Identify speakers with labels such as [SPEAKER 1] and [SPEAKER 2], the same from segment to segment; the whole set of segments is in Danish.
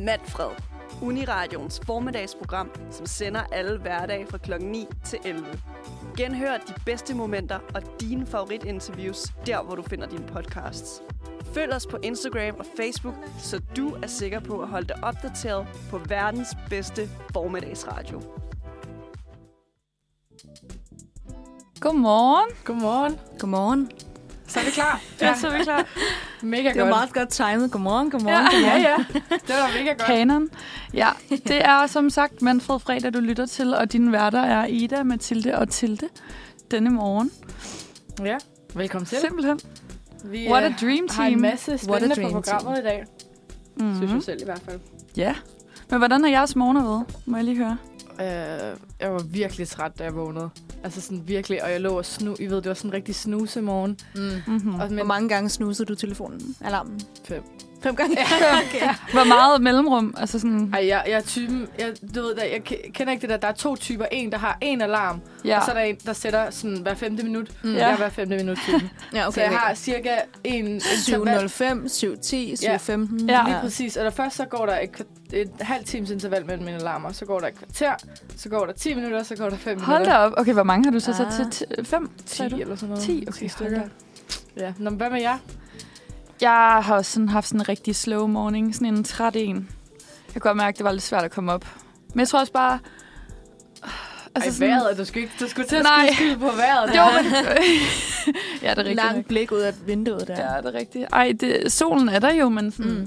[SPEAKER 1] Manfred, Uniradions formiddagsprogram, som sender alle hverdage fra kl. 9 til 11. Genhør de bedste momenter og dine favoritinterviews der, hvor du finder dine podcasts. Følg os på Instagram og Facebook, så du er sikker på at holde dig opdateret på verdens bedste formiddagsradio.
[SPEAKER 2] Godmorgen.
[SPEAKER 3] Godmorgen.
[SPEAKER 4] Godmorgen.
[SPEAKER 3] Så er vi klar.
[SPEAKER 2] Ja, så er vi klar.
[SPEAKER 3] Mega
[SPEAKER 4] Det var
[SPEAKER 3] godt.
[SPEAKER 4] meget godt timet. Godmorgen, godmorgen.
[SPEAKER 3] Ja, ja. Det var mega godt.
[SPEAKER 2] Kanon. Ja, det er som sagt Manfred Fredag, du lytter til, og dine værter er Ida, Mathilde og Tilde denne morgen.
[SPEAKER 3] Ja. Velkommen til.
[SPEAKER 2] Simpelthen.
[SPEAKER 3] Vi
[SPEAKER 2] What
[SPEAKER 3] øh,
[SPEAKER 2] a dream
[SPEAKER 3] har en
[SPEAKER 2] team.
[SPEAKER 3] masse spændende på
[SPEAKER 4] dream
[SPEAKER 3] programmet i dag.
[SPEAKER 2] Mhm.
[SPEAKER 3] Synes jeg selv i hvert fald.
[SPEAKER 2] Ja. Men hvordan er jeres morgener ved? Må jeg lige høre.
[SPEAKER 3] Øh, jeg var virkelig træt, da jeg vågnede. Altså sådan virkelig, og jeg lå og snu. I ved, det var sådan en rigtig snuse morgen.
[SPEAKER 4] Mm.
[SPEAKER 2] Mm-hmm.
[SPEAKER 3] Og,
[SPEAKER 4] Hvor mange gange snusede du telefonen? Alarmen?
[SPEAKER 3] Fem.
[SPEAKER 4] Fem gange? Ja. okay.
[SPEAKER 2] Hvor meget mellemrum? Altså sådan,
[SPEAKER 3] Ej, jeg, jeg er typen, jeg, du ved, jeg, jeg ke- kender ikke det der, der er to typer. En, der har en alarm, ja.
[SPEAKER 2] ja.
[SPEAKER 3] og så er der en, der sætter sådan hver femte minut.
[SPEAKER 4] Mm.
[SPEAKER 3] Ja. Jeg er hver femte minut typen.
[SPEAKER 4] ja,
[SPEAKER 3] okay,
[SPEAKER 4] okay.
[SPEAKER 3] så jeg har cirka en interval.
[SPEAKER 4] 705, 710, 715.
[SPEAKER 2] Ja.
[SPEAKER 3] Lige præcis. Og der først så går der et, kvart- et halvt times interval mellem mine alarmer. Så går der et kvarter, så går der 10 minutter, så går der 5
[SPEAKER 2] Hold da
[SPEAKER 3] minutter.
[SPEAKER 2] op. Okay, hvor mange har du så sat til?
[SPEAKER 4] Ah.
[SPEAKER 2] Ti- Fem? sagde
[SPEAKER 3] 10
[SPEAKER 2] du?
[SPEAKER 3] eller sådan noget.
[SPEAKER 2] 10, okay, hold da
[SPEAKER 3] Ja, Nå, men hvad med jer?
[SPEAKER 2] Jeg har også sådan haft sådan en rigtig slow morning, sådan en træt en. Jeg kunne godt mærke, det var lidt svært at komme op. Men jeg tror også bare...
[SPEAKER 3] Altså, Ej,
[SPEAKER 2] sådan-
[SPEAKER 3] vejret, er du skulle ikke, du skulle til at
[SPEAKER 2] Nej.
[SPEAKER 3] skulle skyde på vejret.
[SPEAKER 2] Jo, men... ja, det er rigtigt.
[SPEAKER 4] Langt blik ud af vinduet der.
[SPEAKER 2] Ja, det er rigtigt. Ej, det, solen er der jo, men sådan... Mm.
[SPEAKER 4] Mm.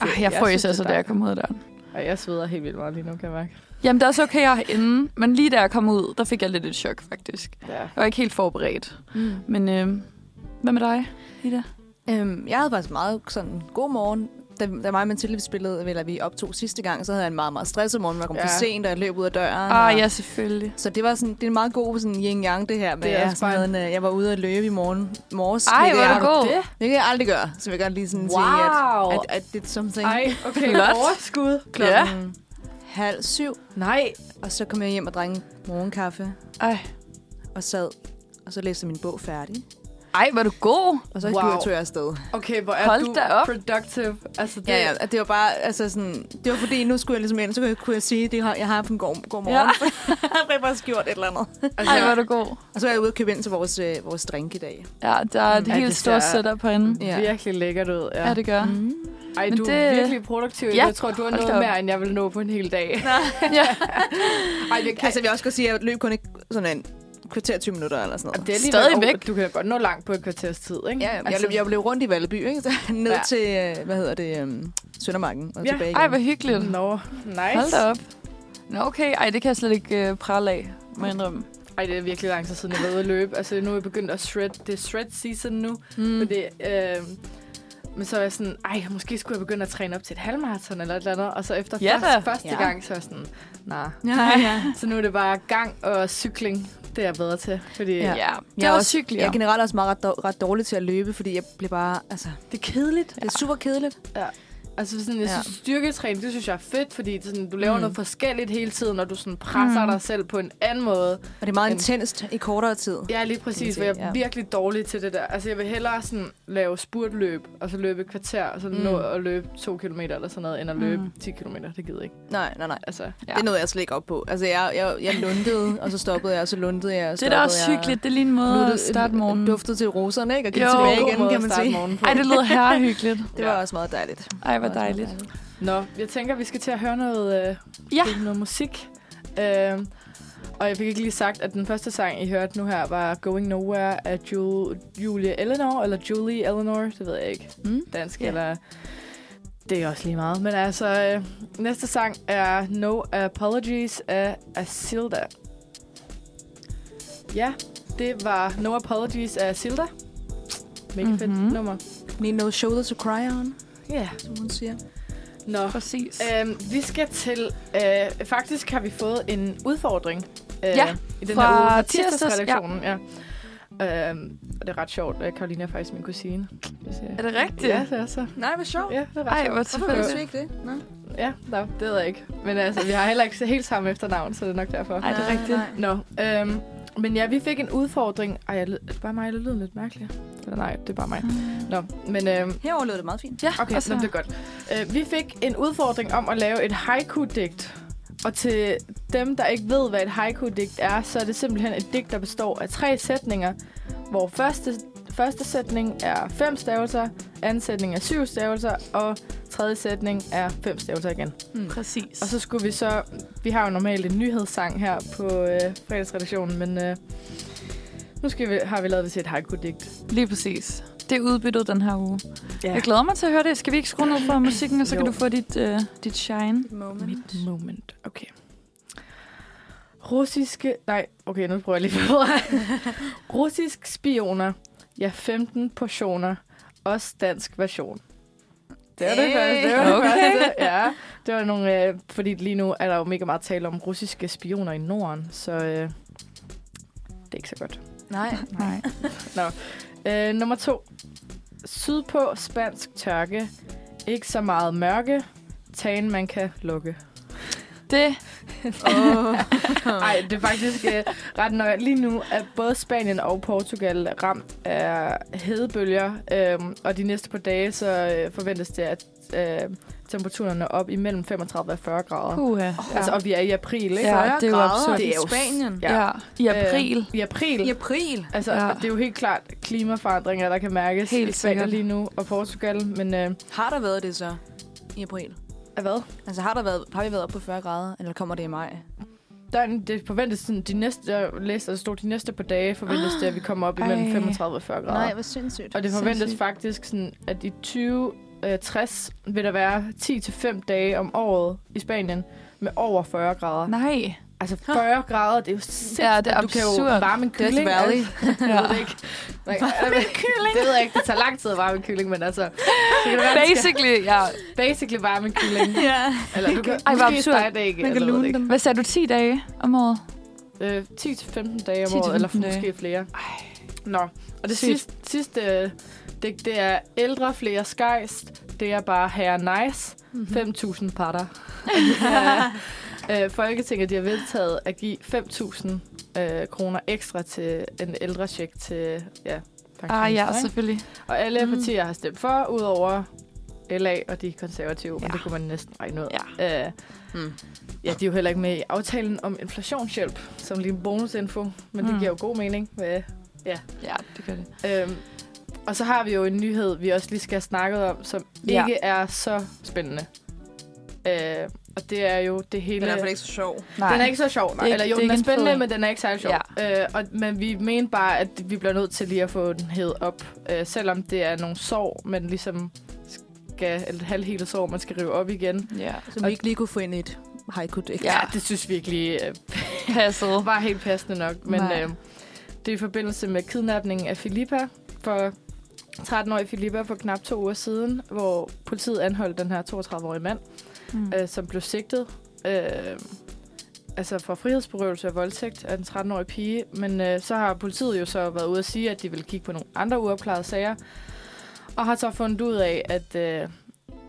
[SPEAKER 2] Ej,
[SPEAKER 3] Jeg
[SPEAKER 2] jeg
[SPEAKER 3] synes,
[SPEAKER 2] frøs
[SPEAKER 3] det er
[SPEAKER 2] altså, da jeg
[SPEAKER 3] dejligt.
[SPEAKER 2] kom ud af døren.
[SPEAKER 3] Ej, jeg sveder helt vildt meget lige nu, kan jeg mærke.
[SPEAKER 2] Jamen, det er også okay, jeg er herinde, men lige da jeg kom ud, der fik jeg lidt et chok, faktisk.
[SPEAKER 3] Ja.
[SPEAKER 2] Jeg var ikke helt forberedt.
[SPEAKER 4] Mm.
[SPEAKER 2] Men øh, hvad med dig, Ida?
[SPEAKER 4] Øhm, jeg havde faktisk meget sådan, god morgen. Da, da mig og Mathilde vi spillede, eller vi optog sidste gang, så havde jeg en meget, meget stresset morgen, hvor jeg kom ja.
[SPEAKER 3] Ja.
[SPEAKER 4] for sent, og jeg løb ud af døren.
[SPEAKER 2] Ah,
[SPEAKER 4] og-
[SPEAKER 2] ja, selvfølgelig.
[SPEAKER 4] Så det var sådan, det er en meget god sådan yin-yang, det her med,
[SPEAKER 3] Det er
[SPEAKER 4] at jeg,
[SPEAKER 3] også bare
[SPEAKER 4] sådan, havde en, øh, jeg var ude at løbe i morgen, morges.
[SPEAKER 2] Ej,
[SPEAKER 4] hvilket
[SPEAKER 2] hvor er du
[SPEAKER 4] jeg-
[SPEAKER 2] god.
[SPEAKER 3] det?
[SPEAKER 4] Det kan jeg aldrig gøre, så vil jeg godt lige sådan sige,
[SPEAKER 3] Wow.
[SPEAKER 4] at, at, at det er something.
[SPEAKER 3] Ej, okay,
[SPEAKER 2] Flot.
[SPEAKER 3] overskud.
[SPEAKER 4] Klokken halv syv,
[SPEAKER 3] Nej.
[SPEAKER 4] og så kom jeg hjem og drak en morgenkaffe,
[SPEAKER 2] Ej.
[SPEAKER 4] og sad, og så læste jeg min bog færdig.
[SPEAKER 2] Ej, var du god.
[SPEAKER 4] Og så
[SPEAKER 3] Wow.
[SPEAKER 4] wow. tog jeg afsted.
[SPEAKER 3] Okay, hvor er
[SPEAKER 2] Hold
[SPEAKER 3] du
[SPEAKER 2] da op.
[SPEAKER 3] productive. Altså, det,
[SPEAKER 4] Ja, ja, og det var bare, altså sådan, det var fordi, nu skulle jeg ligesom ind, så kunne jeg, kunne jeg sige, at jeg har haft en god, god morgen.
[SPEAKER 2] Ja.
[SPEAKER 4] Ja. jeg har bare gjort et eller andet.
[SPEAKER 3] Altså,
[SPEAKER 2] Ej, var du god.
[SPEAKER 4] Og så er jeg ude og købe ind til vores, øh, vores drink i dag.
[SPEAKER 2] Ja, der er et
[SPEAKER 3] Ja,
[SPEAKER 2] helt
[SPEAKER 3] det
[SPEAKER 2] stort
[SPEAKER 3] ser-
[SPEAKER 2] setup herinde.
[SPEAKER 4] Ja.
[SPEAKER 3] virkelig lækkert ud.
[SPEAKER 2] Ja, det gør.
[SPEAKER 4] Mm.
[SPEAKER 3] Ej,
[SPEAKER 2] Men
[SPEAKER 3] du er
[SPEAKER 2] det-
[SPEAKER 3] virkelig produktiv.
[SPEAKER 2] Ja,
[SPEAKER 3] Jeg tror, du har
[SPEAKER 2] hold
[SPEAKER 3] nået
[SPEAKER 2] da op.
[SPEAKER 3] mere, end jeg vil nå på en hel dag.
[SPEAKER 2] ja.
[SPEAKER 3] Ej, vi kan...
[SPEAKER 4] Altså, jeg vil også godt sige, at jeg løb kun et, sådan en kvarter 20 minutter eller sådan noget.
[SPEAKER 3] Det er alligevel
[SPEAKER 2] stadigvæk.
[SPEAKER 3] over- Du kan godt nå langt på et kvarters tid, ikke?
[SPEAKER 4] Ja, altså, jeg,
[SPEAKER 3] altså,
[SPEAKER 4] løb, jeg løb rundt i Valby, ikke? Så ned
[SPEAKER 3] Ja.
[SPEAKER 4] ja. til, øh, hvad hedder det, um, Søndermarken
[SPEAKER 3] Ja.
[SPEAKER 4] og ja. tilbage igen.
[SPEAKER 2] Ej, hvor hyggeligt.
[SPEAKER 3] Nå, nice.
[SPEAKER 2] Hold da op. Nå, okay. Ej, det kan jeg slet ikke øh, prale af, må jeg indrømme.
[SPEAKER 3] Ej, det er virkelig lang tid siden, jeg var ude at løbe. Altså, nu er jeg begyndt at shred. Det er shred season nu. Mm.
[SPEAKER 4] mm.
[SPEAKER 3] Fordi, øh, men så er jeg sådan, ej, måske skulle jeg begynde at træne op til et halvmarathon eller et eller andet. Og så efter
[SPEAKER 2] Ja
[SPEAKER 3] ja,
[SPEAKER 2] da.
[SPEAKER 3] første, første
[SPEAKER 4] Ja.
[SPEAKER 3] ja. gang, så er jeg sådan, nej.
[SPEAKER 4] Ja, ja.
[SPEAKER 3] Så nu er det bare gang og cykling, det er jeg bedre til. Fordi
[SPEAKER 4] Ja.
[SPEAKER 3] ja.
[SPEAKER 2] det
[SPEAKER 4] Jeg
[SPEAKER 2] er
[SPEAKER 4] er
[SPEAKER 2] også hyggeligt.
[SPEAKER 4] Jeg er generelt også meget ret, dår- ret dårlig til at løbe, fordi jeg bliver bare, altså,
[SPEAKER 3] det er kedeligt.
[SPEAKER 4] det er super kedeligt.
[SPEAKER 3] Altså sådan, jeg
[SPEAKER 4] Ja.
[SPEAKER 3] synes, styrketræning, det synes jeg er fedt, fordi sådan, du laver
[SPEAKER 4] Mm.
[SPEAKER 3] mm. noget forskelligt hele tiden, og du sådan presser
[SPEAKER 2] Mm.
[SPEAKER 3] mm. dig selv på en anden måde.
[SPEAKER 4] Og det er meget
[SPEAKER 3] Men-
[SPEAKER 4] intenst i kortere tid.
[SPEAKER 3] Ja, lige præcis, for
[SPEAKER 4] Kan
[SPEAKER 3] jeg
[SPEAKER 4] man
[SPEAKER 3] er
[SPEAKER 4] sige,
[SPEAKER 3] virkelig dårlig til det der. Altså, jeg vil hellere sådan lave spurtløb, og så løbe et kvarter, og så mm.
[SPEAKER 4] Mm.
[SPEAKER 3] nå at løbe to kilometer eller sådan noget, end at
[SPEAKER 2] Mm.
[SPEAKER 3] løbe mm. 10 kilometer. Det gider jeg ikke.
[SPEAKER 4] Nej, nej, nej.
[SPEAKER 3] Altså,
[SPEAKER 2] Ja.
[SPEAKER 4] Ja. Det nåede jeg slet ikke op på. Altså, jeg, jeg, jeg lundede, og så stoppede jeg, og så lundede jeg, og
[SPEAKER 2] Det er
[SPEAKER 4] stoppede
[SPEAKER 2] da også
[SPEAKER 4] jeg.
[SPEAKER 2] hyggeligt. Det er lige en måde at
[SPEAKER 4] Luttede-
[SPEAKER 2] starte morgenen.
[SPEAKER 4] Duftede til roserne, ikke? Og gik
[SPEAKER 2] Jo.
[SPEAKER 4] tilbage
[SPEAKER 2] God
[SPEAKER 4] igen, kan man sige.
[SPEAKER 3] morgen på.
[SPEAKER 2] Ej, det lyder herre hyggeligt.
[SPEAKER 4] Det var
[SPEAKER 3] Ja.
[SPEAKER 4] også meget dejligt.
[SPEAKER 2] Ej, hvor
[SPEAKER 4] Det var også meget
[SPEAKER 2] dejligt.
[SPEAKER 3] Nå, jeg tænker, vi skal til at høre noget, øh,
[SPEAKER 2] Ja.
[SPEAKER 3] ja. noget musik. Øh, og jeg fik ikke lige sagt, at den første sang, I hørte nu her, var Going Nowhere af Ju- Julie Eleanor, eller Julie Eleanor, det ved jeg ikke.
[SPEAKER 4] Mm.
[SPEAKER 3] dansk,
[SPEAKER 4] Ja.
[SPEAKER 3] yeah. eller... Det er også lige meget. Men altså, øh, næste sang er No Apologies af Asilda. Ja, det var No Apologies af Asilda. Mega mm-hmm.
[SPEAKER 2] Mhm.
[SPEAKER 3] fedt nummer.
[SPEAKER 4] Need no shoulder to cry on,
[SPEAKER 3] Ja. Yeah.
[SPEAKER 4] som hun siger.
[SPEAKER 3] Nå,
[SPEAKER 2] Præcis.
[SPEAKER 3] øhm, vi skal til... Øh, faktisk har vi fået en udfordring. Øh,
[SPEAKER 2] Ja,
[SPEAKER 3] i den
[SPEAKER 2] fra
[SPEAKER 3] her uge, fra
[SPEAKER 2] tirsdags,
[SPEAKER 3] tirsdagsredaktionen. Ja. ja. Øhm, og det er ret sjovt. øh, Caroline er faktisk min kusine. Hvis jeg-
[SPEAKER 2] Er det rigtigt?
[SPEAKER 3] Ja, det er så.
[SPEAKER 4] Nej, hvor sjovt.
[SPEAKER 3] Ja, det er ret
[SPEAKER 2] Ej,
[SPEAKER 3] sjovt.
[SPEAKER 2] hvor
[SPEAKER 4] Hvorfor vidste vi
[SPEAKER 2] tilfældigt.
[SPEAKER 4] ikke det? Nå.
[SPEAKER 3] Ja, no, det ved jeg ikke. Men altså, vi har heller ikke helt samme efternavn, så det er nok derfor.
[SPEAKER 2] Ej, det er
[SPEAKER 4] Nej,
[SPEAKER 2] rigtigt.
[SPEAKER 4] nej.
[SPEAKER 3] Nå, øhm, men ja, vi fik en udfordring. Ej, jeg, lød- er det bare mig, eller lyder den lidt mærkeligt? Eller nej, det er bare mig. Nå, men øhm,
[SPEAKER 4] Herover lød det meget fint.
[SPEAKER 2] Ja,
[SPEAKER 3] okay,
[SPEAKER 2] og så-
[SPEAKER 3] altså. det er godt. Øh, vi fik en udfordring om at lave et haiku-digt. Og til dem, der ikke ved, hvad et haiku-digt er, så er det simpelthen et digt, der består af tre sætninger, hvor første, første sætning er fem stavelser, anden sætning er syv stavelser, og tredje sætning er fem stavelser igen.
[SPEAKER 2] Præcis.
[SPEAKER 3] Og så skulle vi så... Vi har jo normalt en nyhedssang her på øh, fredagsredaktionen, men øh, nu skal vi, har vi lavet det til et haiku-digt.
[SPEAKER 2] Lige præcis. Det er udbyttet den her uge.
[SPEAKER 3] Ja.
[SPEAKER 2] Jeg glæder mig til at høre det. Skal vi ikke skrue ned for musikken, og så kan du
[SPEAKER 3] Jo.
[SPEAKER 2] få dit, øh, dit shine?
[SPEAKER 4] Moment.
[SPEAKER 3] Moment. Okay. Russiske... Nej, okay, nu prøver jeg lige bedre. Russisk spioner. Ja, 15 portioner. Også dansk version. Det var det
[SPEAKER 4] Hey.
[SPEAKER 3] første. Det var det
[SPEAKER 2] Okay.
[SPEAKER 3] første. Ja, det var nogle... Øh, fordi lige nu er der jo mega meget tale om russiske spioner i Norden, så øh, det er ikke så godt.
[SPEAKER 4] Nej.
[SPEAKER 2] Nej.
[SPEAKER 3] Øh, nummer to. Sydpå spansk tørke. Ikke så meget mørke. Tagen, man kan lukke.
[SPEAKER 2] Det
[SPEAKER 4] Oh.
[SPEAKER 3] Nej, det er faktisk øh, ret nøjagtigt. Lige nu er både Spanien og Portugal ramt af hedebølger, øh, og de næste par dage så øh, forventes det, at øh, temperaturen er op imellem 35 og 40 grader. Uh.
[SPEAKER 2] Puha.
[SPEAKER 3] Altså, og vi er i april, ikke?
[SPEAKER 2] Ja,
[SPEAKER 4] Ja,
[SPEAKER 2] det er jo absurd.
[SPEAKER 4] Det er jo
[SPEAKER 3] I Spanien.
[SPEAKER 4] Spanien.
[SPEAKER 3] Ja.
[SPEAKER 2] Ja. ja. I april.
[SPEAKER 3] Øh, I april.
[SPEAKER 4] I april.
[SPEAKER 3] Altså,
[SPEAKER 2] Ja.
[SPEAKER 3] ja. det er jo helt klart klimaforandringer, der kan mærkes
[SPEAKER 2] Helt
[SPEAKER 3] i Spanien
[SPEAKER 2] sikkert.
[SPEAKER 3] lige nu, og Portugal, men... Øh,
[SPEAKER 4] Har der været det så i april?
[SPEAKER 3] hvad?
[SPEAKER 4] Altså har, der været, har vi været op på 40 grader, eller kommer det i maj?
[SPEAKER 3] Der er en, det forventes sådan, de næste, jeg læste, at der stod de næste par dage, forventes det, at vi kommer op imellem
[SPEAKER 2] Ah, Ej.
[SPEAKER 3] 35 og 40 grader.
[SPEAKER 4] hvor sindssygt.
[SPEAKER 3] Og det forventes
[SPEAKER 2] Sindssygt.
[SPEAKER 3] faktisk, sådan, at i 2060 vil der være 10-5 dage om året i Spanien med over 40 grader. Nej.
[SPEAKER 2] Nej.
[SPEAKER 3] Altså 40 grader, det er jo sindssygt.
[SPEAKER 2] Ja, det er
[SPEAKER 3] du kan jo
[SPEAKER 2] absurd.
[SPEAKER 3] varme en
[SPEAKER 4] Death
[SPEAKER 3] kylling.
[SPEAKER 4] Valley.
[SPEAKER 3] Jeg ved det ikke. Nej, kylling. Det ved jeg ikke, det tager lang tid at varme en kylling, men altså... Så kan det være, Basic.
[SPEAKER 2] Basically, ja.
[SPEAKER 3] Skal basically varme en kylling.
[SPEAKER 4] ja.
[SPEAKER 3] Eller du kan,
[SPEAKER 2] Ej, hvor
[SPEAKER 3] måske
[SPEAKER 2] absurd.
[SPEAKER 3] stege det ikke.
[SPEAKER 4] Man kan
[SPEAKER 3] eller
[SPEAKER 4] lune
[SPEAKER 3] ved det
[SPEAKER 4] dem.
[SPEAKER 2] Hvad sagde du? 10 dage om året?
[SPEAKER 3] ikke. Øh, 10-15 dage om året,
[SPEAKER 2] 10-15
[SPEAKER 3] eller
[SPEAKER 2] dage.
[SPEAKER 3] måske flere. Nå, og det
[SPEAKER 2] Sygt.
[SPEAKER 3] sidste, sidste øh, det, det er ældre, flere skejst. Det er bare herre nice.
[SPEAKER 2] Mm-hmm.
[SPEAKER 3] 5.000 parter. øh, Folketinget de har vedtaget at give 5.000 øh, kroner ekstra til en ældre check til ja,
[SPEAKER 2] Ah ja,
[SPEAKER 3] pensionister, ikke?
[SPEAKER 2] selvfølgelig.
[SPEAKER 3] Og alle
[SPEAKER 4] Mm.
[SPEAKER 3] mm. partier har stemt for, udover LA og de konservative, ja. men
[SPEAKER 2] Ja.
[SPEAKER 3] det kunne man næsten regne ud.
[SPEAKER 2] Ja.
[SPEAKER 3] Øh,
[SPEAKER 4] Mm.
[SPEAKER 3] ja, de er jo heller ikke med i aftalen om inflationshjælp, som lige en bonusinfo, men mm.
[SPEAKER 2] Mm.
[SPEAKER 3] det giver jo god mening med
[SPEAKER 2] Ja, det gør det.
[SPEAKER 3] Øhm, og så har vi jo en nyhed, vi også lige skal have snakket om, som
[SPEAKER 2] Ja.
[SPEAKER 3] ja. ikke er så spændende. Øh, og det er jo det hele...
[SPEAKER 4] Den er i hvert fald ikke så sjov.
[SPEAKER 2] Nej.
[SPEAKER 3] Den er ikke så sjov, nej.
[SPEAKER 2] Det er
[SPEAKER 3] Eller
[SPEAKER 2] ikke-
[SPEAKER 3] jo,
[SPEAKER 2] det er
[SPEAKER 3] den er
[SPEAKER 2] ikke en
[SPEAKER 3] spændende,
[SPEAKER 2] fed-
[SPEAKER 3] men den er ikke særlig sjov. Ja. Øh, og, men vi mener bare, at vi bliver nødt til lige at få den hed op. Øh, selvom det er nogle sår, man ligesom skal... Eller halvhele sår, man skal rive op igen.
[SPEAKER 2] Ja.
[SPEAKER 4] Så vi ikke lige kunne få ind i et haiku digt.
[SPEAKER 2] Ja.
[SPEAKER 3] det synes vi ikke lige øh,
[SPEAKER 2] Passet.
[SPEAKER 3] var helt passende nok. Men
[SPEAKER 2] Nej.
[SPEAKER 3] øh, det er i forbindelse med kidnapningen af Filippa for 13-årige Filippa for knap to uger siden, hvor politiet anholdt den her 32-årige mand,
[SPEAKER 2] Mm.
[SPEAKER 3] øh, som blev sigtet øh, altså for frihedsberøvelse og voldtægt af den 13-årige pige. Men øh, så har politiet jo så været ude at sige, at de vil kigge på nogle andre uopklarede sager, og har så fundet ud af, at øh,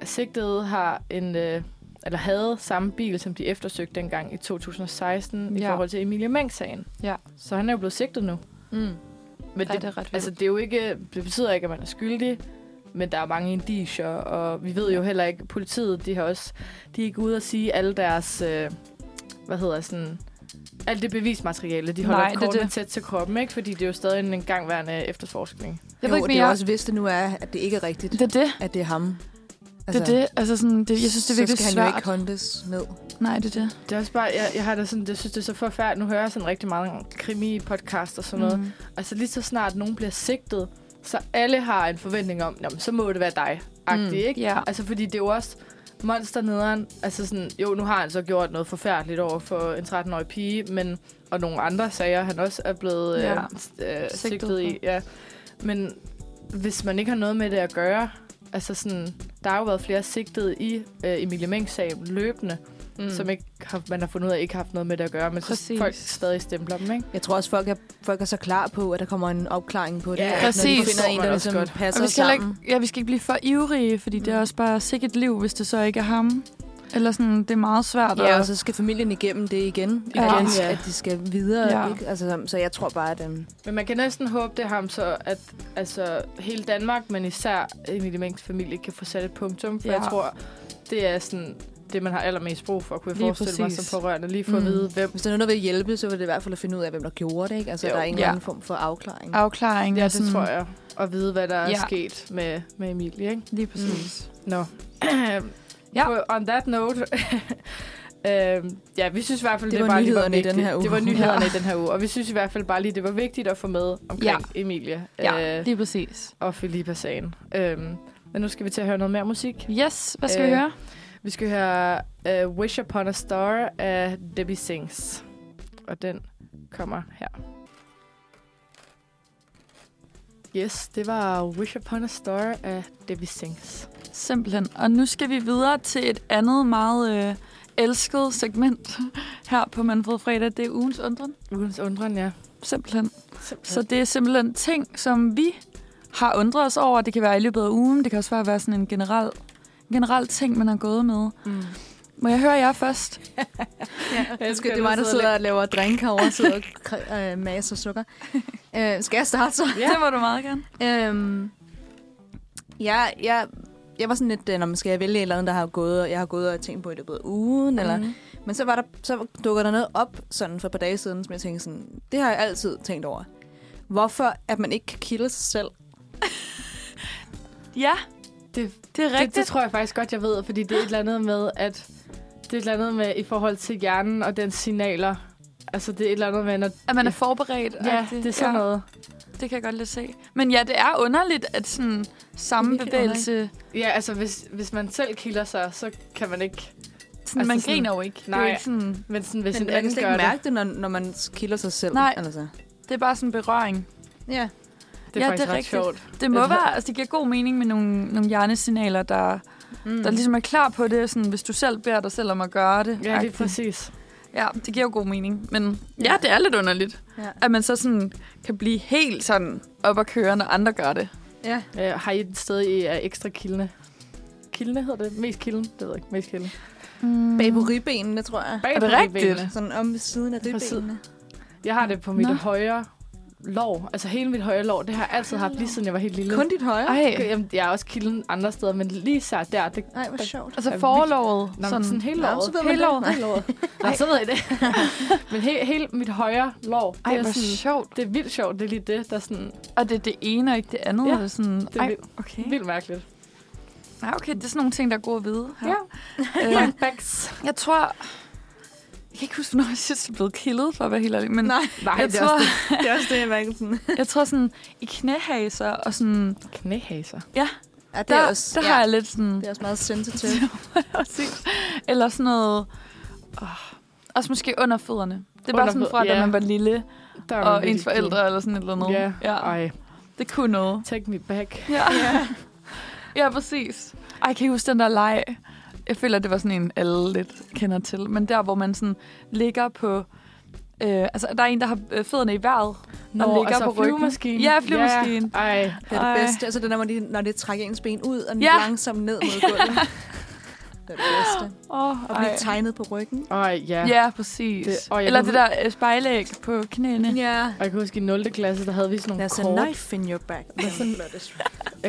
[SPEAKER 3] sigtede har en... Øh, eller havde samme bil, som de eftersøgte dengang i 2016 ja. i
[SPEAKER 2] Ja.
[SPEAKER 3] forhold til Emilie Meng-sagen.
[SPEAKER 2] Ja.
[SPEAKER 3] Så han er jo blevet sigtet nu.
[SPEAKER 4] Mm.
[SPEAKER 3] Men
[SPEAKER 2] Ej,
[SPEAKER 3] det,
[SPEAKER 2] det er ret vildt.
[SPEAKER 3] altså, det, er jo ikke, det betyder ikke, at man er skyldig, men der er mange indicier, og vi ved jo heller ikke, politiet, de har også, de er ikke ude at sige alle deres, øh, hvad hedder sådan, alt det bevismateriale, de holder
[SPEAKER 2] Nej,
[SPEAKER 3] Nej,
[SPEAKER 2] det er
[SPEAKER 3] kortene
[SPEAKER 2] det.
[SPEAKER 3] tæt til kroppen, ikke? Fordi det er jo stadig en gangværende efterforskning.
[SPEAKER 2] Jeg
[SPEAKER 4] jo,
[SPEAKER 2] ved ikke
[SPEAKER 4] det er
[SPEAKER 2] mere.
[SPEAKER 4] også vidst, det nu er, at det ikke er rigtigt,
[SPEAKER 2] Det er det.
[SPEAKER 4] at det er ham.
[SPEAKER 2] Det er det. Altså sådan, det, jeg synes, det er virkelig
[SPEAKER 4] Så skal han jo
[SPEAKER 2] svært.
[SPEAKER 4] ikke håndtes ned.
[SPEAKER 2] Nej, det er det.
[SPEAKER 3] Det er også bare, jeg, jeg har det sådan, det synes, det er så forfærdeligt. Nu hører jeg sådan rigtig meget om krimi-podcast og sådan noget.
[SPEAKER 2] Mm.
[SPEAKER 3] Altså lige så snart nogen bliver sigtet, så alle har en forventning om, "Nå, men så må det være dig, agtig,
[SPEAKER 4] Mm,
[SPEAKER 3] ikke?
[SPEAKER 2] ja.
[SPEAKER 3] Altså fordi det er jo også monsternederen, altså sådan, jo, nu har han så gjort noget forfærdeligt over for en 13-årig pige, men, og nogle andre sager, han også er blevet ja.
[SPEAKER 2] Ja.
[SPEAKER 3] øh, s- øh, sigtet,
[SPEAKER 2] Sigtet
[SPEAKER 3] i.
[SPEAKER 2] for.
[SPEAKER 3] Ja. Men hvis man ikke har noget med det at gøre, altså sådan, der har jo været flere sigtede i øh, Emilie Mengs sag løbende, mm. som ikke har, man har fundet ud af ikke har haft noget med det at gøre, men så
[SPEAKER 2] Præcis.
[SPEAKER 3] folk stadig stempler dem, ikke?
[SPEAKER 4] Jeg tror også, folk er, folk er så klar på, at der kommer en opklaring på det.
[SPEAKER 3] Ja,
[SPEAKER 4] at Når
[SPEAKER 2] præcis.
[SPEAKER 4] de finder en,
[SPEAKER 3] Man
[SPEAKER 4] der
[SPEAKER 3] også
[SPEAKER 4] ligesom
[SPEAKER 3] godt.
[SPEAKER 4] passer
[SPEAKER 2] Og vi skal, heller
[SPEAKER 4] sammen.
[SPEAKER 2] ikke, ja, vi skal ikke blive for ivrige, fordi mm. det er også bare sikkert et liv, hvis det så ikke er ham. Eller sådan, det er meget svært.
[SPEAKER 4] Ja, og
[SPEAKER 3] altså-
[SPEAKER 2] at,
[SPEAKER 4] så skal familien igennem det igen,
[SPEAKER 3] Ja.
[SPEAKER 4] ja. at,
[SPEAKER 3] Ja.
[SPEAKER 4] at de skal videre.
[SPEAKER 2] Ja.
[SPEAKER 4] Ja. Ikke? Altså, så- så jeg tror bare, at... Um,
[SPEAKER 3] Men man kan næsten håbe, det er ham så, at altså, hele Danmark, men især Emilie Mengs familie, kan få sat et punktum. For
[SPEAKER 2] Ja.
[SPEAKER 3] ja. jeg tror, det er sådan det, man har allermest brug for, kunne jeg
[SPEAKER 2] Lige
[SPEAKER 3] forestille mig
[SPEAKER 2] præcis.
[SPEAKER 3] som pårørende. Lige for mm.
[SPEAKER 4] Mm.
[SPEAKER 3] at vide, hvem.
[SPEAKER 4] hvis der er nogen, der vil hjælpe, så vil det i hvert fald at finde ud af, hvem der gjorde det. Ikke? Altså,
[SPEAKER 3] Jo.
[SPEAKER 4] jo. der er en
[SPEAKER 2] Ja.
[SPEAKER 4] eller anden form for afklaring.
[SPEAKER 2] afklaring.
[SPEAKER 3] Ja,
[SPEAKER 2] og
[SPEAKER 3] det tror jeg. Og vide, hvad der ja.
[SPEAKER 2] Ja.
[SPEAKER 3] er sket med, med Emilie, ikke?
[SPEAKER 2] Lige præcis.
[SPEAKER 3] Nå.
[SPEAKER 2] Ja.
[SPEAKER 3] ja. På, on that note. øhm, ja, vi synes i hvert fald,
[SPEAKER 4] Det
[SPEAKER 3] det,
[SPEAKER 4] var
[SPEAKER 3] bare lige var
[SPEAKER 4] nyhederne i
[SPEAKER 3] vigtigt.
[SPEAKER 4] den her uge.
[SPEAKER 3] Det var nyhederne ja. i den her uge. Og vi synes i hvert fald bare lige, det var vigtigt at få med omkring ja. Emilie
[SPEAKER 2] Ja,
[SPEAKER 3] øh,
[SPEAKER 2] lige præcis.
[SPEAKER 3] og Filippa-sagen. Øhm, men nu skal vi til at høre noget mere musik.
[SPEAKER 2] Yes, hvad skal øh, vi
[SPEAKER 3] Øh,
[SPEAKER 2] høre?
[SPEAKER 3] Vi skal høre uh, Wish Upon a Star af Debbie Sings. Og den kommer her. Yes, det var Wish Upon a Star af Debbie Sings.
[SPEAKER 2] Simpelthen. Og nu skal vi videre til et andet meget øh, elsket segment her på Manfred Fredag. Det er ugens undren.
[SPEAKER 3] Ugens undren, ja.
[SPEAKER 2] Simpelthen. Så det er simpelthen ting, som vi har undret os over. Det kan være i løbet af ugen. Det kan også bare være sådan en generel, en generel ting, man har gået med.
[SPEAKER 3] Mm.
[SPEAKER 2] Må jeg høre jer først?
[SPEAKER 3] Jeg
[SPEAKER 4] Skal, det er mig, der sidder og laver drink herovre, sidder og kre- øh, maser sukker. Øh, skal jeg starte så?
[SPEAKER 2] Ja. Det må du meget gerne.
[SPEAKER 4] Øhm, jeg, jeg, jeg var sådan lidt, øh, når man skal jeg vælge et eller andet, der har gået, jeg har gået og tænkt på i løbet af ugen, mm. eller Men så, var der, så dukker der noget op sådan for et par dage siden, som jeg tænkte sådan, det har jeg altid tænkt over. Hvorfor at man ikke kan kilde sig selv?
[SPEAKER 2] Ja,
[SPEAKER 3] Det,
[SPEAKER 2] det er
[SPEAKER 3] det,
[SPEAKER 2] rigtigt.
[SPEAKER 3] det tror jeg faktisk godt, jeg ved, fordi det er et eller andet med, at det er et eller andet med i forhold til hjernen og dens signaler. Altså, det er et eller andet med, når...
[SPEAKER 2] at man er forberedt.
[SPEAKER 3] Ja,
[SPEAKER 2] agtigt.
[SPEAKER 3] det er sådan noget.
[SPEAKER 2] Det kan jeg godt lidt se. Men ja, det er underligt, at sådan samme
[SPEAKER 4] Det er virkelig
[SPEAKER 2] bevægelse...
[SPEAKER 3] Ja, altså, hvis, hvis man selv kilder sig, så kan man ikke...
[SPEAKER 2] Sådan,
[SPEAKER 3] Altså
[SPEAKER 2] man
[SPEAKER 3] sådan-
[SPEAKER 2] griner jo ikke. Det er,
[SPEAKER 3] Nej.
[SPEAKER 2] jo ikke sådan,
[SPEAKER 3] Men sådan, hvis
[SPEAKER 4] Men
[SPEAKER 3] en
[SPEAKER 4] man kan
[SPEAKER 3] anden
[SPEAKER 4] slet
[SPEAKER 3] gør
[SPEAKER 4] ikke
[SPEAKER 3] det...
[SPEAKER 4] mærke det, når, når man kilder sig selv.
[SPEAKER 2] Nej.
[SPEAKER 4] Altså.
[SPEAKER 2] det er bare sådan berøring.
[SPEAKER 4] Ja.
[SPEAKER 3] Det
[SPEAKER 2] Ja,
[SPEAKER 3] er ja, faktisk
[SPEAKER 2] det er
[SPEAKER 3] ret
[SPEAKER 2] rigtigt.
[SPEAKER 3] sjovt.
[SPEAKER 2] Det må
[SPEAKER 3] Ja, det-
[SPEAKER 2] være... Altså, det giver god mening med nogle, nogle hjernesignaler, der, mm.
[SPEAKER 4] Mm.
[SPEAKER 2] der ligesom er klar på det. Sådan, hvis du selv beder dig selv om at gøre det.
[SPEAKER 3] Ja, lige
[SPEAKER 2] agtigt.
[SPEAKER 3] præcis.
[SPEAKER 2] Ja, det giver jo god mening. Men ja, det er lidt underligt,
[SPEAKER 4] Ja.
[SPEAKER 2] at man så sådan kan blive helt sådan op at køre, når andre gør det.
[SPEAKER 4] ja.
[SPEAKER 3] Øh, har I et sted, I er ekstra kildende? Kildende hedder det? Mest kilden? Det ved jeg ikke. Mest kilden.
[SPEAKER 2] Mm.
[SPEAKER 4] Bag på ribbenene, tror jeg.
[SPEAKER 3] Bag
[SPEAKER 2] Er det
[SPEAKER 3] på
[SPEAKER 2] rigtigt?
[SPEAKER 3] ribbenene.
[SPEAKER 4] Sådan om ved siden af
[SPEAKER 3] På siden.
[SPEAKER 4] ribbenene.
[SPEAKER 3] Jeg har det på mit
[SPEAKER 2] Nå.
[SPEAKER 3] Nå. højre lår. Altså hele mit højre lår. Det har jeg altid haft, lige siden jeg var helt lille.
[SPEAKER 4] Kun dit højre?
[SPEAKER 2] Ej,
[SPEAKER 3] Jamen, jeg er også kilden andre steder, men lige især der. Det,
[SPEAKER 4] Ej, hvor sjovt.
[SPEAKER 2] altså
[SPEAKER 3] er
[SPEAKER 2] forlovet.
[SPEAKER 3] Nå, sådan, sådan hele
[SPEAKER 4] Nå,
[SPEAKER 3] låret.
[SPEAKER 4] så ved man
[SPEAKER 3] hele
[SPEAKER 4] det.
[SPEAKER 3] låret. Hele låret. Nå, så ved jeg det. men he, hele mit højre lår. Det,
[SPEAKER 2] Ej,
[SPEAKER 3] er
[SPEAKER 2] hvor
[SPEAKER 3] sådan,
[SPEAKER 2] sjovt.
[SPEAKER 3] det er vildt sjovt. Det er lige det, der er sådan
[SPEAKER 2] Og det er det ene og ikke det andet.
[SPEAKER 3] Ja,
[SPEAKER 2] Ja, det sådan,
[SPEAKER 3] det er
[SPEAKER 2] ej,
[SPEAKER 3] vildt.
[SPEAKER 2] okay.
[SPEAKER 3] vildt mærkeligt.
[SPEAKER 2] Ja, okay, det er sådan nogle ting, der er gode at vide. Her.
[SPEAKER 3] Ja.
[SPEAKER 2] Øh,
[SPEAKER 3] Bags.
[SPEAKER 2] jeg tror... Jeg kan ikke huske, hvornår jeg sidst er blevet killet, for at være helt ærlig. Men
[SPEAKER 4] Nej,
[SPEAKER 3] Nej,
[SPEAKER 2] jeg,
[SPEAKER 3] det er
[SPEAKER 2] tror,
[SPEAKER 3] også
[SPEAKER 4] det er også det, jeg mærker sådan.
[SPEAKER 2] jeg tror sådan, i knæhaser og sådan...
[SPEAKER 3] det. knæhaser.
[SPEAKER 4] Ja, det
[SPEAKER 2] Der,
[SPEAKER 4] er også,
[SPEAKER 2] der
[SPEAKER 4] ja,
[SPEAKER 2] har jeg lidt sådan...
[SPEAKER 4] det er også meget sensitivt.
[SPEAKER 2] Præcis. Eller sådan noget... Oh, også måske under fødderne. Det er bare
[SPEAKER 3] Under
[SPEAKER 2] sådan
[SPEAKER 3] fød-
[SPEAKER 2] fra, da
[SPEAKER 3] ja.
[SPEAKER 2] man var lille,
[SPEAKER 3] Der er man
[SPEAKER 2] og
[SPEAKER 3] virkelig
[SPEAKER 2] ens
[SPEAKER 3] kilden.
[SPEAKER 2] forældre eller sådan et eller andet.
[SPEAKER 3] Ja.
[SPEAKER 2] ja.
[SPEAKER 3] Ej,
[SPEAKER 2] Det kunne noget.
[SPEAKER 3] take me back.
[SPEAKER 2] Ja. ja, præcis. Ej, kan I huske den der leg? Jeg føler, det var sådan en, alle lidt kender til. Men der, hvor man sådan ligger på... Øh, altså, der er en, der har øh, fødderne i vejret. Nå, ligger på ryggen.
[SPEAKER 3] altså, flyvemaskinen.
[SPEAKER 2] Ja, flyvemaskinen.
[SPEAKER 3] Ja, ej.
[SPEAKER 4] Det er
[SPEAKER 2] Ej.
[SPEAKER 4] det bedste. Altså, det er, når, de, når det trækker ens ben ud, og
[SPEAKER 2] Ja.
[SPEAKER 4] ja. langsomt ned mod gulvet. Det er det bedste.
[SPEAKER 2] Åh,
[SPEAKER 4] Og
[SPEAKER 2] oh,
[SPEAKER 4] blive tegnet på ryggen.
[SPEAKER 3] Ej, ja.
[SPEAKER 2] Ja, præcis.
[SPEAKER 3] Det-
[SPEAKER 2] Det,
[SPEAKER 3] og jeg
[SPEAKER 2] Eller
[SPEAKER 3] kan
[SPEAKER 2] det der øh, spejlæg på knæene.
[SPEAKER 4] Ja.
[SPEAKER 3] Og jeg kan huske, i 0. klasse, der havde vi sådan nogle
[SPEAKER 4] There's
[SPEAKER 3] kort.
[SPEAKER 4] a knife in your back.
[SPEAKER 3] Jeg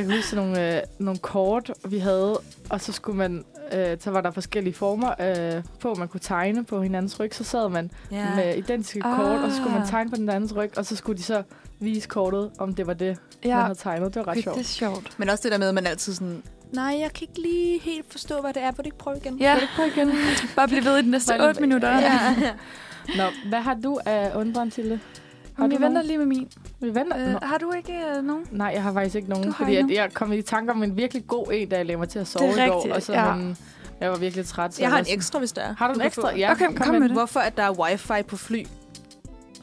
[SPEAKER 3] kan huske sådan nogle, øh, nogle kort, vi havde. Og så skulle man... Øh, så var der forskellige former øh, på, man kunne tegne på hinandens ryg. Så sad man ja. med identiske ah. kort, og så skulle man
[SPEAKER 2] Ah.
[SPEAKER 3] tegne på den andens ryg. Og så skulle de så vise kortet, om det var det, ja. man
[SPEAKER 2] Ja,
[SPEAKER 3] havde tegnet. Det var ret
[SPEAKER 2] det er
[SPEAKER 3] sjovt.
[SPEAKER 2] sjovt.
[SPEAKER 4] Men også det der med, at man altid sådan, nej, jeg kan ikke lige helt forstå, hvad det er. Vil du ikke prøve igen?
[SPEAKER 2] Ja, bare blive ved i de næste
[SPEAKER 3] Bare lige-
[SPEAKER 2] 8 minutter.
[SPEAKER 4] ja.
[SPEAKER 3] Nå, hvad har du af undren, Tilde? Har
[SPEAKER 2] Men
[SPEAKER 3] du
[SPEAKER 2] vi venter
[SPEAKER 3] nogen?
[SPEAKER 2] lige med min.
[SPEAKER 3] Vi venter.
[SPEAKER 2] Øh,
[SPEAKER 3] Nå.
[SPEAKER 2] har du ikke øh, nogen?
[SPEAKER 3] Nej, jeg har faktisk ikke nogen,
[SPEAKER 2] Du har
[SPEAKER 3] fordi
[SPEAKER 2] ikke
[SPEAKER 3] at
[SPEAKER 2] nogen?
[SPEAKER 3] jeg kom i tanke om en virkelig god en, da jeg lagde mig til at sove
[SPEAKER 2] Det er
[SPEAKER 3] i går.
[SPEAKER 2] rigtigt,
[SPEAKER 3] og så,
[SPEAKER 2] ja.
[SPEAKER 3] men, jeg var virkelig træt. Så
[SPEAKER 4] Jeg har
[SPEAKER 3] var
[SPEAKER 4] en
[SPEAKER 3] sådan,
[SPEAKER 4] ekstra, hvis der er.
[SPEAKER 3] Har du en
[SPEAKER 4] kan
[SPEAKER 3] ekstra?
[SPEAKER 4] få.
[SPEAKER 3] Ja,
[SPEAKER 2] Okay, kom med det.
[SPEAKER 4] Hvorfor at der er wifi på fly?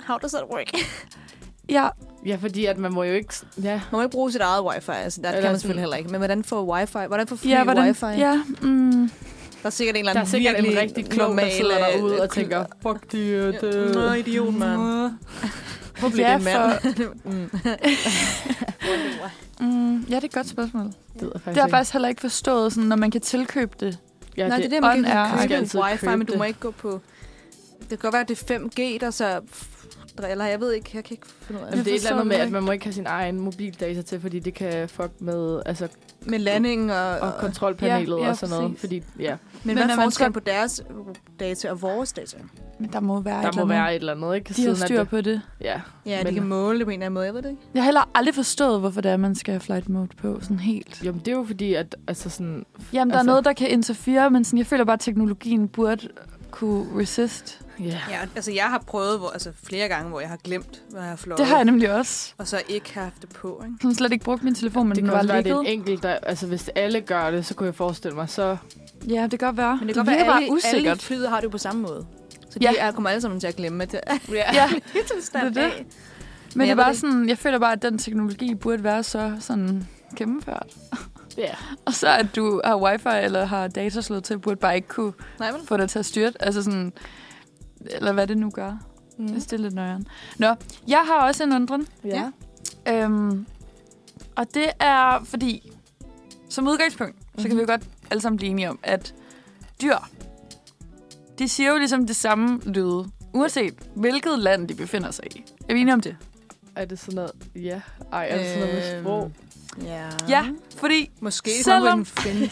[SPEAKER 4] How does that work?
[SPEAKER 2] Ja,
[SPEAKER 3] Ja, fordi at man må jo ikke... Ja,
[SPEAKER 4] Man må ikke bruge sit eget wifi, altså der
[SPEAKER 3] Eller
[SPEAKER 4] kan man
[SPEAKER 3] sådan-
[SPEAKER 4] selvfølgelig heller ikke. Men hvordan får wifi? Hvordan får fly
[SPEAKER 2] ja, hvordan?
[SPEAKER 4] wifi?
[SPEAKER 2] Ja, mm,
[SPEAKER 4] Der er sikkert en eller
[SPEAKER 3] der er
[SPEAKER 4] anden
[SPEAKER 3] sikkert en
[SPEAKER 4] virkelig
[SPEAKER 3] rigtig klog, der
[SPEAKER 4] normal,
[SPEAKER 3] sidder
[SPEAKER 4] øh,
[SPEAKER 3] derude og
[SPEAKER 4] kul-
[SPEAKER 3] tænker, fuck de, det...
[SPEAKER 4] Nå, idiot, mand. Hvor blev
[SPEAKER 2] Ja,
[SPEAKER 4] det en mand? Mm.
[SPEAKER 2] mm, ja, det er et godt spørgsmål.
[SPEAKER 3] Det, ved jeg
[SPEAKER 2] Det
[SPEAKER 3] faktisk
[SPEAKER 2] har jeg
[SPEAKER 3] ikke.
[SPEAKER 2] faktisk heller ikke forstået, sådan, når man kan tilkøbe det.
[SPEAKER 3] Ja,
[SPEAKER 4] Nej, det er det,
[SPEAKER 2] on
[SPEAKER 4] man
[SPEAKER 2] air.
[SPEAKER 4] kan
[SPEAKER 2] Man
[SPEAKER 3] skal
[SPEAKER 4] købe
[SPEAKER 3] altid
[SPEAKER 4] wifi,
[SPEAKER 3] købe
[SPEAKER 4] men du
[SPEAKER 3] det.
[SPEAKER 4] må ikke gå på... Det kan godt være, at det er 5G, der så f- driller. Jeg ved ikke, jeg kan ikke finde ud af
[SPEAKER 3] Jamen,
[SPEAKER 4] det.
[SPEAKER 3] det er et eller andet med,
[SPEAKER 2] forstår
[SPEAKER 3] at man må ikke have sin egen mobildata til, fordi det kan fuck med altså,
[SPEAKER 4] Med landing og...
[SPEAKER 3] og kontrolpanelet
[SPEAKER 2] Ja,
[SPEAKER 3] ja,
[SPEAKER 2] ja,
[SPEAKER 3] ja, og sådan noget.
[SPEAKER 2] præcis.
[SPEAKER 3] Fordi, ja,
[SPEAKER 4] men,
[SPEAKER 2] Men
[SPEAKER 4] hvad
[SPEAKER 2] når
[SPEAKER 4] er
[SPEAKER 2] man
[SPEAKER 4] forskellen
[SPEAKER 2] skal-
[SPEAKER 4] på deres data og vores data?
[SPEAKER 2] Men der må være et
[SPEAKER 3] der må
[SPEAKER 2] eller
[SPEAKER 3] være
[SPEAKER 2] andet.
[SPEAKER 3] et eller andet, ikke?
[SPEAKER 2] De har
[SPEAKER 3] Siden at
[SPEAKER 2] styr
[SPEAKER 3] det-
[SPEAKER 2] på det.
[SPEAKER 3] Ja,
[SPEAKER 4] Ja,
[SPEAKER 3] Men-
[SPEAKER 4] de kan måle det på en eller anden måde, jeg ved det ikke.
[SPEAKER 2] Jeg har heller aldrig forstået, hvorfor det er, man skal have flight mode på sådan helt.
[SPEAKER 3] Jamen, det er jo fordi, at altså sådan...
[SPEAKER 2] Jamen, der altså, er
[SPEAKER 3] Altså-
[SPEAKER 2] noget, der kan interfere, men sådan, jeg føler bare, at teknologien burde kunne resist.
[SPEAKER 3] Ja.
[SPEAKER 4] Ja, altså jeg har prøvet hvor, altså, flere gange, hvor jeg har glemt, hvad jeg har flået.
[SPEAKER 2] Det har jeg nemlig også.
[SPEAKER 4] Og så ikke haft det på, ikke?
[SPEAKER 2] Jeg har slet ikke brugt min telefon, men
[SPEAKER 3] Det
[SPEAKER 2] den
[SPEAKER 3] kan
[SPEAKER 2] var
[SPEAKER 3] også være, at det er
[SPEAKER 2] ligget.
[SPEAKER 3] en enkelt, der... Altså, hvis alle gør det, så kunne jeg forestille mig, så...
[SPEAKER 2] Ja, det kan godt være.
[SPEAKER 4] Men
[SPEAKER 2] det
[SPEAKER 4] det kan
[SPEAKER 2] virker
[SPEAKER 4] godt være,
[SPEAKER 2] bare
[SPEAKER 4] alle, alle
[SPEAKER 2] usikkert.
[SPEAKER 4] flyder har det jo på samme måde. Så de
[SPEAKER 2] Ja.
[SPEAKER 4] ja. er, kommer alle sammen til at glemme at det.
[SPEAKER 2] Ja,
[SPEAKER 4] Tilstand
[SPEAKER 2] Det er det.
[SPEAKER 4] af.
[SPEAKER 2] men det
[SPEAKER 4] jeg
[SPEAKER 2] er
[SPEAKER 4] ved
[SPEAKER 2] bare
[SPEAKER 4] det
[SPEAKER 2] sådan, jeg føler bare, at den teknologi burde være så sådan gennemført.
[SPEAKER 3] Ja.
[SPEAKER 2] Og så at du har wifi eller har data slået til, burde bare ikke kunne
[SPEAKER 4] Nej, vel?
[SPEAKER 2] få dig til at styrte. Altså sådan, eller hvad det nu gør. Mm.
[SPEAKER 4] Mm.
[SPEAKER 2] Det er lidt nøjeren. Nå, jeg har også en undren.
[SPEAKER 4] Ja.
[SPEAKER 2] Øhm, og det er fordi, som udgangspunkt, mm-hmm. så
[SPEAKER 3] Mhm.
[SPEAKER 2] kan vi jo godt alle sammen blive enige om, at dyr, de siger jo ligesom det samme lyde, uanset hvilket land de befinder sig i. Er vi enige om det?
[SPEAKER 3] Er det sådan noget... Ja. Ej, er det sådan noget med
[SPEAKER 4] Øhm,
[SPEAKER 3] sprog?
[SPEAKER 4] Ja.
[SPEAKER 2] Ja,
[SPEAKER 3] Mhm.
[SPEAKER 2] fordi,
[SPEAKER 4] Måske
[SPEAKER 2] Selvom-
[SPEAKER 4] Selvom... en fin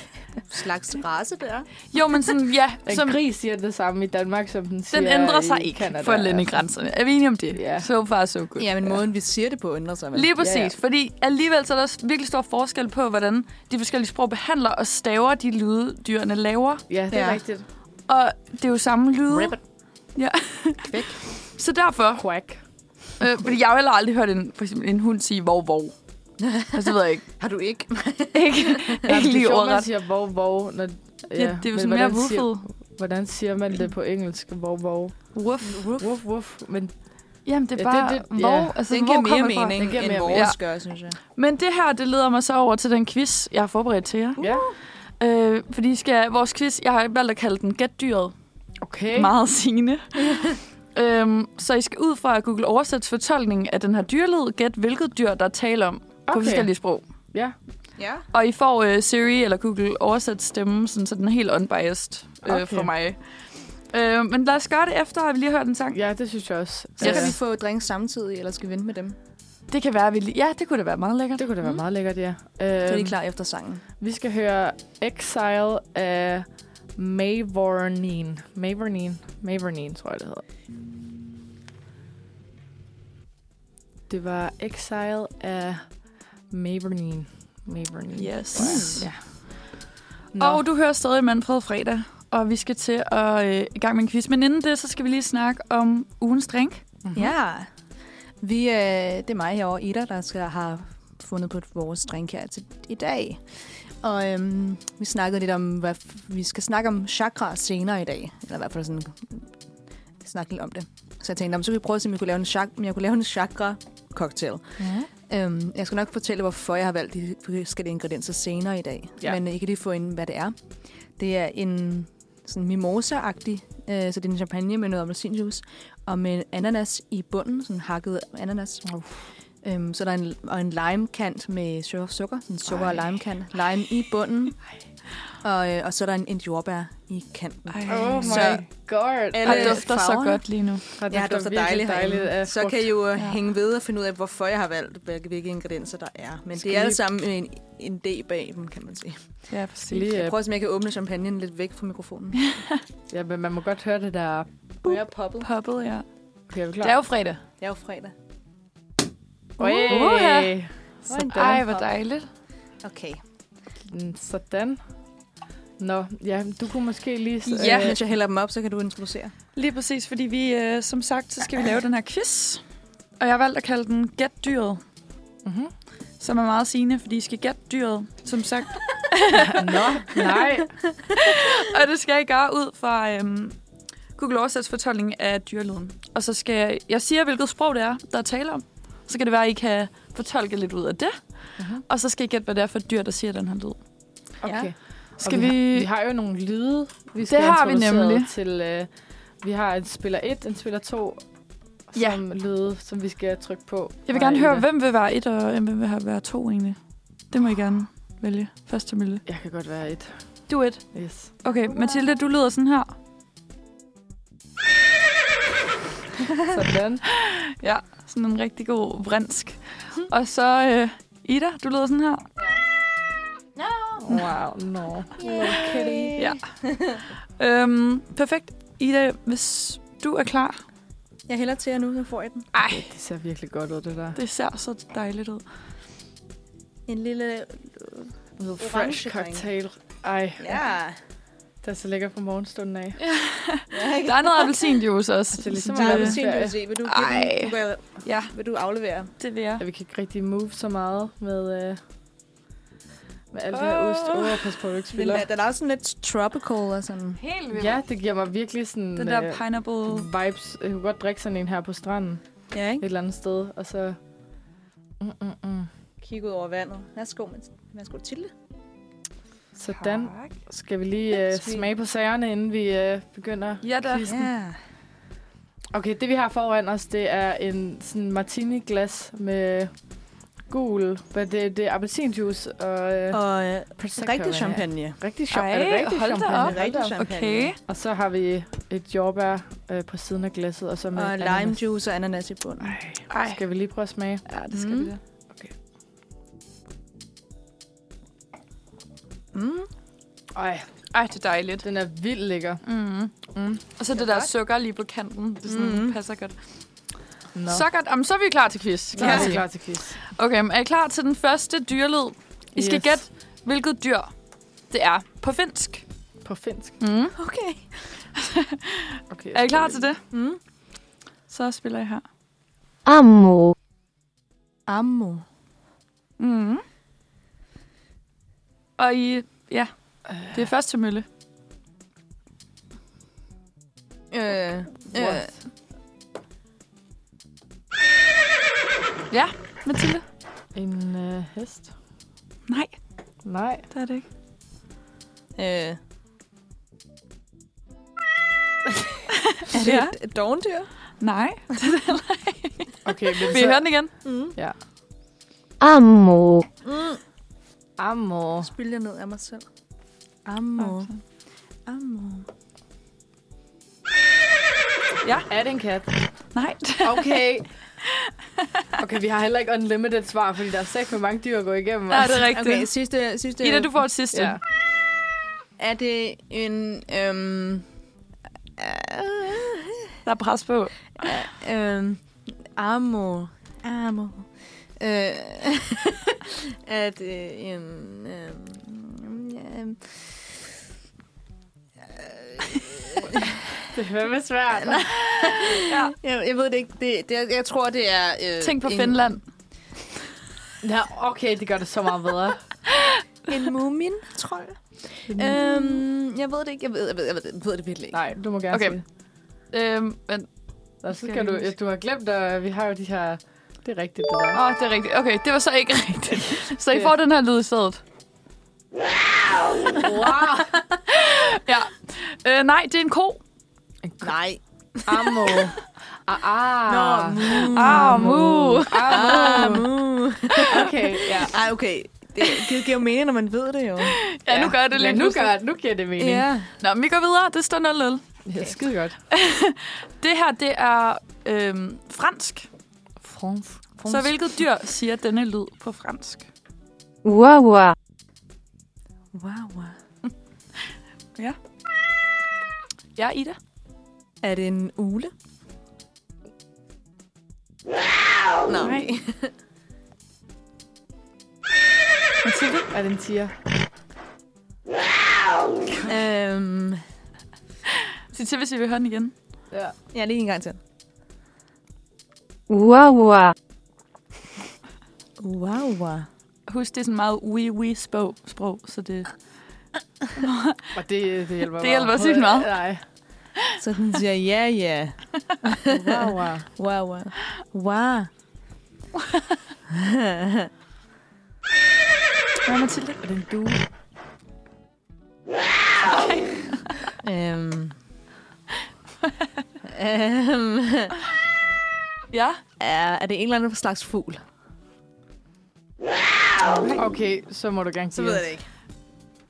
[SPEAKER 4] slags race der.
[SPEAKER 2] jo, men sådan, ja,
[SPEAKER 3] Som...
[SPEAKER 2] som,
[SPEAKER 3] En gris siger det samme i Danmark, som den siger
[SPEAKER 2] den ændrer
[SPEAKER 3] i
[SPEAKER 2] sig ikke
[SPEAKER 3] Canada. altså.
[SPEAKER 2] for landegrænserne. Er vi enige om det?
[SPEAKER 3] Ja.
[SPEAKER 2] So far, so good.
[SPEAKER 4] Ja, men måden, vi siger det på, ændrer sig. Vel?
[SPEAKER 2] Lige præcis,
[SPEAKER 3] Ja,
[SPEAKER 2] ja,
[SPEAKER 3] ja.
[SPEAKER 2] ja. fordi alligevel så er der også virkelig stor forskel på, hvordan de forskellige sprog behandler og staver de lyde, dyrene laver.
[SPEAKER 3] Ja, det er
[SPEAKER 4] Ja.
[SPEAKER 3] rigtigt.
[SPEAKER 2] Og det er jo samme lyde.
[SPEAKER 4] Ribbit.
[SPEAKER 2] Ja.
[SPEAKER 4] Kvæk.
[SPEAKER 2] Så derfor,
[SPEAKER 3] Quack.
[SPEAKER 2] øh, fordi jeg har heller aldrig hørt en, for eksempel en hund sige vov vov. Altså, det ved jeg ikke.
[SPEAKER 4] Har du ikke?
[SPEAKER 2] ikke,
[SPEAKER 3] Jamen,
[SPEAKER 2] ikke
[SPEAKER 3] det er
[SPEAKER 2] lige
[SPEAKER 3] sjovt, man
[SPEAKER 2] ordret.
[SPEAKER 3] siger vov, vov. Når,
[SPEAKER 2] Ja, det er jo
[SPEAKER 3] men
[SPEAKER 2] sådan mere
[SPEAKER 3] hvordan siger-
[SPEAKER 2] woofet.
[SPEAKER 3] Hvordan siger man det på engelsk? Vov, vov.
[SPEAKER 2] Woof.
[SPEAKER 3] Woof, woof. Men
[SPEAKER 2] Jamen, det er
[SPEAKER 3] Ja, det-
[SPEAKER 2] bare ja, det, det,
[SPEAKER 3] det-
[SPEAKER 2] vov.
[SPEAKER 3] ja.
[SPEAKER 2] Altså,
[SPEAKER 4] Den
[SPEAKER 2] hvor
[SPEAKER 4] giver
[SPEAKER 2] kommer
[SPEAKER 4] mere
[SPEAKER 2] det fra?
[SPEAKER 4] mening,
[SPEAKER 3] Den giver
[SPEAKER 4] end
[SPEAKER 3] mere
[SPEAKER 4] vores
[SPEAKER 2] mening.
[SPEAKER 4] ja. gør, synes jeg.
[SPEAKER 2] Men det her, det leder mig så over til den quiz, jeg har forberedt til jer.
[SPEAKER 3] ja.
[SPEAKER 2] Øh, fordi I skal, vores quiz, jeg har valgt at kalde den Gæt dyret.
[SPEAKER 3] Okay.
[SPEAKER 2] Meget sigende. øhm, så I skal ud fra Google Oversæts fortolkning af den her dyrlyd, gæt hvilket dyr, der er tale om okay. på
[SPEAKER 3] Okay.
[SPEAKER 2] forskellige sprog.
[SPEAKER 3] Ja.
[SPEAKER 4] Ja.
[SPEAKER 2] Og I får øh, Siri eller Google oversat stemmen, sådan, så den er helt unbiased øh, okay.
[SPEAKER 3] Okay.
[SPEAKER 2] for mig. Øh, men lad os gøre det efter, at vi lige har hørt en sang.
[SPEAKER 3] Ja, det synes jeg også.
[SPEAKER 4] Så
[SPEAKER 2] Ja.
[SPEAKER 4] ja. kan vi få drinks samtidig, eller skal vi vente med dem?
[SPEAKER 2] Det kan være, at vi lige... Ja, det kunne da være meget lækkert.
[SPEAKER 3] Det kunne da være
[SPEAKER 2] Mm.
[SPEAKER 3] meget lækkert, ja.
[SPEAKER 4] Så er
[SPEAKER 3] Øhm,
[SPEAKER 4] de klar efter sangen.
[SPEAKER 3] vi skal høre Exile af Mavornin. Mavornin. Mavornin, tror jeg, det hedder. Det var Exile af Mavornin. Mavornin.
[SPEAKER 2] Yes.
[SPEAKER 3] Ja.
[SPEAKER 2] Nå. Mm. Og du hører stadig Manfred Fredag, og vi skal til at øh, i gang med en quiz. Men inden det, så skal vi lige snakke om ugens drink.
[SPEAKER 3] Mhm.
[SPEAKER 4] Ja. Vi, øh, det er mig herovre, Ida, der skal have fundet på vores drink her til i dag. Og øhm, vi snakkede lidt om, hvad f- vi skal snakke om chakra senere i dag. Eller i hvert fald sådan, snakke lidt om det. Så jeg tænkte, om, så kan vi prøve at se, om jeg kunne lave en, chak- om jeg kunne lave en chakra-cocktail.
[SPEAKER 3] Ja.
[SPEAKER 4] Øhm, jeg skal nok fortælle, hvorfor jeg har valgt de forskellige ingredienser senere i dag.
[SPEAKER 3] Ja.
[SPEAKER 4] Ja. Men øh, I kan lige få ind, hvad det er. Det er en sådan mimosa-agtig, øh, så det er en champagne med noget appelsinjuice, og med ananas i bunden, sådan hakket ananas.
[SPEAKER 3] Uff.
[SPEAKER 4] Øhm, så er der en, og en lime-kant med su- sukker, sådan sukker
[SPEAKER 3] Ej.
[SPEAKER 4] og lime-kant. Lime i bunden, og, øh, og så er der en, en jordbær i kanten.
[SPEAKER 3] Oh my
[SPEAKER 4] Så
[SPEAKER 3] god.
[SPEAKER 4] alle
[SPEAKER 2] det dufter så
[SPEAKER 4] farverne.
[SPEAKER 2] godt lige nu.
[SPEAKER 3] Og
[SPEAKER 4] Ja, det dufter dejligt,
[SPEAKER 3] dejligt
[SPEAKER 4] dejligt
[SPEAKER 3] af
[SPEAKER 4] Så
[SPEAKER 3] frugt.
[SPEAKER 4] kan I jo ja.
[SPEAKER 2] Ja.
[SPEAKER 4] hænge ved og finde ud af, hvorfor jeg har valgt, hvilke, hvilke ingredienser der er. Men
[SPEAKER 3] Skal
[SPEAKER 4] det er alle
[SPEAKER 3] lige-
[SPEAKER 4] sammen en, en D bag dem, kan man sige.
[SPEAKER 2] Ja, præcis.
[SPEAKER 3] Lige,
[SPEAKER 4] Jeg
[SPEAKER 3] øh,
[SPEAKER 4] prøver, om jeg kan åbne champagnen lidt væk fra mikrofonen.
[SPEAKER 3] ja, men man må godt høre det der.
[SPEAKER 4] Jeg er poppet.
[SPEAKER 2] Poppet, ja.
[SPEAKER 3] Okay, er vi øh, klar?
[SPEAKER 2] Det er jo fredag.
[SPEAKER 4] Jeg er jo fredag.
[SPEAKER 3] Hey.
[SPEAKER 2] Uha.
[SPEAKER 4] Sådan.
[SPEAKER 2] Ej, hvor dejligt.
[SPEAKER 4] Okay.
[SPEAKER 3] Mm, Sådan. Nå, ja, du kunne måske lige... s- øh,
[SPEAKER 4] Ja.
[SPEAKER 2] Ja.
[SPEAKER 4] øh, Mens jeg hælder dem op, så kan du introducere.
[SPEAKER 2] Lige præcis, fordi vi, øh, som sagt, så skal vi lave den her quiz. Og jeg har valgt at kalde den Gæt dyret,
[SPEAKER 3] Mhm.
[SPEAKER 2] som er meget sigende, fordi I skal gætte dyret, som sagt.
[SPEAKER 3] Nå, nej.
[SPEAKER 2] og det skal I gøre ud fra øhm, Google Oversæts fortolkning af dyrelyden. Og så skal jeg, jeg siger, hvilket sprog det er, der er tale om. Så kan det være, at I kan fortolke lidt ud af det.
[SPEAKER 3] Mhm.
[SPEAKER 2] Og så skal I gætte, hvad det er for et dyr, der siger den her lyd.
[SPEAKER 3] Okay.
[SPEAKER 2] Skal
[SPEAKER 3] Og
[SPEAKER 2] vi...
[SPEAKER 3] Har, vi har jo nogle lyde, vi skal
[SPEAKER 2] har vi
[SPEAKER 3] introduceret
[SPEAKER 2] nemlig.
[SPEAKER 3] Til, øh, vi har en spiller 1, en spiller 2,
[SPEAKER 2] Ja.
[SPEAKER 3] som lyde, som vi skal trykke på.
[SPEAKER 2] Jeg vil
[SPEAKER 3] Fra
[SPEAKER 2] gerne høre,
[SPEAKER 3] Ida.
[SPEAKER 2] hvem vil være et, og hvem vil være to egentlig. Det må I gerne vælge. Først til Mille.
[SPEAKER 3] Jeg kan godt være et.
[SPEAKER 2] Do it.
[SPEAKER 3] Yes.
[SPEAKER 2] Okay, Mathilde, du lyder sådan her.
[SPEAKER 3] Sådan.
[SPEAKER 2] Ja, sådan en rigtig god vrinsk. Og så øh, Ida, du lyder sådan her.
[SPEAKER 3] Wow, no.
[SPEAKER 4] Yay.
[SPEAKER 2] Ja. Øhm, perfekt. Ida, hvis du er klar.
[SPEAKER 4] Jeg hælder til jer nu, så får jeg den.
[SPEAKER 2] Ej,
[SPEAKER 3] Det ser virkelig godt ud, det der.
[SPEAKER 2] det ser så dejligt ud.
[SPEAKER 4] En lille...
[SPEAKER 3] Med
[SPEAKER 4] Orange
[SPEAKER 3] fresh
[SPEAKER 4] drink.
[SPEAKER 3] cocktail. Ej,
[SPEAKER 4] Ja.
[SPEAKER 3] det er så lækker fra morgenstunden af.
[SPEAKER 2] Der er noget appelsinjuice også.
[SPEAKER 3] Det er ligesom
[SPEAKER 2] Som, øh,
[SPEAKER 4] Der er
[SPEAKER 3] Ja.
[SPEAKER 4] appelsinjuice i. Vil du, give
[SPEAKER 2] Ej.
[SPEAKER 4] den? du kan,
[SPEAKER 2] Ja,
[SPEAKER 4] vil du aflevere?
[SPEAKER 2] det vil jeg.
[SPEAKER 3] Ja, vi kan ikke rigtig move så meget med, øh, med alt det her ost.
[SPEAKER 2] Åh.
[SPEAKER 3] Åh, oh, pas på, at du ikke
[SPEAKER 4] Men
[SPEAKER 3] spiller.
[SPEAKER 4] øh, den er også sådan lidt tropical og sådan.
[SPEAKER 2] Helt vildt.
[SPEAKER 3] Ja, det giver mig virkelig sådan
[SPEAKER 2] Den der
[SPEAKER 3] øh,
[SPEAKER 2] pineapple.
[SPEAKER 3] vibes. Jeg kunne godt drikke sådan en her på stranden et
[SPEAKER 4] Ja, ikke?
[SPEAKER 3] eller andet sted, og så... Mm, mm, mm.
[SPEAKER 4] Kigge ud over vandet. Værsgo, Mads- værsgo Tilde.
[SPEAKER 3] Sådan. Skal vi lige øh,
[SPEAKER 4] Sweet.
[SPEAKER 3] smage på sagerne, inden vi øh, begynder?
[SPEAKER 2] Ja, da.
[SPEAKER 4] Ja.
[SPEAKER 3] Okay, det vi har foran os, det er en sådan martini-glas med gul, hvad det, det er appelsinjuice og øh,
[SPEAKER 4] Og øh,
[SPEAKER 3] prosecco.
[SPEAKER 4] rigtig champagne.
[SPEAKER 3] Rigtig champagne. Er det
[SPEAKER 2] Ej,
[SPEAKER 3] rigtig
[SPEAKER 2] hold da
[SPEAKER 3] champagne?
[SPEAKER 2] op.
[SPEAKER 4] Rigtig champagne.
[SPEAKER 2] Okay.
[SPEAKER 3] Og så har vi et jordbær øh, på siden af glasset, og så med
[SPEAKER 4] Og lime
[SPEAKER 3] ananas.
[SPEAKER 4] juice og ananas i bunden.
[SPEAKER 2] Ej.
[SPEAKER 3] Skal vi lige prøve at smage?
[SPEAKER 2] Ja, det skal
[SPEAKER 4] Mm.
[SPEAKER 2] vi da.
[SPEAKER 4] Mm.
[SPEAKER 3] Ej,
[SPEAKER 2] Ej, det er dejligt.
[SPEAKER 3] den er vildt lækker.
[SPEAKER 2] Mm.
[SPEAKER 3] Mm.
[SPEAKER 2] Og så det Mm. der sukker lige på kanten. Det sådan,
[SPEAKER 4] Mhm.
[SPEAKER 2] passer godt.
[SPEAKER 3] Nå.
[SPEAKER 2] Så godt. Jamen, så er vi klar til quiz.
[SPEAKER 3] Så
[SPEAKER 2] Kan
[SPEAKER 3] er
[SPEAKER 2] jeg
[SPEAKER 3] vi
[SPEAKER 2] sige.
[SPEAKER 3] klar til quiz.
[SPEAKER 2] Okay, men er I klar til den første dyrlyd? I skal
[SPEAKER 3] Yes.
[SPEAKER 2] gætte, hvilket dyr det er på finsk.
[SPEAKER 3] På finsk.
[SPEAKER 2] Mm.
[SPEAKER 4] Okay.
[SPEAKER 3] Okay,
[SPEAKER 2] Er I klar til det?
[SPEAKER 4] Mm.
[SPEAKER 2] Så spiller jeg her.
[SPEAKER 5] Ammo.
[SPEAKER 4] Ammo.
[SPEAKER 2] Mm. Og I... Ja, det er først til Mølle.
[SPEAKER 4] Øh, øh,
[SPEAKER 3] What?
[SPEAKER 2] Ja, Mathilde?
[SPEAKER 3] En øh, hest?
[SPEAKER 2] Nej,
[SPEAKER 3] Nej.
[SPEAKER 2] det er det ikke.
[SPEAKER 4] øh.
[SPEAKER 2] Er det? Ja.
[SPEAKER 4] Et dovendyr?
[SPEAKER 2] Nej.
[SPEAKER 3] Okay, men
[SPEAKER 2] Vil I høre den igen?
[SPEAKER 4] Mm.
[SPEAKER 5] Ammo.
[SPEAKER 4] Mm.
[SPEAKER 3] Amor.
[SPEAKER 4] Spil jeg ned af mig selv. Ammo.
[SPEAKER 2] Mm.
[SPEAKER 4] Ammo.
[SPEAKER 3] Er det en kat?
[SPEAKER 2] Nej.
[SPEAKER 3] Okay. Okay, vi har heller ikke unlimited svar, fordi der er sæt med mange dyr at gå igennem.
[SPEAKER 2] Nej, det er
[SPEAKER 4] Okay,
[SPEAKER 2] rigtigt.
[SPEAKER 4] sidste, sidste.
[SPEAKER 2] Ida, du får et sidste.
[SPEAKER 3] Ja.
[SPEAKER 4] Er det en... Øhm, øh,
[SPEAKER 2] Der er pres på.
[SPEAKER 4] øhm, ammo. Ammo. Øh, er det en... Øhm, øhm,
[SPEAKER 3] Det er fandme svært.
[SPEAKER 4] jeg, jeg ved det ikke. Det, det, jeg, jeg tror, det er... Øh,
[SPEAKER 2] Tænk på
[SPEAKER 4] en,
[SPEAKER 2] Finland.
[SPEAKER 3] Ja, okay, det gør det så meget bedre.
[SPEAKER 4] En mumin, tror jeg. Øhm, jeg ved det ikke. Jeg ved, jeg ved, jeg ved, det- jeg ved det virkelig ikke.
[SPEAKER 3] Nej, du må gerne
[SPEAKER 2] Okay.
[SPEAKER 3] sige det.
[SPEAKER 2] Øhm, men,
[SPEAKER 3] Og så
[SPEAKER 2] Skal
[SPEAKER 3] skal
[SPEAKER 2] vi
[SPEAKER 3] du,
[SPEAKER 2] huske?
[SPEAKER 3] du har glemt, at vi har jo de her... Det er rigtigt, det
[SPEAKER 2] åh,
[SPEAKER 3] der.
[SPEAKER 2] oh, det er rigtigt. Okay, det var så ikke rigtigt. Så I får den her lyd i stedet.
[SPEAKER 3] Wow!
[SPEAKER 2] Ja. Øh, nej, det er en ko.
[SPEAKER 4] Nej.
[SPEAKER 3] Ammo. Ah, ah.
[SPEAKER 4] Nå,
[SPEAKER 2] Ah, mu. Ah,
[SPEAKER 4] ammo.
[SPEAKER 3] Okay, ja.
[SPEAKER 4] Ej, okay. Det, det giver jo mening, når man ved det jo.
[SPEAKER 2] Ja, nu gør det lige
[SPEAKER 3] ja, nu,
[SPEAKER 2] pludselig.
[SPEAKER 3] gør, nu giver det mening. Ja,
[SPEAKER 2] Nå, men vi går videre. Det står 0-0.
[SPEAKER 3] ja skide godt.
[SPEAKER 2] Det her, det er øhm, fransk.
[SPEAKER 3] France. France.
[SPEAKER 2] Så hvilket dyr siger denne lyd på fransk?
[SPEAKER 5] Wawa.
[SPEAKER 4] Wow, wow.
[SPEAKER 2] Ja, Ida.
[SPEAKER 4] Er det en ule? Nej.
[SPEAKER 2] Mathilde.
[SPEAKER 3] Er det en tiger?
[SPEAKER 4] øhm,
[SPEAKER 2] Sig til, hvis I vil høre den igen.
[SPEAKER 3] Ja.
[SPEAKER 4] ja, lige en gang til.
[SPEAKER 5] Wawa.
[SPEAKER 4] Wow, wow.
[SPEAKER 2] Husk, det er sådan meget oui-oui sprog, sprog, så det...
[SPEAKER 3] Og det, det hjælper
[SPEAKER 2] Det hjælper sygt meget.
[SPEAKER 3] Nej.
[SPEAKER 4] Så den siger, ja, ja.
[SPEAKER 3] Wow, wow.
[SPEAKER 4] Wow, wow. Wow.
[SPEAKER 2] Hvad, Mathilde?
[SPEAKER 3] Er det en due?
[SPEAKER 4] øhm. øhm.
[SPEAKER 2] Ja.
[SPEAKER 4] Er, er det en eller anden slags fugl?
[SPEAKER 3] Okay, så må du gerne give os.
[SPEAKER 4] ikke.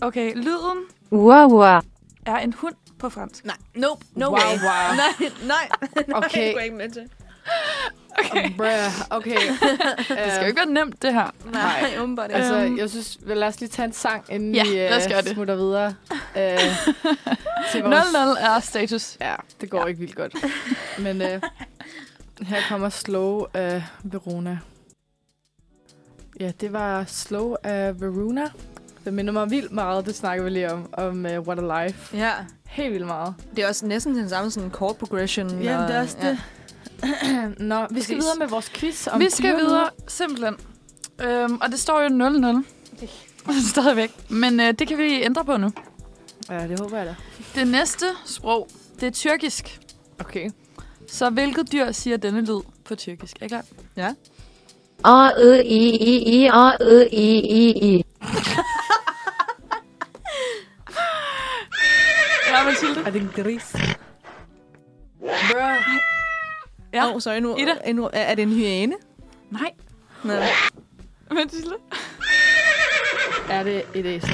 [SPEAKER 2] Okay, lyden
[SPEAKER 5] Wow, wow.
[SPEAKER 2] er en hund på fransk.
[SPEAKER 4] Nej, nope, no
[SPEAKER 3] Wow,
[SPEAKER 4] way.
[SPEAKER 3] wow.
[SPEAKER 4] Nej, nej, nej,
[SPEAKER 3] Okay.
[SPEAKER 4] det går jeg ikke med til.
[SPEAKER 3] Okay. Bruh, okay.
[SPEAKER 2] Det skal jo ikke være nemt, det her.
[SPEAKER 4] Nej, nej. åbenbart ikke.
[SPEAKER 3] Altså,
[SPEAKER 2] Øhm.
[SPEAKER 3] jeg synes, vel, lad os lige tage en sang, inden
[SPEAKER 2] Ja,
[SPEAKER 3] vi øh,
[SPEAKER 2] lad os gøre det.
[SPEAKER 3] smutter videre. Øh, til
[SPEAKER 2] 0-0
[SPEAKER 3] vores...
[SPEAKER 2] er status.
[SPEAKER 3] Ja, det går ja. ikke vildt godt. Men øh, her kommer Slow af Verona. Ja, det var Slow af Verona. Det minder mig vildt meget, det snakker vi lige om, om uh, What a Life.
[SPEAKER 4] Ja,
[SPEAKER 3] Helt vildt meget.
[SPEAKER 4] det er også næsten den samme sådan chord progression.
[SPEAKER 3] Jamen,
[SPEAKER 4] og-
[SPEAKER 3] det er også det. Nå, vi skal
[SPEAKER 4] Præcis.
[SPEAKER 3] videre med vores quiz om
[SPEAKER 2] Vi skal
[SPEAKER 3] dyrelyde.
[SPEAKER 2] videre, simpelthen. Øhm, og det står jo 0-0. Stadigvæk. Men øh, det kan vi ændre på nu.
[SPEAKER 3] Ja, det håber jeg da.
[SPEAKER 2] Det næste sprog, det er tyrkisk.
[SPEAKER 3] Okay.
[SPEAKER 2] Så hvilket dyr siger denne lyd på tyrkisk? Er I klar?
[SPEAKER 5] A, ø, i, i, i, a, ø, i, i, i.
[SPEAKER 2] Ja, Mathilde.
[SPEAKER 3] Er det en gris?
[SPEAKER 2] Ja.
[SPEAKER 4] Åh, oh, sorry, nu,
[SPEAKER 2] Ida.
[SPEAKER 4] en, er er det en hyæne?
[SPEAKER 2] Nej.
[SPEAKER 4] Nå.
[SPEAKER 2] Mathilde.
[SPEAKER 3] Er det et æsel?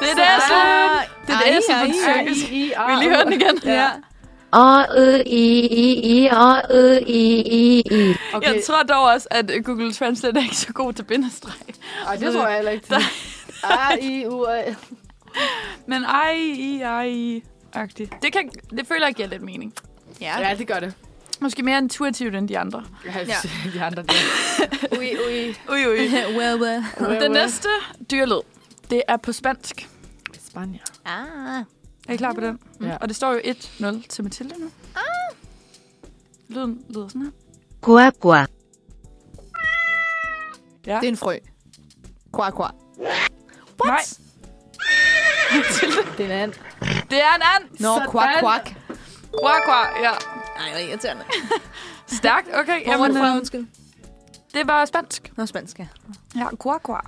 [SPEAKER 2] Det er det, jeg slår. Det er det,
[SPEAKER 4] Ej,
[SPEAKER 2] jeg slår på
[SPEAKER 4] ej, ej.
[SPEAKER 2] tyrkisk.
[SPEAKER 3] I, I,
[SPEAKER 2] Vi lige høre den igen.
[SPEAKER 4] Ja.
[SPEAKER 5] A, ø, i, i, i, a, ø, i, i, i.
[SPEAKER 2] Okay. Jeg tror dog også, at Google Translate er ikke så god til bindestreg.
[SPEAKER 3] Ej, det tror jeg heller ikke.
[SPEAKER 2] Der-
[SPEAKER 3] Ej, I, U, A.
[SPEAKER 2] Men ej, i, ej, i. Agtigt. Det, kan, det føler jeg giver lidt mening.
[SPEAKER 4] Ja.
[SPEAKER 3] Ja, det gør det.
[SPEAKER 2] Måske mere intuitivt end de andre.
[SPEAKER 3] Ja. De andre der. Ui, ui.
[SPEAKER 2] Ui, ui.
[SPEAKER 4] well, well.
[SPEAKER 2] Den næste dyrlyd, det er på spansk.
[SPEAKER 3] Spanier.
[SPEAKER 4] Ah.
[SPEAKER 2] Er I klar på den? Mm.
[SPEAKER 3] Ja.
[SPEAKER 2] Og det står jo 1-0 til Mathilde nu. Ah! Lyden lyder sådan her.
[SPEAKER 5] Qua, qua.
[SPEAKER 2] Ja.
[SPEAKER 4] Det er en frø. Qua, qua.
[SPEAKER 2] Nej,
[SPEAKER 3] Det er en and.
[SPEAKER 2] det er en and.
[SPEAKER 4] Nå,
[SPEAKER 3] Sådan.
[SPEAKER 4] quack, quack.
[SPEAKER 2] Qua, qua. Ja.
[SPEAKER 4] Ej, det er irriterende.
[SPEAKER 2] Stærkt, okay.
[SPEAKER 4] Hvor var det fra,
[SPEAKER 2] øh,
[SPEAKER 4] undskyld?
[SPEAKER 2] det var spansk.
[SPEAKER 4] Nå, spansk, ja.
[SPEAKER 2] Ja, qua, qua.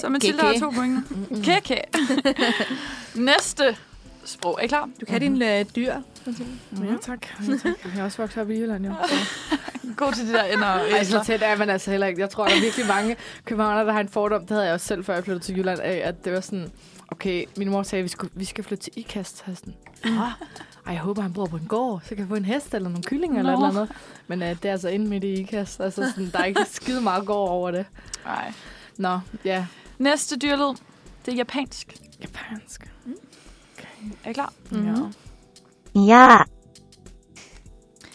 [SPEAKER 2] Så Mathilde har
[SPEAKER 4] Keke.
[SPEAKER 2] to point. Kækæ. Næste sprog. Er I klar?
[SPEAKER 4] Du kan mm-hmm. din øh, dyr.
[SPEAKER 3] Ja, tak. Ja, tak. Jeg har også vokset op i Jylland, jo.
[SPEAKER 2] God til de der ender og
[SPEAKER 3] Ej, så
[SPEAKER 2] æsler.
[SPEAKER 3] tæt er man altså heller ikke. Jeg tror, der er virkelig mange københavnere, der har en fordom. Det havde jeg også selv, før jeg flyttede til Jylland, af, at det var sådan... Okay, min mor sagde, at vi, skulle, vi skal flytte til Ikast. Så er jeg Sådan, "Nå, ej, jeg håber, han bor på en gård, så kan jeg få en hest eller nogle kyllinger eller et
[SPEAKER 2] Nå.
[SPEAKER 3] eller andet. Men øh, det er altså inde midt i Ikast. Altså, sådan, der er ikke skide meget gård over det.
[SPEAKER 2] Ej.
[SPEAKER 3] Nå, ja.
[SPEAKER 2] Næste dyrlyd, det er japansk.
[SPEAKER 3] Japansk.
[SPEAKER 2] Er I klar?
[SPEAKER 3] Mm. Ja.
[SPEAKER 5] Ja.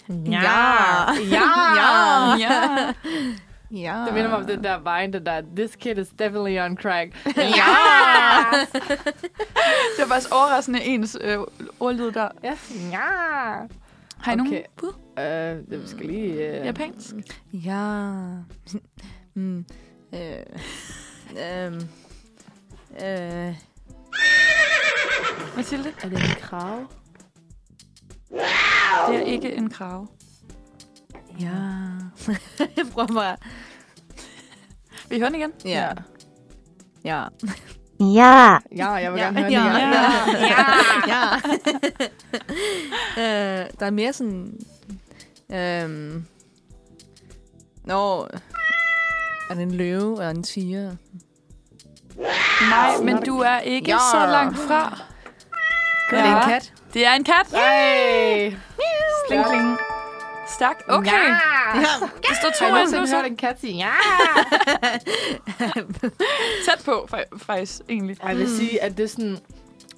[SPEAKER 4] Ja. Ja. Ah.
[SPEAKER 2] Ja. Ah, ja.
[SPEAKER 4] Ja.
[SPEAKER 3] Det minder mig om den der vine, den der, this kid is definitely on crack.
[SPEAKER 4] Ja.
[SPEAKER 2] Det var faktisk overraskende ens øh, ordlyd der.
[SPEAKER 3] Ja. ja.
[SPEAKER 2] Har I okay. nogen
[SPEAKER 3] Okay.
[SPEAKER 2] bud?
[SPEAKER 3] Øh, det skal lige... Øh,
[SPEAKER 2] Japansk?
[SPEAKER 4] Ja. Mm. Øh. Øhm. Øh.
[SPEAKER 2] Mathilde?
[SPEAKER 3] Er det en krav?
[SPEAKER 2] Det er ikke en krave.
[SPEAKER 4] Ja. Jeg prøver bare.
[SPEAKER 2] Vil I høre den igen?
[SPEAKER 4] Ja. Ja.
[SPEAKER 5] Ja.
[SPEAKER 3] Ja, jeg vil
[SPEAKER 4] Ja.
[SPEAKER 3] gerne høre
[SPEAKER 4] Ja.
[SPEAKER 3] den igen.
[SPEAKER 4] Ja. Ja. øh, der er mere sådan... Øhm. Nå... Er det en løve eller en tiger?
[SPEAKER 2] Nej, men du er ikke
[SPEAKER 4] Ja.
[SPEAKER 2] så langt fra.
[SPEAKER 4] Ja. Er det en kat?
[SPEAKER 2] Det er en kat.
[SPEAKER 3] Hey!
[SPEAKER 2] Kling, kling. Stærkt. Okay.
[SPEAKER 4] Ja.
[SPEAKER 2] Det står 2
[SPEAKER 3] Har I
[SPEAKER 2] nu,
[SPEAKER 3] nogensinde hørt
[SPEAKER 2] så
[SPEAKER 3] en kat sige ja?
[SPEAKER 2] tæt på, fa- faktisk, egentlig.
[SPEAKER 3] Ej, Jeg vil sige, at det er sådan...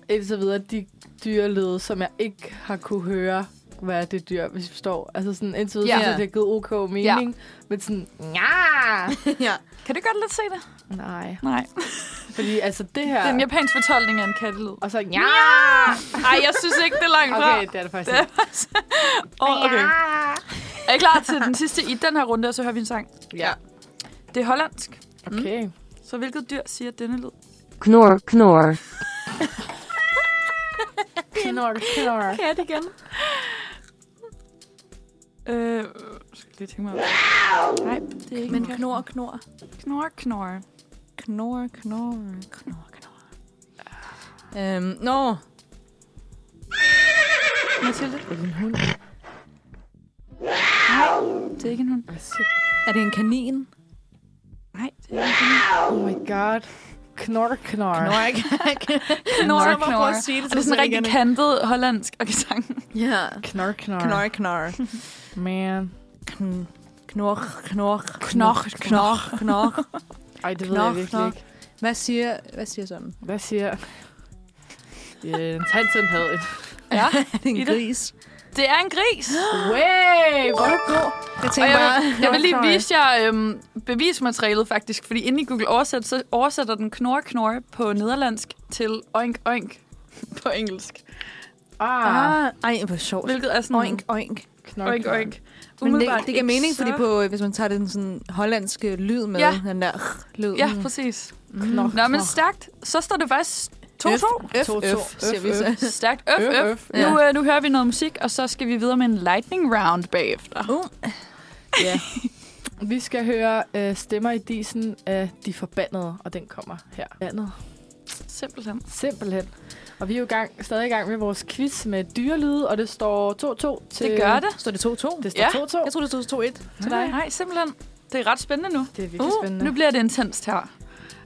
[SPEAKER 3] Indtil videre, de dyrelyde, som jeg ikke har kunne høre, hvad er det dyr, hvis vi forstår. Altså sådan, indtil videre,
[SPEAKER 4] Ja.
[SPEAKER 3] ja. synes jeg, det har givet ok mening. Ja. Men sådan, ja!
[SPEAKER 4] ja.
[SPEAKER 2] Kan du godt lidt se det?
[SPEAKER 3] Nej.
[SPEAKER 2] Nej.
[SPEAKER 3] Fordi altså det her...
[SPEAKER 2] Den japanske fortolkning af en kattelyd.
[SPEAKER 3] Og så, ja!
[SPEAKER 2] Ej, jeg synes ikke, det er langt fra.
[SPEAKER 3] Okay, det er det faktisk ikke.
[SPEAKER 2] Oh, okay. Er I klar til den sidste i den her runde, og så hører vi en sang?
[SPEAKER 4] Ja.
[SPEAKER 2] Det er hollandsk.
[SPEAKER 3] Okay.
[SPEAKER 2] Så hvilket dyr siger denne lyd?
[SPEAKER 5] Knor, knor.
[SPEAKER 3] Knor, knor.
[SPEAKER 2] Kat igen. Øh, skal jeg lige tænke mig om. Nej, det er ikke
[SPEAKER 4] Men
[SPEAKER 2] en kat.
[SPEAKER 4] knor, knor.
[SPEAKER 2] Knor, knor.
[SPEAKER 4] Knor, knor, knor, knor. Øhm, nå.
[SPEAKER 2] Mathilde?
[SPEAKER 3] Er det en hund?
[SPEAKER 2] Nej, det er ikke en hund.
[SPEAKER 4] Er det en kanin?
[SPEAKER 2] Nej, det er ikke en hund.
[SPEAKER 3] Oh my god. Knork, knork.
[SPEAKER 4] Knork.
[SPEAKER 2] Knork,
[SPEAKER 4] Så må jeg prøve
[SPEAKER 2] knork.
[SPEAKER 4] at sige det,
[SPEAKER 2] Og det er sådan rigtig kantet hollandsk og sang.
[SPEAKER 4] Ja.
[SPEAKER 3] Knork, knork.
[SPEAKER 4] Knork, knork.
[SPEAKER 3] Man.
[SPEAKER 4] Kn- Knork, knork.
[SPEAKER 2] Knork,
[SPEAKER 4] knork, knork.
[SPEAKER 3] Ej, det ved
[SPEAKER 4] Knork,
[SPEAKER 3] jeg virkelig
[SPEAKER 4] knork.
[SPEAKER 3] ikke.
[SPEAKER 4] Hvad siger, hvad siger sådan?
[SPEAKER 3] Hvad siger Jens Hansen havde et...
[SPEAKER 2] Ja,
[SPEAKER 4] En
[SPEAKER 2] I det?
[SPEAKER 4] gris.
[SPEAKER 2] det er en gris.
[SPEAKER 3] Way! Hvor er du god.
[SPEAKER 4] Jeg
[SPEAKER 2] Og
[SPEAKER 4] tænker bare...
[SPEAKER 2] jeg, vil, jeg vil lige
[SPEAKER 3] Sorry.
[SPEAKER 2] vise jer øhm, bevismaterialet faktisk, fordi inde i Google Oversæt, så oversætter den knorre knorre på nederlandsk til oink oink på engelsk.
[SPEAKER 3] Ah,
[SPEAKER 4] Ah, ej, hvor sjovt.
[SPEAKER 2] Hvilket er sådan...
[SPEAKER 4] Oink, oink.
[SPEAKER 3] knork,
[SPEAKER 2] oink,
[SPEAKER 3] knork.
[SPEAKER 2] oink.
[SPEAKER 4] Men det,
[SPEAKER 2] Mm. Umiddelbart
[SPEAKER 4] det giver
[SPEAKER 2] ikke
[SPEAKER 4] mening, fordi
[SPEAKER 2] så-
[SPEAKER 4] på, hvis man tager den sådan hollandske lyd med,
[SPEAKER 2] Ja.
[SPEAKER 4] ja. den der r- lyd. Mm.
[SPEAKER 2] Ja, præcis.
[SPEAKER 3] Knork,
[SPEAKER 2] Nå, men
[SPEAKER 3] knork.
[SPEAKER 2] stærkt. Så står det faktisk 2-2.
[SPEAKER 4] F,
[SPEAKER 3] To, to.
[SPEAKER 4] F, siger vi
[SPEAKER 3] F,
[SPEAKER 4] så.
[SPEAKER 2] Stærkt.
[SPEAKER 3] Øf,
[SPEAKER 2] Øf, øf.
[SPEAKER 3] øf.
[SPEAKER 2] Nu, øh, nu hører vi noget musik, og så skal vi videre med en lightning round bagefter.
[SPEAKER 4] Uh,
[SPEAKER 3] Ja. Vi skal høre øh, Stemmer i disen af De Forbandede, og den kommer her. Bandet.
[SPEAKER 2] Simpelthen.
[SPEAKER 3] Simpelthen. Og vi er jo i gang, stadig i gang med vores quiz med dyrelyde, og det står 2-2 til...
[SPEAKER 2] Det gør det
[SPEAKER 4] står det 2-2?
[SPEAKER 3] Det
[SPEAKER 2] Ja.
[SPEAKER 3] står 2-2.
[SPEAKER 4] Jeg tror, det stod 2-1.
[SPEAKER 2] til dig. Nej, simpelthen. Det er ret spændende nu.
[SPEAKER 3] Det er virkelig uh, spændende.
[SPEAKER 2] Nu bliver det intenst her.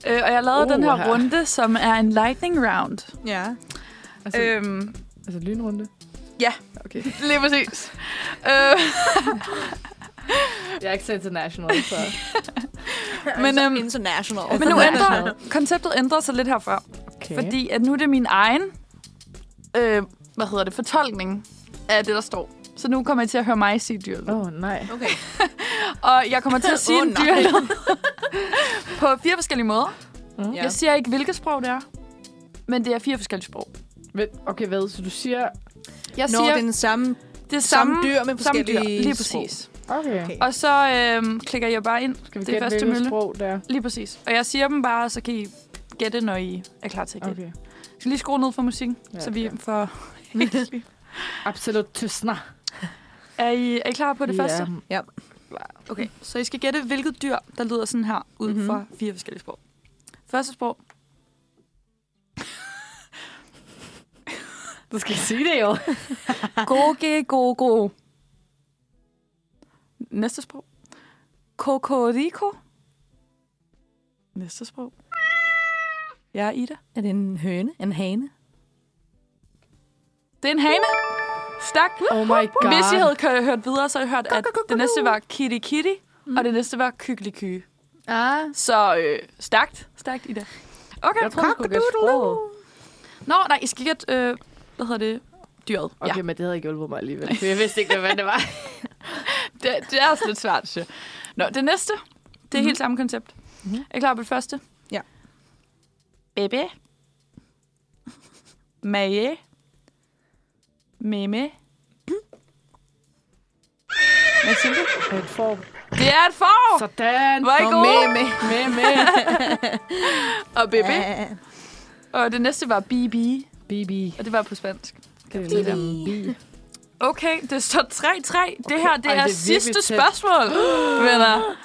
[SPEAKER 2] Øh, og jeg lavede uh,
[SPEAKER 3] Uh,
[SPEAKER 2] den her
[SPEAKER 3] her.
[SPEAKER 2] runde, som er en lightning round.
[SPEAKER 4] Ja.
[SPEAKER 3] altså, øh.
[SPEAKER 2] Øhm,
[SPEAKER 3] altså lynrunde.
[SPEAKER 2] Ja.
[SPEAKER 3] Okay.
[SPEAKER 2] lige præcis. øh,
[SPEAKER 3] Jeg er ikke så international, så...
[SPEAKER 2] men, øhm,
[SPEAKER 4] International. Altså,
[SPEAKER 2] men nu ændrer,
[SPEAKER 3] International.
[SPEAKER 2] konceptet ændrer sig lidt herfra.
[SPEAKER 3] Okay.
[SPEAKER 2] Fordi at nu er det min egen øh, hvad hedder det, fortolkning af det, der står. Så nu kommer I til at høre mig sige dyrlyd.
[SPEAKER 3] Åh, oh, nej.
[SPEAKER 4] Okay.
[SPEAKER 2] Og jeg kommer til at sige
[SPEAKER 4] Åh,
[SPEAKER 2] oh, en
[SPEAKER 4] nej.
[SPEAKER 2] dyrlyd på fire forskellige måder.
[SPEAKER 4] Ja.
[SPEAKER 2] Ja. Jeg siger ikke, hvilket sprog det er. Men det er fire forskellige sprog.
[SPEAKER 3] Vent, okay, hvad? Så du siger...
[SPEAKER 2] Jeg
[SPEAKER 4] Når
[SPEAKER 2] siger
[SPEAKER 4] det er den samme,
[SPEAKER 2] det samme,
[SPEAKER 4] samme dyr med
[SPEAKER 2] samme dyr.
[SPEAKER 4] forskellige
[SPEAKER 2] Lige
[SPEAKER 4] sprog.
[SPEAKER 2] præcis.
[SPEAKER 3] Okay.
[SPEAKER 4] Okay.
[SPEAKER 2] Og så øhm, klikker jeg bare ind.
[SPEAKER 3] Skal vi
[SPEAKER 2] Det er
[SPEAKER 3] gætte,
[SPEAKER 2] første
[SPEAKER 3] hvilket
[SPEAKER 2] mølle.
[SPEAKER 3] sprog der?
[SPEAKER 2] Lige præcis. Og jeg siger dem bare, og så kan I gætte, når I er klar til at gætte. Okay.
[SPEAKER 3] Okay.
[SPEAKER 2] Jeg skal lige skrue ned for musikken, ja,
[SPEAKER 3] Ja,
[SPEAKER 2] så vi
[SPEAKER 3] ja.
[SPEAKER 2] får...
[SPEAKER 3] Absolut tysner.
[SPEAKER 2] er, I, er I klar på det
[SPEAKER 3] Ja.
[SPEAKER 2] første?
[SPEAKER 4] Ja.
[SPEAKER 2] Okay, så I skal gætte, hvilket dyr, der lyder sådan her, ud mm-hmm.
[SPEAKER 4] Mhm.
[SPEAKER 2] fra fire forskellige sprog. Første sprog.
[SPEAKER 3] Du skal sige det jo.
[SPEAKER 2] Goge, go, go. Næste sprog. Kokoriko. Næste sprog. Jeg er Ida.
[SPEAKER 4] Er det en høne? En hane?
[SPEAKER 2] Det er en hane. Stærkt.
[SPEAKER 3] Oh my god.
[SPEAKER 2] uh, Hvis I havde kø- hørt videre, så havde I hørt, at det næste var kitty kitty, mm. og det næste var kykkeliky.
[SPEAKER 4] Ah.
[SPEAKER 2] Så øh, stærkt. Stærkt, Ida. Okay.
[SPEAKER 3] Jeg tror, du skulle gætte sproget.
[SPEAKER 2] Nå, nej, I skal gætte, øh, hvad hedder det? Dyret.
[SPEAKER 3] Okay,
[SPEAKER 2] Ja.
[SPEAKER 3] men det havde ikke hjulpet mig alligevel. For jeg vidste ikke, hvad det var.
[SPEAKER 2] Det, det er også lidt svært, synes jeg. Nå, det næste, det er mm-hmm. helt samme koncept. Mm-hmm. Er I klar på det første?
[SPEAKER 4] Ja.
[SPEAKER 2] Baby. Maje. Meme. Hvad siger du?
[SPEAKER 3] Et får.
[SPEAKER 2] Det er et får!
[SPEAKER 3] Sådan.
[SPEAKER 2] Var I
[SPEAKER 4] Og
[SPEAKER 2] gode?
[SPEAKER 4] med, med.
[SPEAKER 3] Med, med.
[SPEAKER 2] Og BB.
[SPEAKER 4] Ja.
[SPEAKER 2] Og det næste var BB,
[SPEAKER 3] Bibi.
[SPEAKER 2] og det var på spansk.
[SPEAKER 3] Det er lidt om bi.
[SPEAKER 2] Okay, det står 3-3. Det her, det
[SPEAKER 3] Ej,
[SPEAKER 2] er,
[SPEAKER 3] det er
[SPEAKER 2] sidste
[SPEAKER 3] virkelig tæt.
[SPEAKER 2] spørgsmål, venner.
[SPEAKER 3] Altså,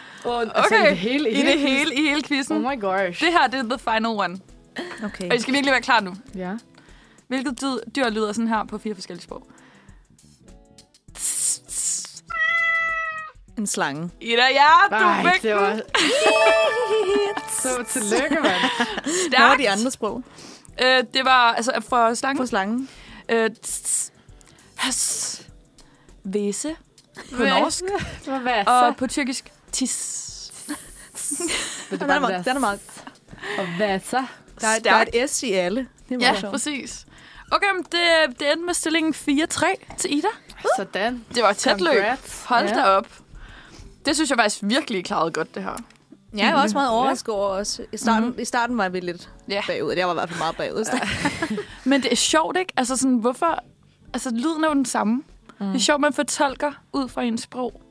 [SPEAKER 2] Okay.
[SPEAKER 3] i det hele.
[SPEAKER 2] I det hele, i hele quizzen.
[SPEAKER 3] Oh my gosh.
[SPEAKER 2] Det her, det er the final one.
[SPEAKER 4] Okay.
[SPEAKER 2] Og I skal virkelig være klar nu.
[SPEAKER 3] Ja.
[SPEAKER 2] Hvilket dyr, dyr lyder sådan her på fire forskellige sprog?
[SPEAKER 4] En slange.
[SPEAKER 2] Ida, ja, du
[SPEAKER 3] Nej,
[SPEAKER 2] fik
[SPEAKER 3] det
[SPEAKER 2] den
[SPEAKER 3] var... Så tillykke, mand.
[SPEAKER 4] Hvad var de
[SPEAKER 2] stærkt.
[SPEAKER 4] andre sprog?
[SPEAKER 2] Øh, det var altså for
[SPEAKER 4] På
[SPEAKER 2] slangen.
[SPEAKER 4] slangen.
[SPEAKER 2] Øh, tss, tss, has, Væse.
[SPEAKER 4] På norsk.
[SPEAKER 3] Hvad så?
[SPEAKER 2] Og på tyrkisk, tis.
[SPEAKER 3] Vil du
[SPEAKER 4] Den er,
[SPEAKER 3] bare
[SPEAKER 4] meget-
[SPEAKER 3] være-
[SPEAKER 4] den er meget.
[SPEAKER 3] Og hvad så?
[SPEAKER 4] Der er, der er et S i alle. Det er meget
[SPEAKER 2] Ja,
[SPEAKER 4] sjovt.
[SPEAKER 2] præcis. Okay, men det, det endte med stillingen 4-3 til Ida.
[SPEAKER 3] Sådan.
[SPEAKER 2] Det var et tæt løb.
[SPEAKER 3] Congrats.
[SPEAKER 2] Hold
[SPEAKER 3] Ja.
[SPEAKER 2] da op. Det synes jeg faktisk virkelig I klarede godt, det her.
[SPEAKER 4] Ja, jeg var også meget overrasket over os. I starten, mm-hmm. I starten var vi lidt
[SPEAKER 2] Mhm. Ja.
[SPEAKER 4] ja. bagud. Jeg var i hvert fald meget bagud. Ja.
[SPEAKER 2] Men det er sjovt, ikke? Altså, sådan, hvorfor... Altså, lyden er jo den samme. Mm. Det er sjovt, man fortolker ud fra ens sprog,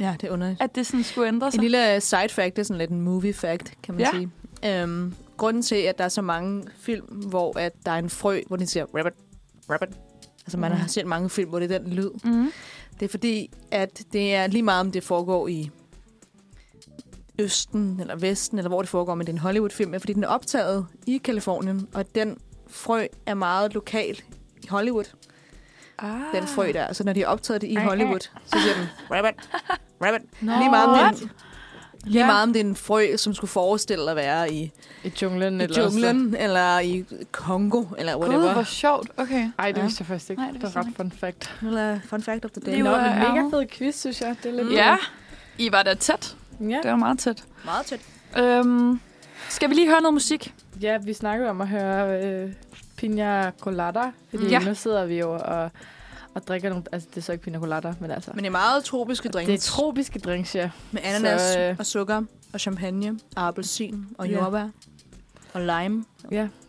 [SPEAKER 4] ja, det er underligt.
[SPEAKER 2] at det sådan skulle ændre sig.
[SPEAKER 4] En lille øh, side fact, det er sådan lidt en movie fact, kan man
[SPEAKER 2] Ja.
[SPEAKER 4] ja. sige. Øhm, grunden til, at der er så mange film, hvor at der er en frø, hvor de siger rabbit, rabbit. Altså man har set mange film, hvor det er den lyd.
[SPEAKER 2] Mm.
[SPEAKER 4] Det er fordi, at det er lige meget om det foregår i Østen eller Vesten, eller hvor det foregår, men det er en Hollywood-film, er, fordi den er optaget i Kalifornien, og den frø er meget lokal i Hollywood,
[SPEAKER 2] Ah.
[SPEAKER 4] den frø der. Så når de har optaget det i
[SPEAKER 3] Ej, ej.
[SPEAKER 4] Hollywood, så siger den rabbit, rabbit.
[SPEAKER 3] Nå,
[SPEAKER 4] Lige meget om det er en- Lige ja. meget om det er en frø, som skulle forestille at være i,
[SPEAKER 3] I junglen
[SPEAKER 4] i
[SPEAKER 3] eller også-
[SPEAKER 4] junglen, eller i Kongo, eller
[SPEAKER 2] Gud,
[SPEAKER 4] whatever.
[SPEAKER 2] hvor sjovt. Okay.
[SPEAKER 3] Ej, det
[SPEAKER 4] Ja.
[SPEAKER 3] vidste jeg faktisk ikke.
[SPEAKER 2] Nej, det
[SPEAKER 3] det, det
[SPEAKER 2] vidste
[SPEAKER 3] er
[SPEAKER 2] jeg
[SPEAKER 3] ret fun fact.
[SPEAKER 4] Nu er fun fact of the
[SPEAKER 2] Det
[SPEAKER 4] day.
[SPEAKER 2] er
[SPEAKER 3] Nå,
[SPEAKER 2] jo,
[SPEAKER 3] men
[SPEAKER 2] øh,
[SPEAKER 3] mega
[SPEAKER 2] ærger.
[SPEAKER 3] fed quiz, synes jeg. Det er lidt
[SPEAKER 2] Ja, I var da tæt.
[SPEAKER 3] Ja.
[SPEAKER 2] Det var meget tæt.
[SPEAKER 4] Meget tæt.
[SPEAKER 2] Øhm, skal vi lige høre noget musik?
[SPEAKER 3] ja, vi snakkede om at høre øh, Pina Colada, fordi
[SPEAKER 2] Ja.
[SPEAKER 3] ja. nu sidder vi jo og, og drikker nogle... Altså, det er så ikke Pina Colada, men altså...
[SPEAKER 4] Men det er meget tropiske drinks.
[SPEAKER 3] det er tropiske drinks, ja.
[SPEAKER 4] Med ananas
[SPEAKER 3] Så,
[SPEAKER 4] så,
[SPEAKER 3] øh,
[SPEAKER 4] øh... og sukker og champagne og appelsin og
[SPEAKER 3] Ja.
[SPEAKER 4] jordbær og lime.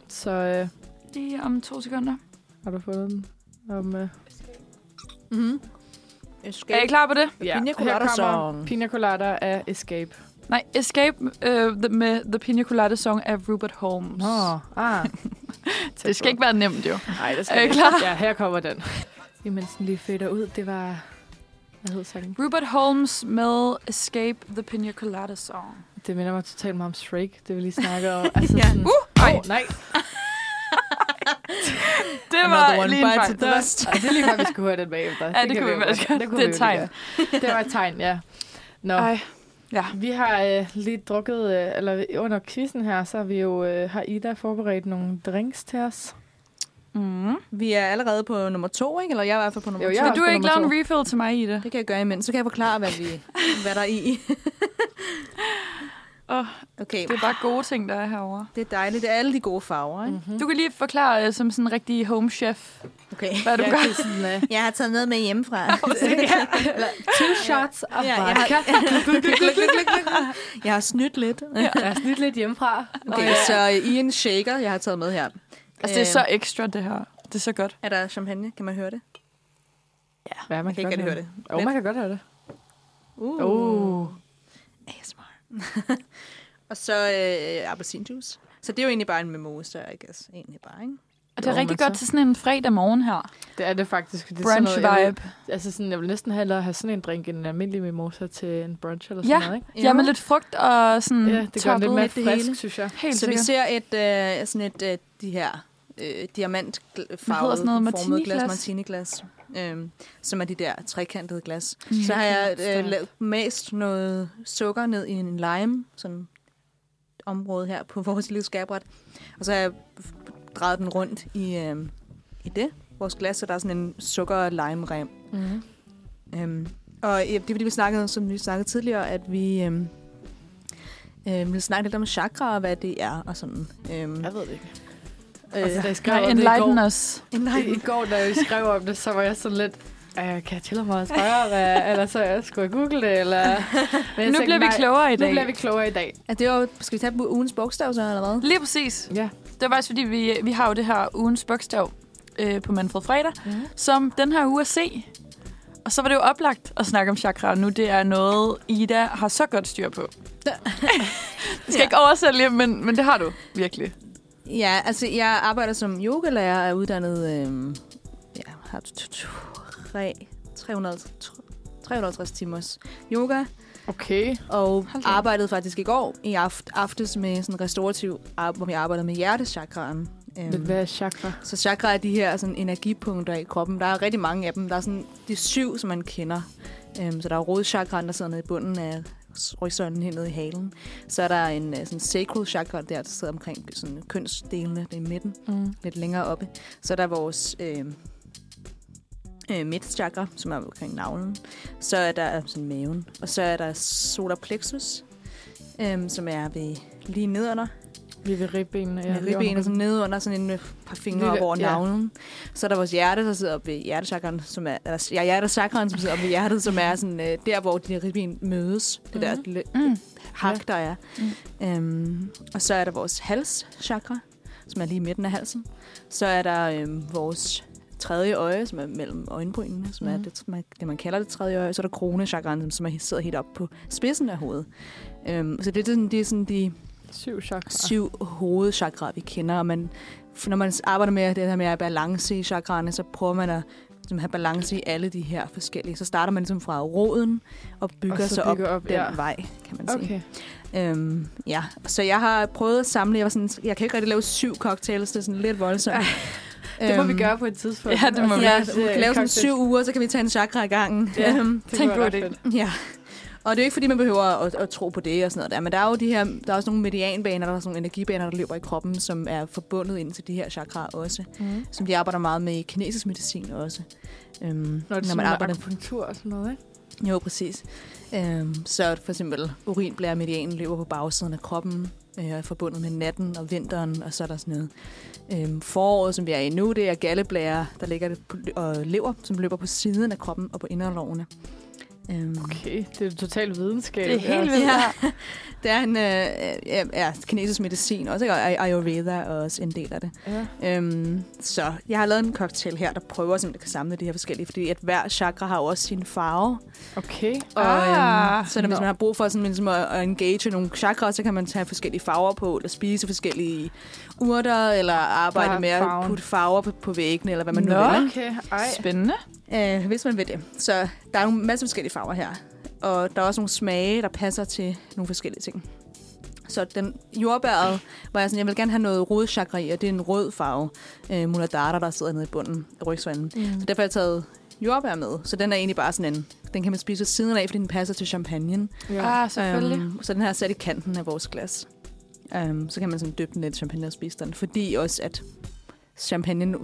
[SPEAKER 3] Så øh,
[SPEAKER 2] Lige om to sekunder.
[SPEAKER 3] har du fundet den? Om, øh,
[SPEAKER 4] Mm-hmm.
[SPEAKER 2] Er I klar på det?
[SPEAKER 3] ja,
[SPEAKER 4] Pina Colada
[SPEAKER 3] her kommer
[SPEAKER 4] song.
[SPEAKER 3] Pina Colada af Escape.
[SPEAKER 2] Nej, Escape øh, the- med The Pina Colada Song af Rupert Holmes.
[SPEAKER 3] ah.
[SPEAKER 2] Det skal ikke være nemt, jo.
[SPEAKER 3] Nej, det skal
[SPEAKER 2] Er I
[SPEAKER 3] det ikke.
[SPEAKER 2] klar?
[SPEAKER 3] Ja, her kommer den. Imens den lige fader ud, det var... Hvad hed sangen?
[SPEAKER 2] Rupert Holmes med Escape the Pina Colada Song.
[SPEAKER 3] Det minder mig totalt meget om Shrek, det vi lige snakker om. Altså,
[SPEAKER 4] Ja.
[SPEAKER 3] sådan,
[SPEAKER 2] Uh, Ej,
[SPEAKER 3] oh, nej,
[SPEAKER 2] det
[SPEAKER 4] Another
[SPEAKER 2] var
[SPEAKER 4] one
[SPEAKER 2] lige en
[SPEAKER 4] bites
[SPEAKER 2] fejl.
[SPEAKER 4] the dust.
[SPEAKER 3] Ej, det er lige før, vi skulle høre den bagefter.
[SPEAKER 2] Ja, det, det kan vi faktisk godt. Det er et tegn.
[SPEAKER 3] Det var et tegn, ja. Nå,
[SPEAKER 2] Ej,
[SPEAKER 3] vi har øh, lige drukket, øh, eller under quizzen her, så har vi jo, øh, har Ida forberedt nogle drinks til os.
[SPEAKER 2] Mm.
[SPEAKER 4] Vi er allerede på nummer to, ikke? Eller jeg er i hvert fald på nummer
[SPEAKER 3] Jo,
[SPEAKER 4] jo,
[SPEAKER 3] jeg
[SPEAKER 4] ja.
[SPEAKER 2] Vil
[SPEAKER 3] er også
[SPEAKER 2] du
[SPEAKER 3] på
[SPEAKER 2] ikke
[SPEAKER 3] nummer
[SPEAKER 2] lave en
[SPEAKER 3] to.
[SPEAKER 2] refill til mig, Ida?
[SPEAKER 4] Det kan jeg gøre imens. Så kan jeg forklare, hvad, vi, hvad der er i.
[SPEAKER 2] Åh,
[SPEAKER 4] Okay,
[SPEAKER 2] Det er bare gode ting, der er herovre.
[SPEAKER 4] det er dejligt. Det er alle de gode farver, ikke?
[SPEAKER 2] Du kan lige forklare øh, som sådan en rigtig home chef,
[SPEAKER 4] Okay.
[SPEAKER 2] hvad du
[SPEAKER 3] Ja,
[SPEAKER 2] gør.
[SPEAKER 3] det er sådan, øh,
[SPEAKER 4] Jeg har taget noget med hjemmefra.
[SPEAKER 3] two shots of
[SPEAKER 4] Ja,
[SPEAKER 3] ja,
[SPEAKER 4] jeg
[SPEAKER 3] vodka.
[SPEAKER 4] Jeg har snydt lidt.
[SPEAKER 3] Jeg har snydt lidt hjemmefra.
[SPEAKER 4] Okay, så øh, i en shaker, jeg har taget med her.
[SPEAKER 2] Altså, det er så ekstra, det her. Det er så godt.
[SPEAKER 4] Er der champagne? Kan man høre det?
[SPEAKER 3] Ja, man
[SPEAKER 4] kan ikke rigtig høre det.
[SPEAKER 3] Jo, man kan godt høre det.
[SPEAKER 4] Uh.
[SPEAKER 3] Uh.
[SPEAKER 4] ASMR. og så øh, appelsinjuice. Så det er jo egentlig bare en mimosa, I guess. Egentlig bare, ikke?
[SPEAKER 2] Og det er
[SPEAKER 3] Jo,
[SPEAKER 2] rigtig
[SPEAKER 3] men
[SPEAKER 2] godt
[SPEAKER 3] så-
[SPEAKER 2] til sådan en fredag morgen her.
[SPEAKER 3] Det er det faktisk. Det er sådan
[SPEAKER 2] Brunch
[SPEAKER 3] noget, jeg
[SPEAKER 2] vibe.
[SPEAKER 3] vil- Altså sådan, jeg vil næsten hellere have sådan en drink end en almindelig mimosa til en brunch eller sådan
[SPEAKER 2] Ja.
[SPEAKER 3] noget, ikke?
[SPEAKER 2] Ja, med lidt frugt og sådan
[SPEAKER 3] Ja, det gør den lidt
[SPEAKER 2] toppet.
[SPEAKER 3] mere
[SPEAKER 4] lidt det
[SPEAKER 3] frisk,
[SPEAKER 4] hele.
[SPEAKER 3] synes jeg.
[SPEAKER 2] Helt
[SPEAKER 4] så
[SPEAKER 2] sikkert.
[SPEAKER 4] vi ser et, øh, sådan et, øh, de her øh, diamantfarvede
[SPEAKER 2] Hvad hedder sådan noget? Martiniglas? Mm,
[SPEAKER 4] glas, martiniglas, øh, som er de der trekantede glas. Så har jeg øh,
[SPEAKER 2] stærkt.
[SPEAKER 4] lavet, mast noget sukker ned i en lime, sådan område her på vores lille skærbræt. Og så har jeg drejet den rundt i, øh, i det, vores glas, så der er sådan en sukker-lime-rem.
[SPEAKER 3] Mm.
[SPEAKER 4] Øhm, og ja, det er fordi, vi snakkede, som vi snakkede tidligere, at vi øhm, øhm, ville snakke lidt om chakra og hvad det er og sådan. Øhm,
[SPEAKER 3] Jeg ved det ikke.
[SPEAKER 4] øh,
[SPEAKER 3] Altså, da jeg skrev
[SPEAKER 2] Nej,
[SPEAKER 3] om det i går,
[SPEAKER 2] enlighten os.
[SPEAKER 4] nej,
[SPEAKER 3] I, I går, da jeg skrev om det, så var jeg sådan lidt, "Øh, kan jeg tillade mig at spørge, hvad, eller så jeg skulle jeg google det, eller... Men jeg
[SPEAKER 2] Nu
[SPEAKER 3] tænkte,
[SPEAKER 2] bliver vi
[SPEAKER 3] nej,
[SPEAKER 2] klogere i
[SPEAKER 3] Nu
[SPEAKER 2] dag.
[SPEAKER 3] bliver vi klogere i dag.
[SPEAKER 4] er det jo, skal vi tage på ugens bogstav så, eller hvad?
[SPEAKER 2] Lige præcis.
[SPEAKER 3] Ja.
[SPEAKER 2] Det er faktisk, fordi vi, vi har jo det her ugens bogstav øh, på Manfred Fredag,
[SPEAKER 3] Mhm.
[SPEAKER 2] som den her uge er C. Og så var det jo oplagt at snakke om chakra, og nu det er noget, Ida har så godt styr på. Jeg skal
[SPEAKER 4] Ja.
[SPEAKER 2] ikke oversætte lige, men, men det har du virkelig.
[SPEAKER 4] Ja, altså jeg arbejder som yogalærer, er uddannet, øhm, ja, har t- t- tre, 350, 350 timers yoga,
[SPEAKER 3] Okay.
[SPEAKER 4] og
[SPEAKER 2] Hold da op.
[SPEAKER 4] arbejdede faktisk i går i aft- aftes med sådan restaurativ, ar- hvor vi arbejdede med hjertechakraen. Øhm,
[SPEAKER 3] Men hvad er chakra?
[SPEAKER 4] Så chakra er de her sådan, energipunkter i kroppen. Der er rigtig mange af dem. Der er sådan de syv, som man kender. Øhm, så der er rodchakraen, der sidder nede i bunden af rygsøjlen helt nede i halen. Så er der en øh, sådan sacral chakra der, der sidder omkring sådan, kønsdelene i midten,
[SPEAKER 3] Mm.
[SPEAKER 4] lidt længere oppe. Så er der vores øh, øh, midtchakra, som er omkring navlen. Så er der øh, sådan, maven. Og så er der solar plexus, øhm, som er ved lige nedenunder
[SPEAKER 3] Vi er ved ribbenene.
[SPEAKER 4] ja, med ribbenet sådan nede under sådan en øh, par fingre op
[SPEAKER 3] Lille-
[SPEAKER 4] over
[SPEAKER 3] ja.
[SPEAKER 4] navlen. Så er der vores hjerte, der sidder oppe ved hjertechakraen, som er, eller, ja, hjertechakraen, som sidder oppe ved hjertet, som er sådan, øh, der, hvor de der ribben mødes. Det der lille
[SPEAKER 2] Mm.
[SPEAKER 4] hak, der er. Øhm, og så er der vores halschakra, som er lige i midten af halsen. Så er der øhm, vores tredje øje, som er mellem øjenbrynene, som er
[SPEAKER 3] Mhm.
[SPEAKER 4] det, man, det, man kalder det tredje øje. Så er der kronechakraen, som, som er, sidder helt oppe på spidsen af hovedet. Øhm, så det er sådan, det er sådan de
[SPEAKER 3] Syv chakra.
[SPEAKER 4] syv hovedchakra, vi kender. Og man, for når man arbejder med det her med at have balance i chakraerne, så prøver man at ligesom, have balance i alle de her forskellige. Så starter man ligesom fra roden og bygger
[SPEAKER 3] Og så
[SPEAKER 4] sig op,
[SPEAKER 3] bygger
[SPEAKER 4] op
[SPEAKER 3] op,
[SPEAKER 4] den
[SPEAKER 3] ja.
[SPEAKER 4] ja. vej, kan man sige.
[SPEAKER 3] Okay.
[SPEAKER 4] Øhm, ja, så jeg har prøvet at samle. Jeg, var sådan, jeg kan ikke rigtig lave syv cocktails, det er sådan lidt voldsomt.
[SPEAKER 3] Det må vi
[SPEAKER 4] Øhm,
[SPEAKER 3] gøre på et tidspunkt.
[SPEAKER 2] Ja, det må
[SPEAKER 3] Og
[SPEAKER 2] vi.
[SPEAKER 3] så
[SPEAKER 4] Ja,
[SPEAKER 3] lave
[SPEAKER 4] vi kan lave sådan
[SPEAKER 3] cocktails.
[SPEAKER 4] syv uger, så kan vi tage en chakra i gangen.
[SPEAKER 3] Ja.
[SPEAKER 4] Øhm,
[SPEAKER 3] Det
[SPEAKER 2] Tænk
[SPEAKER 3] kunne være
[SPEAKER 2] god
[SPEAKER 3] ret
[SPEAKER 2] idé.
[SPEAKER 3] fedt.
[SPEAKER 4] ja. Og det er jo ikke, fordi man behøver at, at tro på det og sådan noget der, men der er jo de her, der er også nogle medianbaner, der er også nogle energibaner, der løber i kroppen, som er forbundet ind til de her chakraer også,
[SPEAKER 3] Mm.
[SPEAKER 4] som de arbejder meget med i kinesisk medicin også. Øhm,
[SPEAKER 3] Når, det når man arbejder... akupunktur og sådan noget, ikke?
[SPEAKER 4] Jo, præcis. Øhm, så for eksempel urinblæremedianen løber på bagsiden af kroppen, øh, og er forbundet med natten og vinteren, og så er der sådan noget. Øhm, foråret, som vi er i nu, det er galleblære, der ligger det på, og lever, som løber på siden af kroppen og på inderlovene. Øhm,
[SPEAKER 3] Okay, det er total videnskab.
[SPEAKER 2] Det er helt vildt.
[SPEAKER 4] Ja.
[SPEAKER 2] Ja.
[SPEAKER 4] Det er en øh, ja, ja, kinesisk medicin, også ikke? og Ay- ayurveda er også en del af det.
[SPEAKER 3] Ja.
[SPEAKER 4] Øhm, så jeg har lavet en cocktail her, der prøver simpelthen at samle de her forskellige, fordi at hver chakra har jo også sin farve.
[SPEAKER 3] Okay.
[SPEAKER 4] Og, ah, øhm,
[SPEAKER 2] Ah,
[SPEAKER 4] så når, hvis
[SPEAKER 3] nå.
[SPEAKER 4] man har brug for sådan, ligesom at, at engage nogle chakra, så kan man tage forskellige farver på, eller spise forskellige urter, eller arbejde
[SPEAKER 3] Bare
[SPEAKER 4] med at
[SPEAKER 3] farven.
[SPEAKER 4] putte farver på, på væggene, eller hvad man nu
[SPEAKER 2] Nå.
[SPEAKER 4] vil.
[SPEAKER 3] Okay, ej.
[SPEAKER 2] Spændende.
[SPEAKER 4] ikke? Øh, hvis man vil det. Så der er en masse forskellige farver her. Og der er også nogle smage, der passer til nogle forskellige ting. Så den jordbæret var jeg sådan, jeg vil gerne have noget rodchakra i, og det er en rød farve. Øh, Muladara, der sidder nede i bunden af rygsvanden.
[SPEAKER 3] Mm.
[SPEAKER 4] Så derfor har jeg taget jordbær med. Så den er egentlig bare sådan en, den kan man spise ved siden af, fordi den passer til champagnen.
[SPEAKER 3] Ja.
[SPEAKER 2] Ah, selvfølgelig.
[SPEAKER 4] Øhm, så den her er sat i kanten af vores glas. Øhm, så kan man sådan dyppe den lidt champagne og spise den. Fordi også, at champagne nu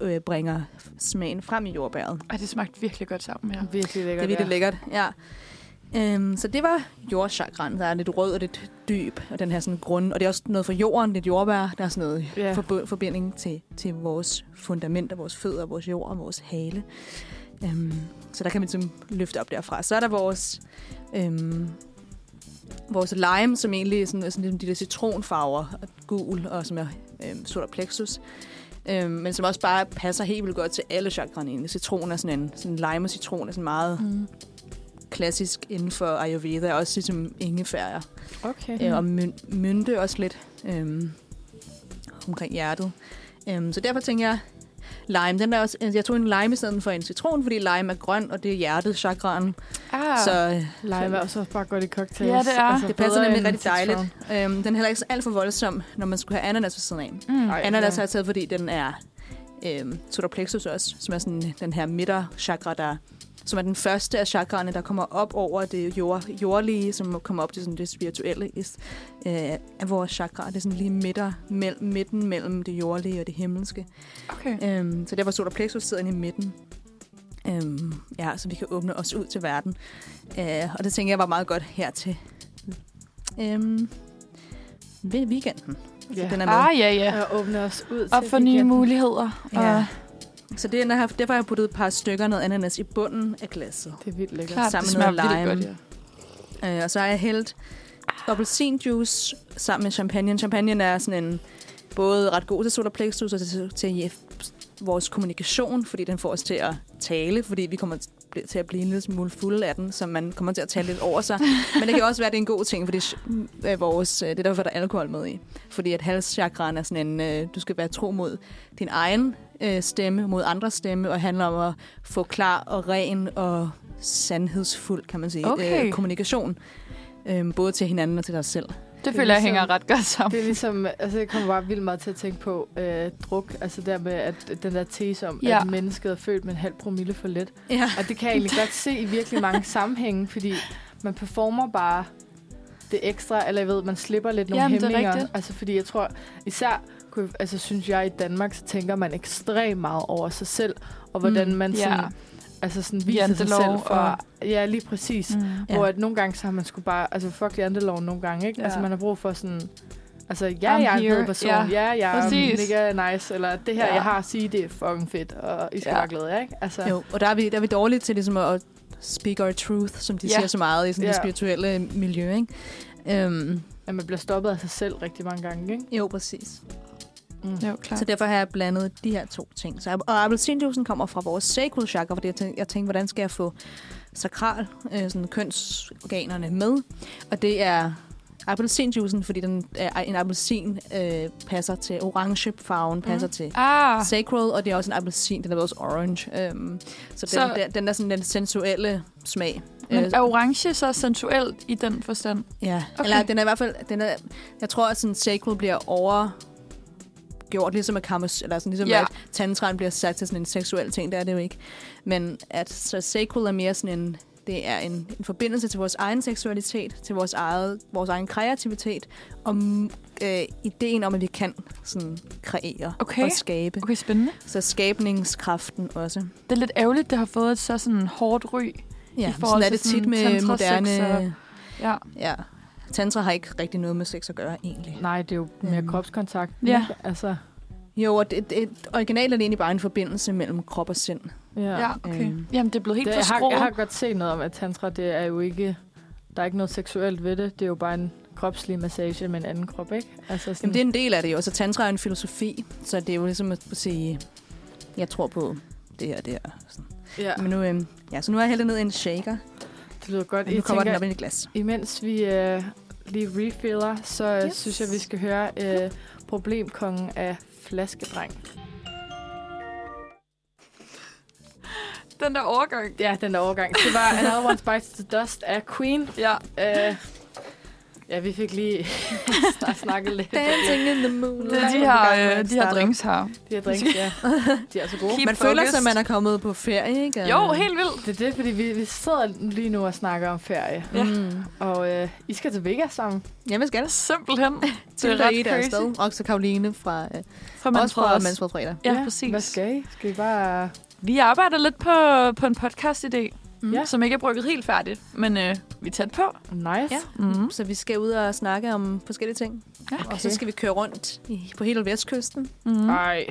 [SPEAKER 4] øh, bringer smagen frem i jordbæret.
[SPEAKER 2] Ej, det smagte virkelig godt sammen, ja.
[SPEAKER 3] Virkelig
[SPEAKER 4] Det
[SPEAKER 3] lækkert.
[SPEAKER 4] er virkelig lækkert, ja. Øhm, så det var jordchakran, der er lidt rød og lidt dyb, og den her sådan grund. Og det er også noget fra jorden, lidt jordbær. Der er sådan noget
[SPEAKER 3] Ja.
[SPEAKER 4] forb- forbinding til, til vores fundament, og vores fødder, vores jord og vores hale. Øhm, så der kan man ligesom løfte op derfra. Så er der vores, øhm, vores lime, som egentlig er sådan, sådan ligesom de der citronfarver, og gul og som er øhm, solar plexus. Øhm, men som også bare passer helt vildt godt til alle chakraerne egentlig. Citron er sådan en, sådan lime og citron er sådan meget
[SPEAKER 2] Mm.
[SPEAKER 4] klassisk inden for Ayurveda, også ligesom ingefær
[SPEAKER 3] Okay.
[SPEAKER 4] øh, og myn- mynte også lidt øhm, omkring hjertet. Øhm, så derfor tænker jeg, lime, den er også, øh, jeg tog en lime i stedet for en citron, fordi lime er grøn, og det er hjertet, chakraen.
[SPEAKER 2] Ah,
[SPEAKER 4] Ja. Så øh,
[SPEAKER 3] Lime er også bare godt i cocktails. Altså,
[SPEAKER 2] Ja, det er.
[SPEAKER 4] det passer
[SPEAKER 3] bedre
[SPEAKER 4] nemlig
[SPEAKER 3] end
[SPEAKER 4] rigtig
[SPEAKER 3] citron.
[SPEAKER 4] dejligt. Øhm, den er heller ikke så alt for voldsom, når man skulle have ananas ved siden af.
[SPEAKER 2] mm.
[SPEAKER 3] Ej,
[SPEAKER 4] Ananas
[SPEAKER 3] ja.
[SPEAKER 4] har jeg altså taget, fordi den er øhm, solar plexus også, som er sådan den her midterchakra, der som er den første af chakraerne, der kommer op over det jord, jordlige, som kommer op til sådan det spirituelle i s- øh, af vores chakra. Det er sådan lige midter, mell- midten mellem det jordlige og det himmelske.
[SPEAKER 2] Okay.
[SPEAKER 4] Øhm, så der var solar plexus sidder inde i midten. Øhm, ja, så vi kan åbne os ud til verden. Øh, og det tænker jeg var meget godt her til øhm, ved weekenden.
[SPEAKER 3] Ja.
[SPEAKER 4] Så den er med.
[SPEAKER 2] Ah, ja, ja.
[SPEAKER 3] Og åbne os ud
[SPEAKER 2] Op
[SPEAKER 3] til
[SPEAKER 2] for nye
[SPEAKER 3] weekenden.
[SPEAKER 2] muligheder.
[SPEAKER 4] Ja.
[SPEAKER 2] Og
[SPEAKER 4] Så det, er, når jeg har- derfor har jeg puttet et par stykker noget ananas i bunden af glasset.
[SPEAKER 3] Det er vildt lækkert.
[SPEAKER 2] klart,
[SPEAKER 4] Sammen
[SPEAKER 2] Ah, det
[SPEAKER 4] med
[SPEAKER 2] smager
[SPEAKER 4] noget
[SPEAKER 2] vildt
[SPEAKER 4] lime.
[SPEAKER 2] godt, ja.
[SPEAKER 4] Øh, og så har jeg hældt appelsinjuice sammen med champagne. Champagne er sådan en både ret god til solar plexus og til, til vores kommunikation, fordi den får os til at tale, fordi vi kommer bl- til at blive en lille smule fulde af den, så man kommer til at tale lidt over sig. Men det kan også være, at det er en god ting, fordi sh- øh, vores, øh, det er derfor, der er alkohol med i. Fordi at halschakraen er sådan en, øh, du skal være tro mod din egen øh, stemme, mod andres stemme, og handler om at få klar og ren og sandhedsfuld, kan man sige, øh,
[SPEAKER 2] Okay.
[SPEAKER 4] kommunikation. Øhm, både til hinanden og til dig selv.
[SPEAKER 2] Det føler jeg
[SPEAKER 3] ligesom-
[SPEAKER 2] hænger ret godt sammen.
[SPEAKER 3] Det er ligesom, altså jeg kommer bare vildt meget til at tænke på øh, druk, altså der med at, den der tese om, ja.
[SPEAKER 2] Ja.
[SPEAKER 3] at mennesket er født med en halv promille for lidt.
[SPEAKER 4] Ja.
[SPEAKER 3] Og det kan jeg egentlig godt se i virkelig mange sammenhænge, fordi man performer bare det ekstra, eller jeg ved, man slipper lidt nogle
[SPEAKER 2] Jamen, det er
[SPEAKER 3] hæmninger.
[SPEAKER 2] rigtigt.
[SPEAKER 3] altså fordi jeg tror, især kunne, altså, synes jeg i Danmark, så tænker man ekstremt meget over sig selv, og hvordan
[SPEAKER 4] Mm,
[SPEAKER 3] mm, man sådan,
[SPEAKER 2] ja.
[SPEAKER 3] altså sådan viser sig
[SPEAKER 2] Jantelov
[SPEAKER 3] selv for...
[SPEAKER 2] og-
[SPEAKER 3] Ja, lige præcis.
[SPEAKER 2] Mm.
[SPEAKER 4] Ja.
[SPEAKER 3] Ja. Hvor at nogle gange, så har man sgu bare... Altså, fuck janteloven nogle gange, ikke? Ja.
[SPEAKER 2] Ja.
[SPEAKER 3] Altså, man har brug for sådan... Altså, ja, jeg er en
[SPEAKER 2] here.
[SPEAKER 3] fed person. Ja,
[SPEAKER 2] Ja.
[SPEAKER 3] ja jeg er
[SPEAKER 2] Præcis.
[SPEAKER 3] mega nice. Eller det her, ja.
[SPEAKER 2] Ja.
[SPEAKER 3] jeg har at sige, det er fucking fedt. Og I skal ja.
[SPEAKER 2] Ja.
[SPEAKER 3] være glade, ikke? Altså,
[SPEAKER 4] Jo, og der er vi, der er vi dårlige til ligesom at speak our truth, som de ja.
[SPEAKER 2] Ja.
[SPEAKER 4] siger så meget i sådan det
[SPEAKER 3] Ja.
[SPEAKER 4] spirituelle miljø, ikke? Øhm,
[SPEAKER 3] at man bliver stoppet af sig selv rigtig mange gange, ikke?
[SPEAKER 4] jo, præcis.
[SPEAKER 3] Mm.
[SPEAKER 2] Jo, klart.
[SPEAKER 4] Så derfor har jeg blandet de her to ting. Så, og appelsinjuicen kommer fra vores sacral chakra, fordi jeg tænkte, jeg tænkte hvordan skal jeg få sakral, øh, sådan kønsorganerne med? Og det er appelsinjuicen, fordi den, er, en appelsin øh, passer til orange farven, passer mm. til
[SPEAKER 2] Ah,
[SPEAKER 4] sacral, og det er også en appelsin, den er også orange. Øhm, så, så
[SPEAKER 2] Så-
[SPEAKER 4] den, der, den er sådan den sensuelle smag.
[SPEAKER 2] men
[SPEAKER 4] Øh,
[SPEAKER 2] er orange så sensuelt i den forstand?
[SPEAKER 4] Ja, okay.
[SPEAKER 2] Okay.
[SPEAKER 4] eller den er i hvert fald, den er, jeg tror, at sådan sacral bliver overgjort, ligesom at, kamas, eller sådan, ligesom ja.
[SPEAKER 2] Ja.
[SPEAKER 4] at tantraen bliver sat til sådan en seksuel ting, det er det jo ikke. Men at så sacral er mere sådan en Det er en, en forbindelse til vores egen seksualitet, til vores, eget, vores egen kreativitet, og mm, øh, ideen om, at vi kan sådan, kreere
[SPEAKER 2] Okay.
[SPEAKER 4] og skabe.
[SPEAKER 2] Okay, spændende.
[SPEAKER 4] Så skabningskraften også.
[SPEAKER 2] Det er lidt ærgerligt, det har fået et så sådan hårdt ry.
[SPEAKER 4] Ja,
[SPEAKER 2] I
[SPEAKER 4] I
[SPEAKER 2] forhold
[SPEAKER 4] sådan er
[SPEAKER 2] til
[SPEAKER 4] det tit
[SPEAKER 2] sådan
[SPEAKER 4] med
[SPEAKER 2] tantrasex
[SPEAKER 4] moderne...
[SPEAKER 2] Ja.
[SPEAKER 4] Ja. Tantra har ikke rigtig noget med sex at gøre, egentlig.
[SPEAKER 3] Nej, det er jo mere
[SPEAKER 4] Øhm.
[SPEAKER 3] kropskontakt.
[SPEAKER 2] Ja.
[SPEAKER 3] Altså,
[SPEAKER 4] Jo, og det, det, originalt er det egentlig bare en forbindelse mellem krop og sind.
[SPEAKER 3] ja.
[SPEAKER 2] Ja, okay.
[SPEAKER 4] Øhm.
[SPEAKER 2] Jamen, det er blevet helt
[SPEAKER 3] Det,
[SPEAKER 2] det,
[SPEAKER 3] jeg, har, jeg har
[SPEAKER 2] forskroet.
[SPEAKER 3] godt set noget om, at tantra, det er jo ikke... Der er ikke noget seksuelt ved det. Det er jo bare en kropslig massage med en anden krop, ikke? Altså sådan,
[SPEAKER 4] Jamen, det er en del af det jo, og så tantra er en filosofi, så det er jo ligesom at sige, jeg tror på det her, det her.
[SPEAKER 3] ja,
[SPEAKER 4] Men nu, øhm, ja, så nu har jeg hældt det ned i en shaker,
[SPEAKER 3] det lyder godt.
[SPEAKER 4] og nu
[SPEAKER 3] Jeg
[SPEAKER 4] kommer
[SPEAKER 3] tænker,
[SPEAKER 4] den op i et glas.
[SPEAKER 3] imens vi øh, lige refiller, så yes.
[SPEAKER 4] Yes.
[SPEAKER 3] synes jeg, vi skal høre øh, problemkongen af flaskedreng.
[SPEAKER 2] Den der overgang.
[SPEAKER 3] Ja, den der overgang. Det var Another One Bites the Dust af Queen.
[SPEAKER 2] Ja.
[SPEAKER 3] Øh, ja, vi fik lige snak- snakket lidt.
[SPEAKER 4] Dancing in the moonlight.
[SPEAKER 2] Det er de her, øh, de her drinks her.
[SPEAKER 3] De her drinks, ja. De er så gode.
[SPEAKER 2] Keep
[SPEAKER 4] Man føler sig,
[SPEAKER 2] focused.
[SPEAKER 4] at man er kommet på ferie, ikke?
[SPEAKER 3] Øhm,
[SPEAKER 2] Jo, helt vildt.
[SPEAKER 3] Det er det, fordi vi, vi sidder lige nu og snakker om ferie.
[SPEAKER 4] Ja. Mm.
[SPEAKER 3] Og øh, I skal til Vegas sammen.
[SPEAKER 4] Ja, hvad skal der?
[SPEAKER 2] Simpelthen.
[SPEAKER 4] Det er ret crazy. Sted. Og så Karoline fra, øh,
[SPEAKER 2] Fra
[SPEAKER 4] også fra
[SPEAKER 2] Manfred.
[SPEAKER 4] Mansfred Fredag.
[SPEAKER 2] Ja, præcis.
[SPEAKER 3] Hvad skal I? Skal I bare...
[SPEAKER 2] Vi arbejder lidt på, på en podcast-idé,
[SPEAKER 4] Mm.
[SPEAKER 2] ja. som ikke er brygget helt færdigt, men øh, vi er tæt på.
[SPEAKER 3] um, Nice.
[SPEAKER 4] Ja.
[SPEAKER 2] Mm.
[SPEAKER 4] Så vi skal ud og snakke om forskellige ting.
[SPEAKER 2] Ja,
[SPEAKER 4] Og så skal vi køre rundt i, på hele vestkysten.
[SPEAKER 2] Mm.
[SPEAKER 3] Ej,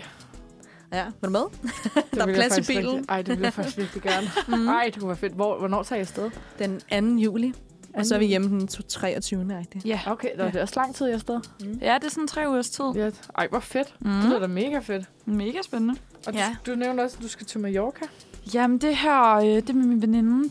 [SPEAKER 4] Ja, var du med?
[SPEAKER 3] det
[SPEAKER 4] Der er
[SPEAKER 3] vil jeg
[SPEAKER 4] plads i
[SPEAKER 3] faktisk
[SPEAKER 4] bilen. Mm.
[SPEAKER 3] Rigtig, ej, det vil jeg faktisk virkelig gerne. Ej, det kunne være fedt. Hvor, hvornår tager I afsted?
[SPEAKER 4] Den 2. juli. Og så er vi
[SPEAKER 3] Anden-
[SPEAKER 4] hjemme den 23. rigtigt.
[SPEAKER 2] Ja.
[SPEAKER 3] Okay, der er det også lang tid i afsted.
[SPEAKER 2] ja, det er sådan tre ugers tid.
[SPEAKER 3] Ja. Ej, hvor fedt. Det lyder
[SPEAKER 2] Mm.
[SPEAKER 3] da mega fedt.
[SPEAKER 2] Mega spændende.
[SPEAKER 3] Og
[SPEAKER 4] Ja.
[SPEAKER 3] du, du nævnte også, at du skal til Mallorca.
[SPEAKER 2] Uh, Jamen, det her, øh, det er med min veninde.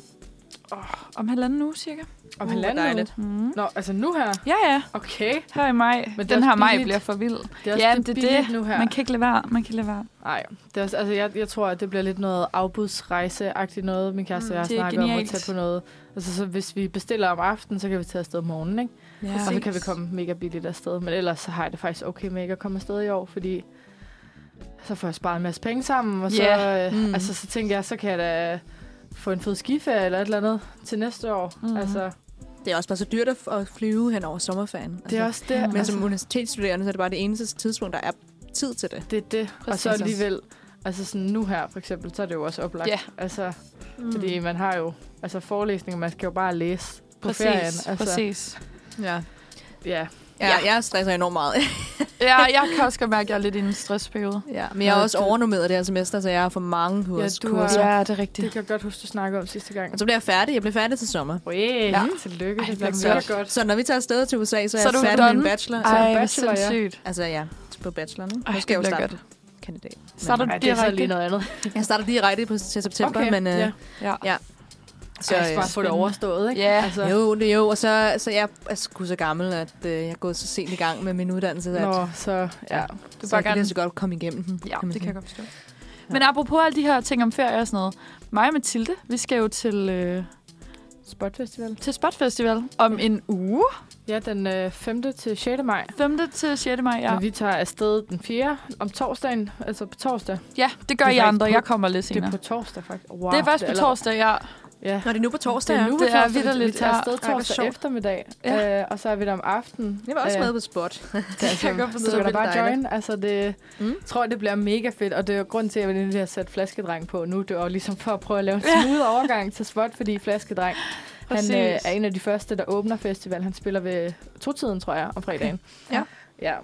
[SPEAKER 2] Oh, om halvanden uge, cirka.
[SPEAKER 3] Om
[SPEAKER 4] Uh,
[SPEAKER 3] halvanden
[SPEAKER 4] dejligt.
[SPEAKER 3] uge.
[SPEAKER 2] Mm.
[SPEAKER 3] Nå, altså nu her.
[SPEAKER 2] Ja, ja.
[SPEAKER 3] Okay.
[SPEAKER 2] Her i maj.
[SPEAKER 3] Men
[SPEAKER 2] Men
[SPEAKER 3] det er
[SPEAKER 2] den
[SPEAKER 3] også
[SPEAKER 2] her maj
[SPEAKER 3] billigt.
[SPEAKER 2] bliver for vild.
[SPEAKER 3] Det er også
[SPEAKER 2] Ja,
[SPEAKER 3] lidt
[SPEAKER 2] det er
[SPEAKER 3] billigt
[SPEAKER 2] det.
[SPEAKER 3] nu her.
[SPEAKER 2] Man kan ikke lade være. Man kan ikke lade være.
[SPEAKER 3] Nej, det er også, altså jeg, jeg tror, at det bliver lidt noget afbudsrejse-agtigt noget, min kæreste
[SPEAKER 2] Mm,
[SPEAKER 3] og jeg har
[SPEAKER 2] det er
[SPEAKER 3] snakket om at
[SPEAKER 2] genialt.
[SPEAKER 3] tage på noget. Altså, så hvis vi bestiller om aftenen, så kan vi tage afsted om morgenen, ikke?
[SPEAKER 2] Ja.
[SPEAKER 3] Og så kan vi komme mega billigt afsted. Men ellers så har jeg det faktisk okay med ikke at komme afsted i år, fordi så får jeg sparet en masse penge sammen, og så,
[SPEAKER 2] Ja,
[SPEAKER 3] yeah.
[SPEAKER 4] mm.
[SPEAKER 3] mm. altså, så tænker jeg, så kan jeg da få en fed skiferie eller et eller andet til næste år.
[SPEAKER 2] Mhm.
[SPEAKER 3] Mm. Altså,
[SPEAKER 4] Det er også bare så dyrt at f- at flyve hen over sommerferien.
[SPEAKER 3] det er
[SPEAKER 4] Altså,
[SPEAKER 3] også det.
[SPEAKER 2] men
[SPEAKER 4] Men
[SPEAKER 3] altså,
[SPEAKER 4] som universitetsstuderende, så er det bare det eneste tidspunkt, der er tid til det.
[SPEAKER 3] Det er det. Præcis. Og
[SPEAKER 2] Præcis.
[SPEAKER 3] så alligevel, altså sådan nu her for eksempel, så er det jo også oplagt.
[SPEAKER 2] Ja.
[SPEAKER 3] Altså, mm. Fordi man har jo altså forelæsninger, man skal jo bare læse på
[SPEAKER 2] Præcis,
[SPEAKER 3] ferien. Altså,
[SPEAKER 2] præcis.
[SPEAKER 4] Ja.
[SPEAKER 3] Ja.
[SPEAKER 4] Ja, jeg stresser enormt meget.
[SPEAKER 2] Ja, jeg kan også godt mærke, at jeg er lidt i en stressperiode.
[SPEAKER 4] ja, men jeg er også overnummeret det her semester, så jeg har for mange hurs-
[SPEAKER 3] du har-
[SPEAKER 4] kurser.
[SPEAKER 2] Ja, det er rigtigt.
[SPEAKER 3] Det kan jeg godt huske, du snakkede om sidste gang.
[SPEAKER 4] Og så bliver jeg færdig. Jeg bliver færdig til sommer.
[SPEAKER 3] Hey,
[SPEAKER 2] Ja.
[SPEAKER 3] ja. tillykke.
[SPEAKER 2] Ej,
[SPEAKER 3] Altså, det
[SPEAKER 2] det
[SPEAKER 3] bliver
[SPEAKER 2] bliver
[SPEAKER 3] mega godt.
[SPEAKER 4] Så når vi tager afsted til USA, så er
[SPEAKER 2] Så
[SPEAKER 4] jeg
[SPEAKER 2] er du
[SPEAKER 4] færdig med
[SPEAKER 2] done?
[SPEAKER 4] en bachelor.
[SPEAKER 3] Ej,
[SPEAKER 2] Ej,
[SPEAKER 3] hvor
[SPEAKER 2] hvor
[SPEAKER 3] sindssygt.
[SPEAKER 2] sindssygt.
[SPEAKER 4] Altså ja, på bacheloren.
[SPEAKER 2] Ej,
[SPEAKER 4] Nu skal jeg jo
[SPEAKER 2] det bliver
[SPEAKER 4] starte kandidat.
[SPEAKER 2] Starter du
[SPEAKER 3] Ej, det er så
[SPEAKER 2] direkte?
[SPEAKER 3] lige noget andet.
[SPEAKER 4] Jeg starter direkte på, til september, men... Øh,
[SPEAKER 3] ja.
[SPEAKER 2] Ja.
[SPEAKER 4] Ja. øh,
[SPEAKER 3] Så jeg skal bare få det overstået, ikke?
[SPEAKER 2] Ja.
[SPEAKER 3] Altså,
[SPEAKER 4] Jo, det er jo, og så, så jeg er sgu så gammel, at øh, jeg er gået så sent i gang med min uddannelse, at
[SPEAKER 3] Nå, så ja.
[SPEAKER 2] bare
[SPEAKER 4] du så jeg kan
[SPEAKER 2] gerne-
[SPEAKER 4] lige så godt komme igennem den.
[SPEAKER 2] Ja, det kan jeg
[SPEAKER 4] godt.
[SPEAKER 2] godt forstå. Men apropos alle de her ting om ferie og sådan noget. Mig og Mathilde, vi skal jo til, øh,
[SPEAKER 3] Spotfestival.
[SPEAKER 2] til Spot Festival om en uge.
[SPEAKER 3] Ja, den øh, 5. til 6. maj.
[SPEAKER 2] 5. til 6. maj,
[SPEAKER 3] Ja.
[SPEAKER 2] ja.
[SPEAKER 3] Men vi tager afsted den 4. om torsdagen. Altså på torsdag.
[SPEAKER 2] Ja, det gør
[SPEAKER 3] Det er
[SPEAKER 2] I andre.
[SPEAKER 3] faktisk på-
[SPEAKER 2] Jeg kommer lidt
[SPEAKER 3] Det er
[SPEAKER 2] senere.
[SPEAKER 3] på torsdag, faktisk. Wow,
[SPEAKER 2] Det er først på
[SPEAKER 3] allerede-
[SPEAKER 2] torsdag, ja.
[SPEAKER 3] Ja.
[SPEAKER 4] Nå, det er nu på torsdag.
[SPEAKER 3] Det er nu på
[SPEAKER 2] det er
[SPEAKER 3] torsdag, vi-
[SPEAKER 2] vitterligt,
[SPEAKER 3] vi tager
[SPEAKER 2] ja.
[SPEAKER 3] afsted
[SPEAKER 4] Ej, hvor
[SPEAKER 3] torsdag
[SPEAKER 4] sjovt.
[SPEAKER 3] eftermiddag,
[SPEAKER 2] Ja.
[SPEAKER 3] øh, og så er vi der om aftenen.
[SPEAKER 4] Jeg var også
[SPEAKER 3] Øh,
[SPEAKER 4] med på spot.
[SPEAKER 2] Det kan jeg godt
[SPEAKER 3] Så
[SPEAKER 2] forstå.
[SPEAKER 3] kan du bare
[SPEAKER 4] dejligt.
[SPEAKER 3] join. Altså, det, mm.
[SPEAKER 4] Mm.
[SPEAKER 3] tror, det bliver mega fedt, og det er jo grunden til, at jeg lige har sat flaskedreng på nu. Det var jo ligesom for at prøve at lave en smooth overgang til spot, fordi flaskedreng, han øh,
[SPEAKER 2] Præcis.
[SPEAKER 3] er en af de første, der åbner festival. Han spiller ved totiden, tror jeg, om fredagen.
[SPEAKER 4] Ja.
[SPEAKER 3] ja.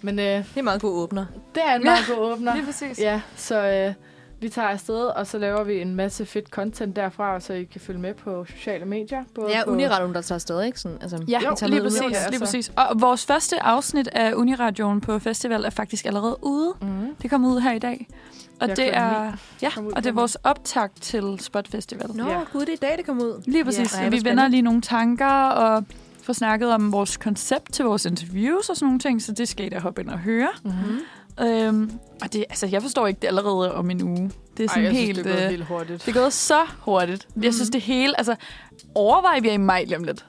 [SPEAKER 3] Men øh,
[SPEAKER 4] Det er en meget god åbner.
[SPEAKER 3] det er en meget god åbner.
[SPEAKER 2] Lige præcis.
[SPEAKER 3] Ja, så øh, vi tager afsted, og så laver vi en masse fedt content derfra, så I kan følge med på sociale medier. Både
[SPEAKER 4] Ja,
[SPEAKER 3] på
[SPEAKER 4] Uniradion, der tager afsted, ikke? Sådan, altså,
[SPEAKER 2] Ja,
[SPEAKER 4] vi tager
[SPEAKER 2] lige
[SPEAKER 4] med ud.
[SPEAKER 2] præcis,
[SPEAKER 3] altså.
[SPEAKER 2] lige præcis. Og vores første afsnit af Uniradioen på festival er faktisk allerede ude.
[SPEAKER 3] Mm.
[SPEAKER 2] Det kommer ud her i dag. Og
[SPEAKER 3] Ja,
[SPEAKER 2] det
[SPEAKER 3] klokken
[SPEAKER 2] er, ja,
[SPEAKER 3] Kom ud
[SPEAKER 2] og det er
[SPEAKER 3] klokken
[SPEAKER 2] vores optag til Spot Festival.
[SPEAKER 4] Nå,
[SPEAKER 3] Ja.
[SPEAKER 4] gud, det er i dag, det kommer ud.
[SPEAKER 2] Lige præcis.
[SPEAKER 4] Ja, ej, hvor
[SPEAKER 2] vi vender
[SPEAKER 4] spændende.
[SPEAKER 2] lige nogle tanker og får snakket om vores koncept til vores interviews og sådan nogle ting, så det skal I da hoppe ind og høre.
[SPEAKER 4] Mhm.
[SPEAKER 3] Mm.
[SPEAKER 2] Øhm, og det, altså, jeg forstår ikke det allerede om en uge. Det er
[SPEAKER 3] Ej,
[SPEAKER 2] sådan
[SPEAKER 3] jeg
[SPEAKER 2] helt...
[SPEAKER 3] synes, det er gået
[SPEAKER 2] øh,
[SPEAKER 3] vildt Mhm. hurtigt.
[SPEAKER 2] det er gået så hurtigt. Jeg synes, det hele... Altså, overvej, vi er i maj lige om lidt.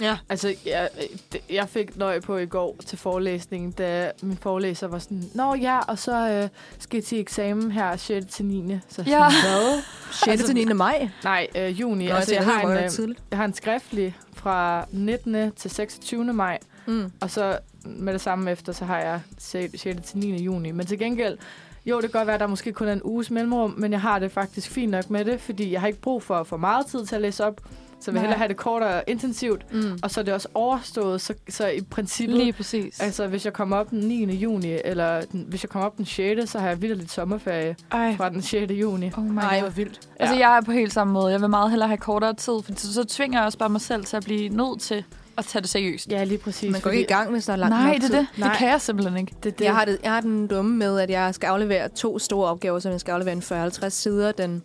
[SPEAKER 4] Ja.
[SPEAKER 3] Altså, jeg, det- jeg fik nøje på i går til forelæsningen, da min forelæser var sådan, Nå ja, og så øh, skal I til eksamen her 6. til 9. Så ja.
[SPEAKER 2] Ja.
[SPEAKER 3] sådan, hvad?
[SPEAKER 4] 6.
[SPEAKER 3] Altså,
[SPEAKER 4] til 9. maj.
[SPEAKER 3] Nej, øh, juni.
[SPEAKER 4] Nå,
[SPEAKER 3] altså, jeg,
[SPEAKER 4] ved,
[SPEAKER 3] har
[SPEAKER 4] hvor
[SPEAKER 3] en,
[SPEAKER 4] er det
[SPEAKER 3] øh,
[SPEAKER 4] tidligt.
[SPEAKER 3] jeg har en skriftlig fra 19. til 26. maj,
[SPEAKER 4] Mm.
[SPEAKER 3] og så med det samme efter, så har jeg 6. til 9. juni. Men til gengæld, jo, det kan godt være, at der måske kun er en uges mellemrum, men jeg har det faktisk fint nok med det, fordi jeg har ikke brug for for meget tid til at læse op. Så jeg vil
[SPEAKER 2] Nej.
[SPEAKER 3] hellere have det kort og intensivt.
[SPEAKER 4] Mm.
[SPEAKER 3] Og så er det også overstået, så, så i princippet...
[SPEAKER 2] Lige præcis.
[SPEAKER 3] Altså, hvis jeg kommer op den 9. juni, eller den, hvis jeg kommer op den 6., så har jeg vildt lidt sommerferie
[SPEAKER 2] Ej,
[SPEAKER 3] fra den 6. juni.
[SPEAKER 2] oh my
[SPEAKER 4] Ej,
[SPEAKER 2] God.
[SPEAKER 4] hvor vildt.
[SPEAKER 2] Altså, jeg er på helt samme måde. Jeg vil meget hellere have kortere tid, for så, så tvinger jeg også bare mig selv til at blive nødt til at tage det seriøst.
[SPEAKER 3] Ja, lige præcis.
[SPEAKER 4] Man går ikke i gang, hvis der er langt
[SPEAKER 2] Nej,
[SPEAKER 4] nok
[SPEAKER 2] det
[SPEAKER 4] tid.
[SPEAKER 2] er det.
[SPEAKER 3] Nej.
[SPEAKER 2] Det kan jeg simpelthen ikke.
[SPEAKER 3] Det,
[SPEAKER 4] Jeg har, det, jeg har den dumme med, at jeg skal aflevere to store opgaver, som jeg skal aflevere en 40-50 sider den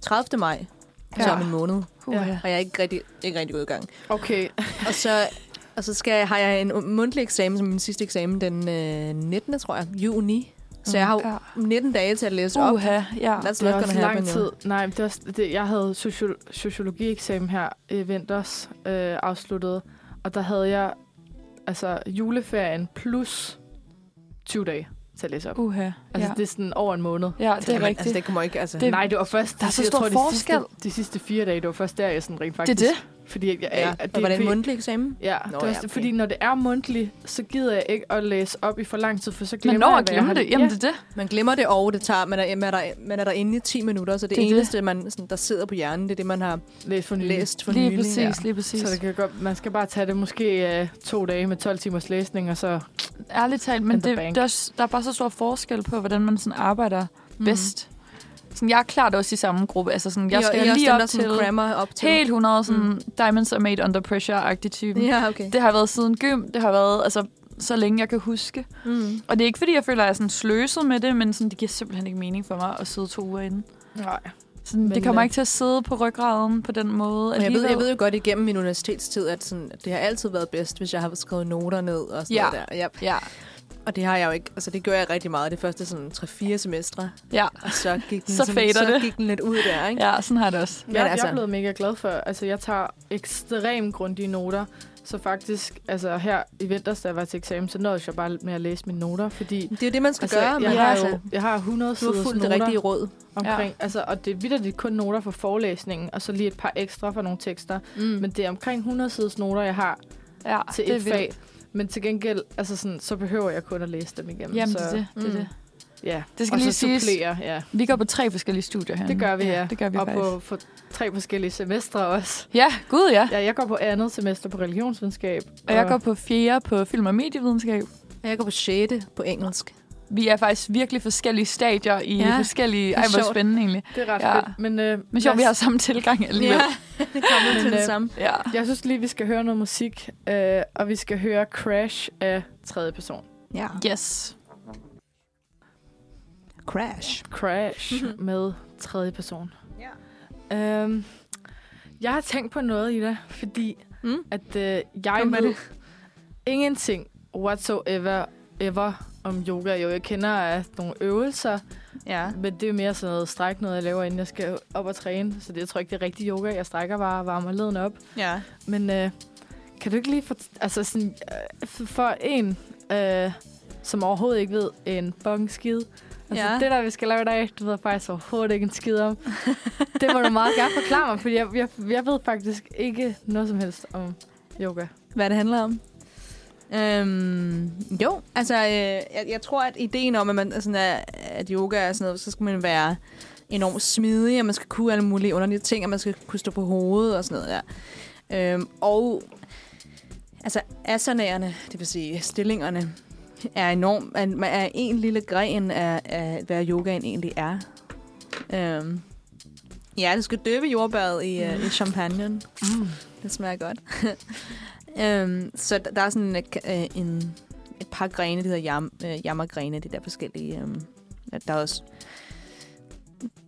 [SPEAKER 4] 30. maj, ja. så om en måned.
[SPEAKER 2] Uha.
[SPEAKER 4] Og jeg er ikke rigtig, ikke rigtig gået i gang.
[SPEAKER 3] Okay.
[SPEAKER 4] Og så, og så skal, har jeg en mundtlig eksamen, som min sidste eksamen, den øh, 19. tror jeg, juni. Så jeg har jo
[SPEAKER 2] Ja.
[SPEAKER 4] 19 dage til at læse op.
[SPEAKER 2] Oh Uha, ja.
[SPEAKER 4] That's
[SPEAKER 3] Det er
[SPEAKER 4] not gonna
[SPEAKER 3] også lang
[SPEAKER 4] happen. Altså, jo.
[SPEAKER 3] tid. Nej, men det er også, det, jeg havde sociol- sociologieksamen her i vinters øh, afsluttet, og der havde jeg altså juleferien plus 20 dage til at læse op.
[SPEAKER 2] Uha,
[SPEAKER 3] Altså,
[SPEAKER 2] Uh, ja.
[SPEAKER 3] det er sådan over en måned.
[SPEAKER 2] Ja,
[SPEAKER 4] Så
[SPEAKER 2] det
[SPEAKER 4] kan
[SPEAKER 2] er
[SPEAKER 4] man-
[SPEAKER 2] rigtigt.
[SPEAKER 4] Altså, det kommer ikke, altså.
[SPEAKER 2] Det-
[SPEAKER 4] Det,
[SPEAKER 3] Nej, det var først...
[SPEAKER 2] Der er så
[SPEAKER 3] jeg
[SPEAKER 2] stor
[SPEAKER 3] tror, de
[SPEAKER 2] forskel.
[SPEAKER 3] Sidste, de sidste fire dage, det var først der, jeg sådan rent
[SPEAKER 2] det er
[SPEAKER 3] faktisk...
[SPEAKER 2] det.
[SPEAKER 3] Fordi jeg, jeg,
[SPEAKER 4] ja.
[SPEAKER 3] at
[SPEAKER 4] Og var det en
[SPEAKER 3] fordi-
[SPEAKER 4] mundtlig eksamen?
[SPEAKER 3] Ja, Nå,
[SPEAKER 4] Nå,
[SPEAKER 3] det er
[SPEAKER 4] ja,
[SPEAKER 3] også,
[SPEAKER 4] okay.
[SPEAKER 3] fordi når det er mundtligt, så gider jeg ikke at læse op i for lang tid, for så
[SPEAKER 2] Man
[SPEAKER 3] glemmer
[SPEAKER 2] når
[SPEAKER 3] jeg,
[SPEAKER 2] at
[SPEAKER 3] hvad jeg
[SPEAKER 2] glemme
[SPEAKER 3] har-
[SPEAKER 2] det. Jamen,
[SPEAKER 3] ja.
[SPEAKER 2] det er det.
[SPEAKER 4] Man glemmer det over, det tager. Man er, man er, der, man er der inde i 10 minutter, så det,
[SPEAKER 2] Det er
[SPEAKER 4] det
[SPEAKER 2] det.
[SPEAKER 4] eneste, Man, sådan, der sidder på hjernen, det er det, man har
[SPEAKER 3] Læs for nylig.
[SPEAKER 4] læst for
[SPEAKER 2] Lige
[SPEAKER 4] nylig.
[SPEAKER 2] præcis, lige præcis.
[SPEAKER 3] Så det kan godt, man skal bare tage det måske øh, to dage med 12 timers læsning, og så...
[SPEAKER 2] Ærligt talt, men
[SPEAKER 3] And the
[SPEAKER 2] det,
[SPEAKER 3] bank.
[SPEAKER 2] det er også, der er bare så stor forskel på, hvordan man sådan arbejder mm. bedst. Sådan, jeg er klart også i samme gruppe. Altså, sådan, jeg skal lige op til
[SPEAKER 4] Grammar op til.
[SPEAKER 2] helt 100 sådan, mm. diamonds are made under pressure-agtig type.
[SPEAKER 4] Ja, okay.
[SPEAKER 2] Det har været siden gym, det har været altså, så længe jeg kan huske.
[SPEAKER 4] Mm.
[SPEAKER 2] Og det er ikke, fordi jeg føler, at jeg er sådan sløset med det, men sådan, det giver simpelthen ikke mening for mig at sidde to uger inde.
[SPEAKER 3] Nej.
[SPEAKER 2] Sådan,
[SPEAKER 3] Men,
[SPEAKER 2] det kommer
[SPEAKER 3] øh,
[SPEAKER 2] ikke til at sidde på ryggraden på den måde.
[SPEAKER 4] Og jeg, ved, jeg
[SPEAKER 2] alligevel.
[SPEAKER 4] ved jo godt igennem min universitetstid, at sådan, at det har altid været bedst, hvis jeg har skrevet noter ned og sådan
[SPEAKER 2] Ja.
[SPEAKER 4] noget der. Yep.
[SPEAKER 2] Ja,
[SPEAKER 4] Og det har jeg jo ikke. Altså, det gjorde jeg rigtig meget de første sådan 3-4 semestre.
[SPEAKER 2] ja,
[SPEAKER 4] Og så gik den,
[SPEAKER 2] Så
[SPEAKER 4] sådan,
[SPEAKER 2] fader
[SPEAKER 4] så
[SPEAKER 2] det.
[SPEAKER 4] gik den lidt ud der, ikke?
[SPEAKER 2] ja, sådan har jeg det også.
[SPEAKER 3] Jeg, altså...
[SPEAKER 4] altså-
[SPEAKER 3] jeg er blevet mega glad for, altså jeg tager ekstremt grundige noter, så faktisk, altså her i vinters, da jeg var til eksamen, så nåede jeg bare med at læse mine noter, fordi...
[SPEAKER 4] Det er jo det, man skal
[SPEAKER 3] Altså,
[SPEAKER 4] gøre.
[SPEAKER 3] jeg,
[SPEAKER 4] men
[SPEAKER 3] har
[SPEAKER 4] altså,
[SPEAKER 3] jo, jeg har 100
[SPEAKER 4] du har
[SPEAKER 3] siders
[SPEAKER 4] fulgt det
[SPEAKER 3] noter
[SPEAKER 4] rigtige råd.
[SPEAKER 3] omkring, ja. altså, og det er vitterligt kun noter for forelæsningen, og så lige et par ekstra for nogle tekster. Mm. Men det er omkring 100 siders noter, jeg har
[SPEAKER 2] Ja,
[SPEAKER 3] til
[SPEAKER 2] det er
[SPEAKER 3] et
[SPEAKER 2] vildt.
[SPEAKER 3] fag. Men til gengæld, altså sådan, så behøver jeg kun at læse dem igennem.
[SPEAKER 2] Jamen,
[SPEAKER 3] så,
[SPEAKER 2] det er det. det, er
[SPEAKER 4] Mm.
[SPEAKER 2] det.
[SPEAKER 3] Ja.
[SPEAKER 2] Det skal
[SPEAKER 3] og
[SPEAKER 2] lige
[SPEAKER 3] så
[SPEAKER 2] siges.
[SPEAKER 3] supplere, ja.
[SPEAKER 2] Vi går på tre forskellige studier her.
[SPEAKER 3] Det gør vi, ja.
[SPEAKER 2] Det gør vi
[SPEAKER 3] og
[SPEAKER 2] faktisk.
[SPEAKER 3] på for tre forskellige semestre også.
[SPEAKER 2] Ja, gud ja.
[SPEAKER 3] Ja, jeg går på andet semester på religionsvidenskab.
[SPEAKER 2] Og jeg går på fjerde på film- og medievidenskab.
[SPEAKER 4] Og jeg går på 6. på engelsk.
[SPEAKER 2] Vi er faktisk virkelig forskellige stadier i
[SPEAKER 4] Ja,
[SPEAKER 2] ja, forskellige...
[SPEAKER 4] er
[SPEAKER 2] Ej, hvor
[SPEAKER 4] sjovt.
[SPEAKER 2] spændende egentlig.
[SPEAKER 3] Det er ret
[SPEAKER 2] Ja.
[SPEAKER 3] ja. fedt. Men, øh,
[SPEAKER 2] Men sjovt,
[SPEAKER 3] lad
[SPEAKER 2] vi har
[SPEAKER 3] os-
[SPEAKER 2] samme tilgang alligevel.
[SPEAKER 4] Ja, det kommer til
[SPEAKER 3] Men,
[SPEAKER 4] det
[SPEAKER 3] øh,
[SPEAKER 4] samme.
[SPEAKER 2] ja.
[SPEAKER 3] Jeg synes lige, vi skal høre noget musik, øh, og vi skal høre Crash af tredje person.
[SPEAKER 4] Ja.
[SPEAKER 2] Yes.
[SPEAKER 4] Crash.
[SPEAKER 3] Crash
[SPEAKER 2] Mhm.
[SPEAKER 3] med tredje person. Ja. Øhm, jeg har tænkt på noget, Ida, fordi
[SPEAKER 4] Mm.
[SPEAKER 3] mm. at øh, jeg
[SPEAKER 4] Kom med
[SPEAKER 3] ved ingenting whatsoever ever om yoga. Jo, jeg kender øh, nogle øvelser,
[SPEAKER 4] Ja.
[SPEAKER 3] men det er mere sådan noget stræk, noget jeg laver, inden jeg skal op og træne. Så det, jeg tror ikke, det er rigtig yoga. Jeg strækker bare og varmer leden op.
[SPEAKER 4] Ja.
[SPEAKER 3] Men øh, kan du ikke lige for, altså sådan, øh, for- for en, øh, som overhovedet ikke ved en bong skid, altså
[SPEAKER 4] Ja.
[SPEAKER 3] ja. det der, vi skal lave i dag, det ved jeg faktisk overhovedet ikke en skid om. det må du meget gerne forklare mig, for jeg, jeg, jeg ved faktisk ikke noget som helst om yoga.
[SPEAKER 4] hvad det handler om? Øhm, jo, altså øh, jeg, jeg tror, at ideen om, at, man, altså, at, at yoga er sådan noget, så skal man være enormt smidig, og man skal kunne alle mulige underlige ting, og man skal kunne stå på hovedet og sådan noget der. Øhm, og altså asanerne, det vil sige stillingerne, er enormt, er, er en lille gren af, af, hvad yogaen egentlig er. Øhm, ja, du skal døbe jordbæret i, mm. i champagne. Mm. Det smager godt. Øhm, så d- der er sådan en, øh, en, et par grene, det hedder jam, øh, jammergrene, de der forskellige. Øhm, at der er også...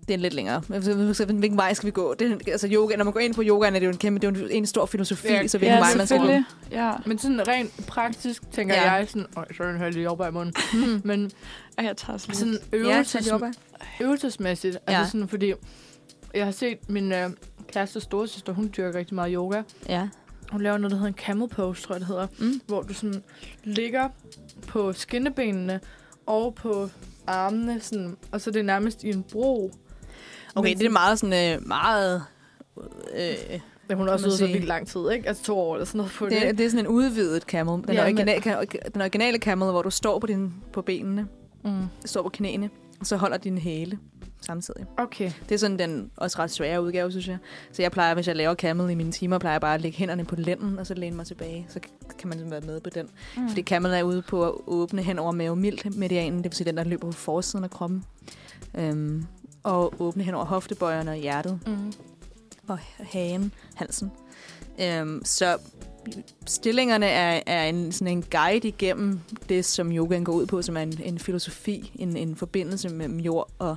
[SPEAKER 4] Det er lidt længere. For eksempel, Hvilken vej skal vi gå? Det, er- altså yoga, når man går ind på yogaen, er det jo en kæmpe, det er jo en, en stor filosofi,
[SPEAKER 3] Ja,
[SPEAKER 4] ja, så hvilken
[SPEAKER 2] Ja,
[SPEAKER 4] ja, vej man skal gå.
[SPEAKER 2] selvfølgelig. Ja.
[SPEAKER 3] Men sådan rent praktisk, tænker
[SPEAKER 4] Ja.
[SPEAKER 3] ja. Hmm. jeg sådan, åh, så er den her lige jordbær i munden. Men
[SPEAKER 2] Ej, jeg tager sådan
[SPEAKER 3] sådan
[SPEAKER 2] lidt.
[SPEAKER 4] Ja,
[SPEAKER 3] øvelses,
[SPEAKER 4] til yoga.
[SPEAKER 3] øvelsesmæssigt, ja.
[SPEAKER 4] Ja.
[SPEAKER 3] altså sådan, fordi jeg har set min øh, kæreste storesøster, hun dyrker rigtig meget yoga,
[SPEAKER 4] Ja.
[SPEAKER 3] hun laver noget, der hedder en camel pose, tror jeg, det hedder.
[SPEAKER 2] Mm.
[SPEAKER 3] Hvor du sådan ligger på skinnebenene og på armene, sådan, og så er det nærmest i en bro.
[SPEAKER 4] Okay,
[SPEAKER 3] Men
[SPEAKER 4] det er meget sådan, øh, meget... Øh,
[SPEAKER 3] Men hun har
[SPEAKER 4] kan
[SPEAKER 3] også
[SPEAKER 4] man
[SPEAKER 3] ude så
[SPEAKER 4] sige.
[SPEAKER 3] vildt lang tid, ikke? Altså to år eller sådan noget på det.
[SPEAKER 4] det, er,
[SPEAKER 3] det.
[SPEAKER 4] det er sådan en udvidet camel. Den, ja,
[SPEAKER 3] Ja,
[SPEAKER 4] originale, den originale camel, hvor du står på, din, på benene,
[SPEAKER 3] Mm.
[SPEAKER 4] står på knæene, og så holder din hæle samtidig.
[SPEAKER 3] Okay.
[SPEAKER 4] Det er sådan den også ret svære udgave, synes jeg. Så jeg plejer, hvis jeg laver camel i mine timer, plejer jeg bare at lægge hænderne på lænden, og så læne mig tilbage. Så kan man sådan være med på den. Mm. Fordi camel er ude på at åbne hen over mavemildt-medianen, det vil sige den, der løber på forsiden af kroppen. Øhm, og åbne hen over hoftebøjerne og hjertet
[SPEAKER 3] Mm.
[SPEAKER 4] og hagen, halsen. Øhm, så stillingerne er, er en, sådan en guide igennem det, som yogaen går ud på, som er en, en filosofi, en, en forbindelse mellem jord og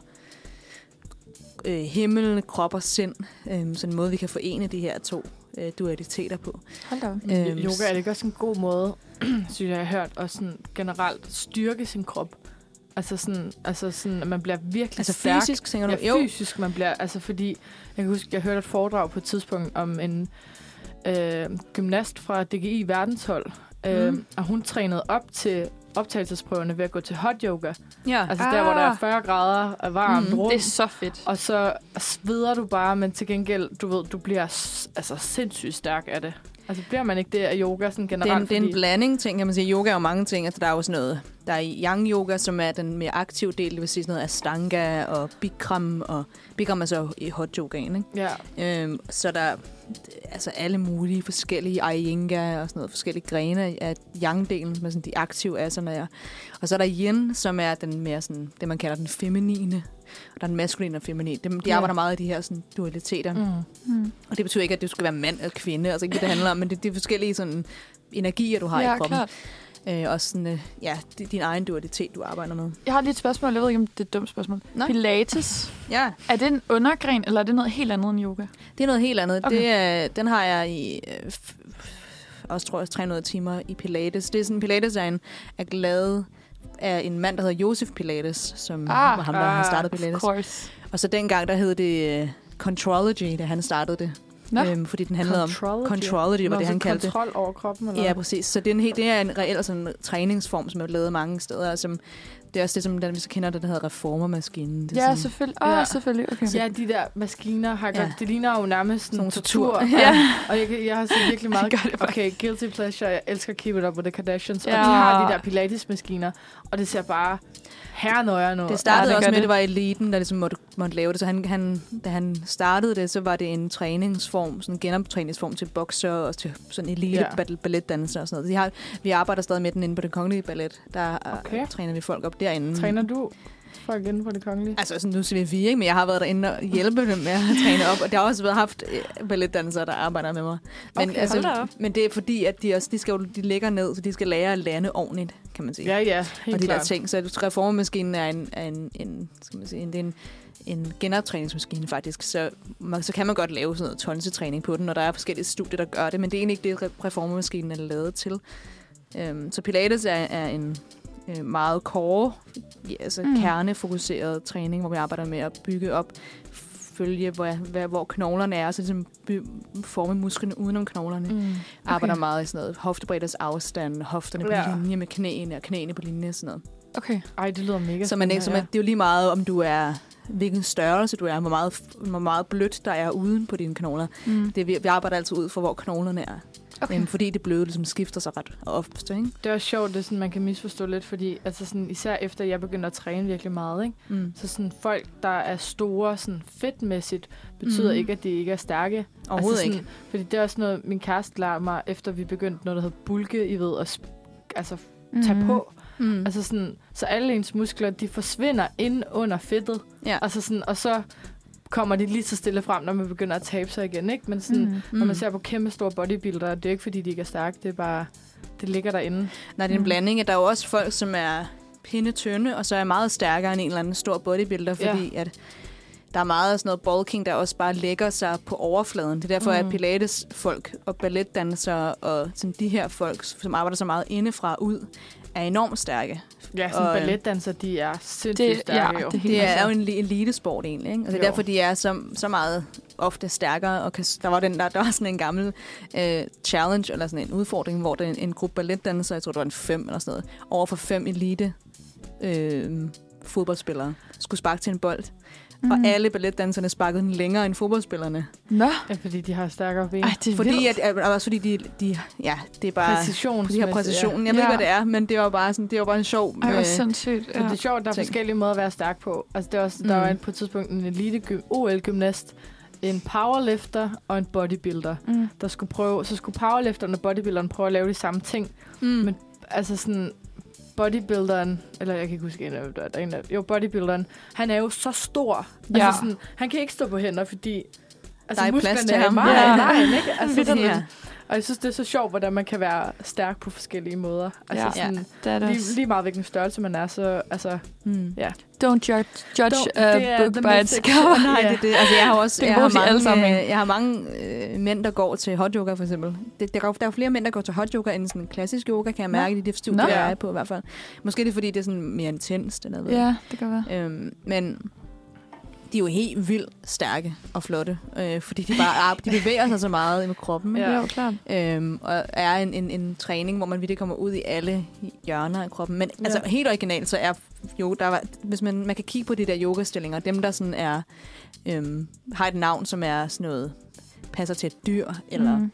[SPEAKER 4] øh, himmel, krop og sind. Øhm, sådan en måde, vi kan forene de her to øh, dualiteter på.
[SPEAKER 2] Hold da op.
[SPEAKER 4] Øhm,
[SPEAKER 3] Yoga er det ikke også en god måde, synes jeg, jeg har hørt, at sådan generelt styrke sin krop? Altså sådan, altså sådan at man bliver virkelig
[SPEAKER 4] Altså
[SPEAKER 3] stærk.
[SPEAKER 4] fysisk, tænker du?
[SPEAKER 3] Ja, fysisk man bliver, altså fordi, jeg kan huske, jeg hørte et foredrag på et tidspunkt om en øh, gymnast fra DGI verdenshold, øh,
[SPEAKER 4] Mm.
[SPEAKER 3] og hun trænede op til optagelsesprøverne ved at gå til hot yoga.
[SPEAKER 4] ja.
[SPEAKER 3] Altså ah. der, hvor der er
[SPEAKER 2] Ah.
[SPEAKER 3] 40 grader og varmt
[SPEAKER 4] Mm.
[SPEAKER 3] mm. rum.
[SPEAKER 2] Det er så fedt.
[SPEAKER 3] Og så sveder du bare, men til gengæld, du ved, du bliver s- altså sindssygt stærk af det. Altså bliver man ikke det af yoga sådan
[SPEAKER 4] Det er, en,
[SPEAKER 3] generelt?
[SPEAKER 4] det er en
[SPEAKER 3] fordi-
[SPEAKER 4] blanding, ting, kan man sige. Yoga er jo mange ting. Altså, der er jo sådan noget, der er yang yoga, som er den mere aktive del, det vil sige sådan noget astanga og bikram, og bikram er så i hot yogaen,
[SPEAKER 3] Ja,
[SPEAKER 4] ikke? Øhm, så der er altså alle mulige forskellige ayenga og sådan noget, forskellige grene af yang-delen, som er sådan de aktive asaner. Og så er der yin, som er den mere sådan, det man kalder den feminine, og der er den maskuline og feminine. De, de
[SPEAKER 3] Ja.
[SPEAKER 4] arbejder meget i de her sådan, dualiteter.
[SPEAKER 3] mm.
[SPEAKER 2] Mm.
[SPEAKER 4] Og det betyder ikke, at du skal være mand eller kvinde, altså ikke det, det handler om, men det er de forskellige sådan, energier, du har i
[SPEAKER 2] ja,
[SPEAKER 4] kroppen.
[SPEAKER 2] klart.
[SPEAKER 4] Øh, og sådan, øh, ja, di- din egen dualitet, du arbejder med.
[SPEAKER 2] Jeg har lige et spørgsmål. Jeg ved ikke, om det er et dumt spørgsmål.
[SPEAKER 4] Nej.
[SPEAKER 2] Pilates.
[SPEAKER 4] Ja,
[SPEAKER 2] Er det en undergren, eller er det noget helt andet end yoga?
[SPEAKER 4] det er noget helt andet.
[SPEAKER 2] Okay.
[SPEAKER 4] Okay. Det, øh, den har jeg i, øh, f- f- også tror jeg, 300 timer i Pilates. Det er sådan, Pilates er, en, er glad af en mand, der hedder Josef Pilates, som ah, var ham, der ah, har startet
[SPEAKER 2] Of
[SPEAKER 4] Pilates.
[SPEAKER 2] course.
[SPEAKER 4] Og så dengang, der hed det øh, Contrology, da han startede det.
[SPEAKER 2] Nå.
[SPEAKER 4] Øhm, fordi den handlede om...
[SPEAKER 3] Contrology?
[SPEAKER 4] Contrology var
[SPEAKER 3] Nå,
[SPEAKER 4] det,
[SPEAKER 3] så
[SPEAKER 4] han kaldte det.
[SPEAKER 3] kontrol over kroppen, eller
[SPEAKER 4] Ja,
[SPEAKER 3] hvad?
[SPEAKER 4] præcis. Så det er en, helt, det er en reel sådan, træningsform, som er lavet mange steder. og Som, det er også det, som den, vi så kender, det, der hedder reformermaskinen. Det
[SPEAKER 2] Ja,
[SPEAKER 4] er sådan,
[SPEAKER 2] selvfølgelig. Åh,
[SPEAKER 3] Ja.
[SPEAKER 2] oh, selvfølgelig. Okay.
[SPEAKER 3] Ja, de der maskiner har
[SPEAKER 4] Ja.
[SPEAKER 3] ja. det ligner jo nærmest
[SPEAKER 4] Sådan
[SPEAKER 3] en
[SPEAKER 4] nogle tortur.
[SPEAKER 3] tortur.
[SPEAKER 2] Ja.
[SPEAKER 3] Og jeg, kan- jeg har set virkelig meget...
[SPEAKER 2] Det gør det
[SPEAKER 3] okay, guilty pleasure. Jeg elsker Keep It Up with the Kardashians. Ja. Og
[SPEAKER 2] Ja.
[SPEAKER 3] de har de der pilatesmaskiner. Og det ser bare herrenøjeren ud.
[SPEAKER 4] Det startede
[SPEAKER 2] Ja, det
[SPEAKER 4] ja, også
[SPEAKER 2] gør
[SPEAKER 4] med, at
[SPEAKER 2] det.
[SPEAKER 4] det var eliten, der ligesom måtte, måtte lave det. Så han, han, da han startede det, så var det en træningsform, sådan en genoptræningsform til bokser og til sådan elite
[SPEAKER 3] Ja.
[SPEAKER 4] ja. balletdanser og sådan noget. De har, vi arbejder stadig med den inde på den kongelige ballet. Der okay.
[SPEAKER 3] Okay.
[SPEAKER 4] øh, træner vi folk op derinde.
[SPEAKER 3] Træner du folk inde på det kongelige?
[SPEAKER 4] Altså, sådan, nu siger vi vi, ikke? men jeg har været derinde og hjælpe dem med at træne op, og der har også været haft øh, balletdansere, der arbejder med mig. Men,
[SPEAKER 3] Okay,
[SPEAKER 4] altså,
[SPEAKER 3] hold da op.
[SPEAKER 4] men det er fordi, at de, også, de, skal jo, de ligger ned, så de skal lære at lande ordentligt, kan man sige.
[SPEAKER 3] Ja, ja. Helt
[SPEAKER 4] og de der
[SPEAKER 3] klart.
[SPEAKER 4] ting. Så reformmaskinen er en, er en, en skal man sige, en, det er en, en genoptræningsmaskine faktisk, så, man, så kan man godt lave sådan noget tonsetræning på den, og der er forskellige studier, der gør det, men det er egentlig ikke det, re- reformmaskinen er lavet til. Øhm, så Pilates er, er en øh, meget core, ja, altså
[SPEAKER 2] Mm.
[SPEAKER 4] mm. kernefokuseret træning, hvor vi arbejder med at bygge op, følge, hvor, hvor, hvor knoglerne er, og så ligesom by, forme musklerne udenom knoglerne
[SPEAKER 3] Mm.
[SPEAKER 4] okay. arbejder meget i sådan noget hoftebredders afstand, hofterne ja.
[SPEAKER 3] Ja.
[SPEAKER 4] på linje med knæene, og knæene på linje og sådan noget.
[SPEAKER 2] Okay.
[SPEAKER 3] Ej, det lyder mega
[SPEAKER 4] Så man ikke,
[SPEAKER 3] spændende,
[SPEAKER 4] så man, det er jo lige meget, om du er hvilken størrelse du er, hvor meget, hvor meget blødt der er uden på dine knogler.
[SPEAKER 2] Mm.
[SPEAKER 4] Det, vi, vi arbejder altid ud for, hvor knoglerne er.
[SPEAKER 2] Okay.
[SPEAKER 4] Øhm, fordi det bløde ligesom skifter sig ret ofte. Ikke?
[SPEAKER 3] Det er også sjovt, det er sådan, man kan misforstå lidt, fordi altså sådan, især efter jeg begyndte at træne virkelig meget, ikke?
[SPEAKER 4] Mm.
[SPEAKER 3] så sådan, folk, der er store sådan, fedtmæssigt, betyder
[SPEAKER 4] Mhm.
[SPEAKER 3] ikke, at de ikke er stærke.
[SPEAKER 4] Overhovedet
[SPEAKER 3] altså,
[SPEAKER 4] altså
[SPEAKER 3] sådan, ikke. Fordi det er også noget, min kæreste lærte mig, efter vi begyndte noget, der hedder bulke, I ved, at sp- altså, tage
[SPEAKER 2] Mm.
[SPEAKER 3] på.
[SPEAKER 4] ikke. Mm.
[SPEAKER 3] Altså sådan, så alle ens muskler, de forsvinder ind under fedtet.
[SPEAKER 4] Ja.
[SPEAKER 3] Altså sådan, og så kommer de lige så stille frem, når man begynder at tabe sig igen. Ikke? Men sådan, mm. når man ser på kæmpe store bodybuildere, det er jo ikke, fordi de ikke er stærke. Det er bare, det ligger derinde.
[SPEAKER 4] Nej, det er en
[SPEAKER 2] Mm.
[SPEAKER 4] blanding. at Der er jo også folk, som er pindetønde, og så er meget stærkere end en eller anden stor bodybuilder,
[SPEAKER 3] Ja.
[SPEAKER 4] fordi ja. at der er meget af sådan noget bulking, der også bare lægger sig på overfladen. Det er derfor, mm.
[SPEAKER 3] Mm.
[SPEAKER 4] at pilates-folk og balletdansere og sådan de her folk, som arbejder så meget indefra og ud, er enormt stærke.
[SPEAKER 3] Ja, sådan
[SPEAKER 4] Og, øh,
[SPEAKER 3] balletdanser, de er sindssygt
[SPEAKER 2] Det, ja,
[SPEAKER 3] stærke. jo.
[SPEAKER 2] det er helt
[SPEAKER 4] Det er
[SPEAKER 2] altså-
[SPEAKER 4] jo en li- elitesport egentlig, ikke? Altså, det er
[SPEAKER 3] Jo.
[SPEAKER 4] derfor, de er så, så meget ofte stærkere. Og kan, s- der var den der, der var sådan en gammel øh, challenge, eller sådan en udfordring, hvor det en gruppe balletdansere, jeg tror, det var en fem eller sådan noget, over for fem elite øh, fodboldspillere, skulle sparke til en bold. Mm.
[SPEAKER 2] Mhm.
[SPEAKER 4] Og alle balletdanserne sparkede den længere end fodboldspillerne.
[SPEAKER 2] Nå,
[SPEAKER 3] Ja, fordi de har stærkere ben.
[SPEAKER 2] ej, det er
[SPEAKER 4] Fordi,
[SPEAKER 2] vildt.
[SPEAKER 4] at, at, også fordi de, de, ja, det er bare...
[SPEAKER 3] Præcision.
[SPEAKER 4] De her præcisionen. Jeg ved
[SPEAKER 2] Ja.
[SPEAKER 4] ikke, hvad det er, men det var bare, sådan, det var bare en sjov...
[SPEAKER 2] Ej, hvor
[SPEAKER 4] øh,
[SPEAKER 2] sindssygt.
[SPEAKER 3] Så
[SPEAKER 2] Ja.
[SPEAKER 3] det er sjovt, der er
[SPEAKER 4] ting.
[SPEAKER 3] forskellige måder at være stærk på. Altså, det er også, Der
[SPEAKER 4] Mm.
[SPEAKER 3] var en- på et tidspunkt en elite OL-gymnast, en powerlifter og en bodybuilder,
[SPEAKER 2] Mm.
[SPEAKER 3] der skulle prøve, så skulle powerlifteren og bodybuilderen prøve at lave de samme ting.
[SPEAKER 4] mm.
[SPEAKER 3] Men- Altså sådan, bodybuilderen, eller jeg kan ikke huske, en af- der er en af, jo, bodybuilderen, han er jo så stor. Ja.
[SPEAKER 2] Ja.
[SPEAKER 3] Altså sådan, han kan ikke stå på hænder, fordi altså,
[SPEAKER 4] Der er ikke plads
[SPEAKER 3] musklerne
[SPEAKER 4] til
[SPEAKER 3] er
[SPEAKER 4] ham.
[SPEAKER 3] meget
[SPEAKER 2] Ja.
[SPEAKER 3] i vejen, ikke? Altså, sådan,
[SPEAKER 4] Ja.
[SPEAKER 3] Og jeg synes, det er så sjovt, hvordan man kan være stærk på forskellige måder. Altså
[SPEAKER 2] Ja.
[SPEAKER 3] sådan,
[SPEAKER 2] Det er det også.
[SPEAKER 3] lige, lige meget hvilken størrelse man er, så altså,
[SPEAKER 4] Mm.
[SPEAKER 2] Don't judge, judge
[SPEAKER 3] Don't-
[SPEAKER 2] a
[SPEAKER 3] det er
[SPEAKER 2] book
[SPEAKER 3] the
[SPEAKER 2] by its
[SPEAKER 3] message.
[SPEAKER 2] cover.
[SPEAKER 4] Nej,
[SPEAKER 3] Ja.
[SPEAKER 4] det, er det, altså, jeg har også
[SPEAKER 2] Det er
[SPEAKER 4] jeg har
[SPEAKER 2] vores i alle
[SPEAKER 4] mange,
[SPEAKER 2] sammenhænge.
[SPEAKER 4] øh, jeg har mange øh, mænd, der går til hot yoga, for eksempel. Det, der, går, der er flere mænd, der går til hot yoga end sådan klassisk yoga, kan jeg
[SPEAKER 2] Nå.
[SPEAKER 4] mærke i de studier,
[SPEAKER 2] Nå.
[SPEAKER 4] jeg er på i hvert fald. Måske er det er, fordi det er sådan mere intenst, eller hvad. ved
[SPEAKER 2] Ja, det kan være.
[SPEAKER 4] jeg. Øhm, men de er jo helt vildt stærke og flotte, øh, fordi de bare ah, de bevæger sig så meget med kroppen.
[SPEAKER 3] Ja.
[SPEAKER 4] Ja.
[SPEAKER 2] Ja, jo, klart.
[SPEAKER 4] Øhm, og er en, en, en træning, hvor man virkelig kommer ud i alle hjørner af kroppen. Men ja. altså
[SPEAKER 3] Ja.
[SPEAKER 4] helt originalt, så er jo, der var, hvis man, man kan kigge på de der yogastillinger, dem der sådan er, øhm, har et navn, som er sådan noget, passer til et dyr, eller, mm.
[SPEAKER 2] Mm.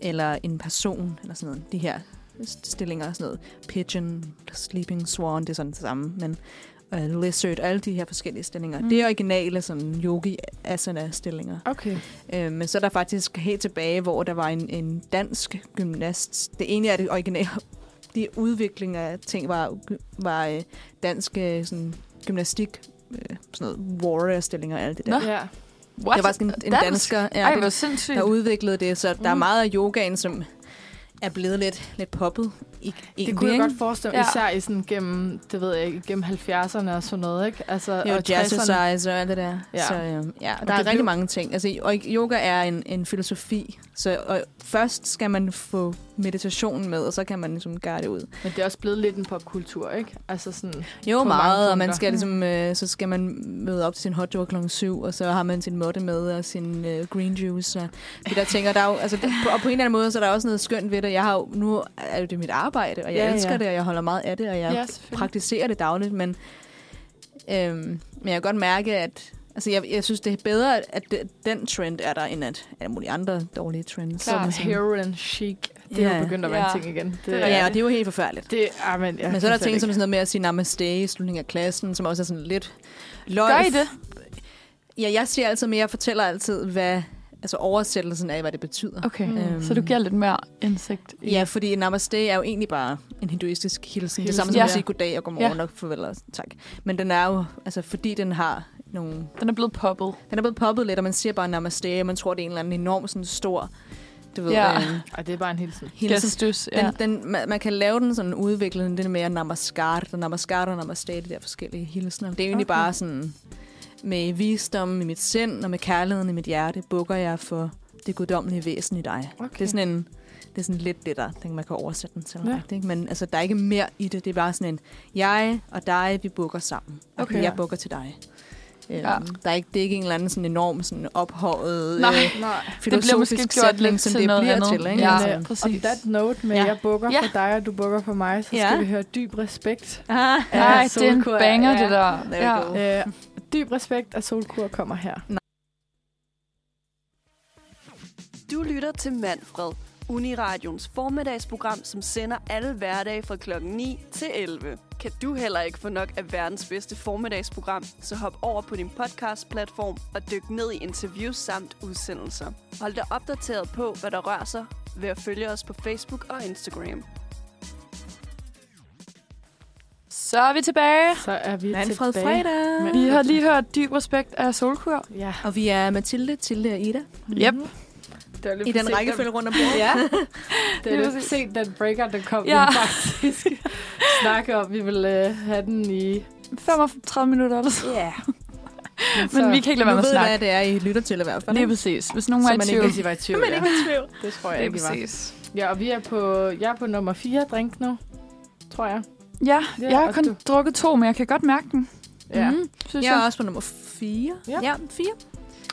[SPEAKER 4] eller en person, eller sådan noget. De her st- stillinger, sådan noget pigeon, sleeping swan, det er sådan det samme, men uh, lizard, alle de her forskellige stillinger.
[SPEAKER 2] Mm.
[SPEAKER 4] Mm. Det er originale sådan yogi-asana-stillinger.
[SPEAKER 3] okay.
[SPEAKER 4] Øh, men så er der faktisk helt tilbage, hvor der var en, en dansk gymnast. Det ene er det originale. De udvikling af ting var, var øh, dansk øh, sådan, gymnastik, øh, sådan noget warrior-stillinger og alt det der.
[SPEAKER 2] Nå,
[SPEAKER 4] Nå,
[SPEAKER 3] Ja.
[SPEAKER 2] What?
[SPEAKER 4] der var sådan en, en
[SPEAKER 2] Dansk?
[SPEAKER 4] dansker, ja,
[SPEAKER 2] Ej,
[SPEAKER 4] det-
[SPEAKER 2] hvor sindssygt.
[SPEAKER 4] der udviklede det, så der er
[SPEAKER 2] Mm.
[SPEAKER 4] meget af yogaen, som er blevet lidt, lidt poppet. I,
[SPEAKER 3] Det kunne jeg godt forestille, ja.
[SPEAKER 2] Ja.
[SPEAKER 3] især i sådan gennem, det ved jeg ikke, gennem 70'erne og sådan noget, ikke? Altså,
[SPEAKER 4] Jo,
[SPEAKER 3] og 60'erne.
[SPEAKER 4] jazzercise og alt det der.
[SPEAKER 3] Ja.
[SPEAKER 4] Ja. Så øh, ja,
[SPEAKER 3] Og
[SPEAKER 4] der er
[SPEAKER 3] det
[SPEAKER 4] rigtig
[SPEAKER 3] blev-
[SPEAKER 4] mange ting. Altså, og yoga er en, en filosofi, så og først skal man få meditationen med, og så kan man ligesom gøre det ud.
[SPEAKER 3] Men det er også blevet lidt en popkultur, ikke? Altså sådan,
[SPEAKER 4] Jo,
[SPEAKER 3] På mange
[SPEAKER 4] meget, og man
[SPEAKER 3] punkter. Mm.
[SPEAKER 4] skal ligesom, øh, så skal man møde op til sin hot dog klokken 7, og så har man sin måtte med og sin øh, green juice og de der ting. Og, der er jo, altså, på, og på en eller anden måde, så er der også noget skønt ved det. Jeg har jo, nu er det jo mit arbejde, og jeg
[SPEAKER 3] Ja,
[SPEAKER 4] ja, elsker
[SPEAKER 3] ja.
[SPEAKER 4] ja. det, og jeg holder meget af det, og jeg
[SPEAKER 3] Ja,
[SPEAKER 4] ja,
[SPEAKER 3] selvfølgelig.
[SPEAKER 4] praktiserer det dagligt, men, øhm, men jeg kan godt mærke, at altså, jeg, jeg synes, det er bedre, at det, den trend er der, end at alle mulige andre dårlige trends.
[SPEAKER 3] Klart.
[SPEAKER 4] Som-
[SPEAKER 3] Som heroin chic. Det er
[SPEAKER 4] Ja.
[SPEAKER 3] jo begyndt at være
[SPEAKER 2] Ja.
[SPEAKER 3] en ting igen. Det,
[SPEAKER 2] Det er
[SPEAKER 4] Ja, og det er jo helt forfærdeligt.
[SPEAKER 3] det ah, men, jeg
[SPEAKER 4] Men så er der
[SPEAKER 3] kan slet
[SPEAKER 4] ting som
[SPEAKER 3] ikke.
[SPEAKER 4] sådan noget med at sige namaste i slutningen af klassen, som også er sådan lidt løg.
[SPEAKER 2] Gør I det?
[SPEAKER 4] Ja, jeg siger altid mere, jeg fortæller altid, hvad altså oversættelsen af, hvad det betyder.
[SPEAKER 2] Okay,
[SPEAKER 4] Øhm.
[SPEAKER 2] så du giver lidt mere indsigt. i-
[SPEAKER 4] Ja, fordi namaste er jo egentlig bare en hinduistisk hilsen. Det er samme som
[SPEAKER 2] Ja.
[SPEAKER 4] at sige goddag og godmorgen og farvel og tak. Men den er jo, altså fordi den har nogle...
[SPEAKER 2] Den er blevet poppet.
[SPEAKER 4] Den er blevet poppet lidt, og man siger bare namaste, og man tror, det er en eller anden enorm sådan stor... Du ved,
[SPEAKER 2] Ja.
[SPEAKER 4] ja. øh,
[SPEAKER 3] Ej, det er bare en hilsen.
[SPEAKER 4] hilsen.
[SPEAKER 2] Gestus, ja.
[SPEAKER 4] Den, den, man, man kan lave den sådan udviklet, den mere namaskar, og namaskar og namaste, de der forskellige hilsner. Det er egentlig
[SPEAKER 2] Okay.
[SPEAKER 4] okay. bare sådan, med visdom i mit sind og med kærligheden i mit hjerte, bukker jeg for det guddommelige væsen i dig.
[SPEAKER 3] Okay.
[SPEAKER 4] Det er sådan en, det er sådan lidt det der, den man kan oversætte den til.
[SPEAKER 3] Ja.
[SPEAKER 4] Ja. Ikke? Men altså, der er ikke mere i det. Det er bare sådan en, jeg og dig, vi bukker sammen.
[SPEAKER 3] Okay.
[SPEAKER 4] Okay. Jeg bukker til dig.
[SPEAKER 2] Ja.
[SPEAKER 4] Ja. Der er ikke, det er ikke en eller anden sådan enorm sådan ophøjet
[SPEAKER 2] Nej.
[SPEAKER 4] øh,
[SPEAKER 3] Nej.
[SPEAKER 4] filosofisk
[SPEAKER 2] måske gjort
[SPEAKER 4] sætning,
[SPEAKER 2] lidt
[SPEAKER 4] som
[SPEAKER 2] til
[SPEAKER 4] det
[SPEAKER 2] noget
[SPEAKER 4] bliver
[SPEAKER 2] andet.
[SPEAKER 4] til. Ikke?
[SPEAKER 2] Ja.
[SPEAKER 4] Altså.
[SPEAKER 3] Men, øh,
[SPEAKER 2] præcis.
[SPEAKER 3] On that note med, ja.
[SPEAKER 4] Ja.
[SPEAKER 3] jeg bukker
[SPEAKER 2] Ja.
[SPEAKER 3] for dig, og du bukker for mig, så
[SPEAKER 4] Ja.
[SPEAKER 3] skal vi høre dyb respekt.
[SPEAKER 4] Ah.
[SPEAKER 2] Nej,
[SPEAKER 3] Ja,
[SPEAKER 2] det er en
[SPEAKER 3] solkur,
[SPEAKER 2] banger,
[SPEAKER 3] ja.
[SPEAKER 2] det der.
[SPEAKER 4] There we
[SPEAKER 2] Ja.
[SPEAKER 4] go.
[SPEAKER 3] Øh, dyb respekt af Solkur kommer her.
[SPEAKER 1] Du lytter til Manfred, Uniradions formiddagsprogram, som sender alle hverdage fra kl. 9 til 11. Kan du heller ikke få nok af verdens bedste formiddagsprogram, så hop over på din podcastplatform og dyk ned i interviews samt udsendelser. Hold dig opdateret på, hvad der rører sig ved at følge os på Facebook og Instagram.
[SPEAKER 2] Så er vi tilbage.
[SPEAKER 3] Så er vi
[SPEAKER 4] Manfred
[SPEAKER 3] tilbage.
[SPEAKER 4] Fredag.
[SPEAKER 2] Vi har lige hørt dyb respekt af Solkur.
[SPEAKER 3] Ja.
[SPEAKER 4] Og vi er Mathilde, Tilde og Ida.
[SPEAKER 2] Yep.
[SPEAKER 3] Det var lidt
[SPEAKER 4] I
[SPEAKER 3] for
[SPEAKER 4] den
[SPEAKER 3] sent,
[SPEAKER 4] rækkefølge rundt om bordet.
[SPEAKER 3] Ja, det
[SPEAKER 2] Lige
[SPEAKER 3] er lidt
[SPEAKER 2] præcis.
[SPEAKER 3] sent, den breaker, den kom. Ja.
[SPEAKER 2] Ja.
[SPEAKER 3] Vi faktisk snakke om, vi ville øh, have den i...
[SPEAKER 2] 35 minutter eller så.
[SPEAKER 4] Yeah.
[SPEAKER 2] Men vi kan ikke lade være
[SPEAKER 4] Nu
[SPEAKER 2] med at
[SPEAKER 4] ved,
[SPEAKER 2] snakke.
[SPEAKER 4] hvad det er, I lytter til i hvert fald.
[SPEAKER 2] Lige
[SPEAKER 4] ikke?
[SPEAKER 2] præcis. Hvis nogen var i
[SPEAKER 3] man
[SPEAKER 2] tvivl.
[SPEAKER 3] ikke var i tvivl. Ja. Det tror jeg
[SPEAKER 2] Lige
[SPEAKER 3] ikke, I var.
[SPEAKER 2] præcis.
[SPEAKER 3] Ja, og vi er på, jeg er på nummer 4 drink nu, tror jeg.
[SPEAKER 2] Ja,
[SPEAKER 3] Ja,
[SPEAKER 2] jeg har
[SPEAKER 3] og
[SPEAKER 2] kun
[SPEAKER 3] du-
[SPEAKER 2] drukket to, men jeg kan godt mærke den. Mhm,
[SPEAKER 3] Ja.
[SPEAKER 4] Mm.
[SPEAKER 2] Synes
[SPEAKER 4] Jeg er også på nummer 4.
[SPEAKER 3] Ja.
[SPEAKER 4] ja 4.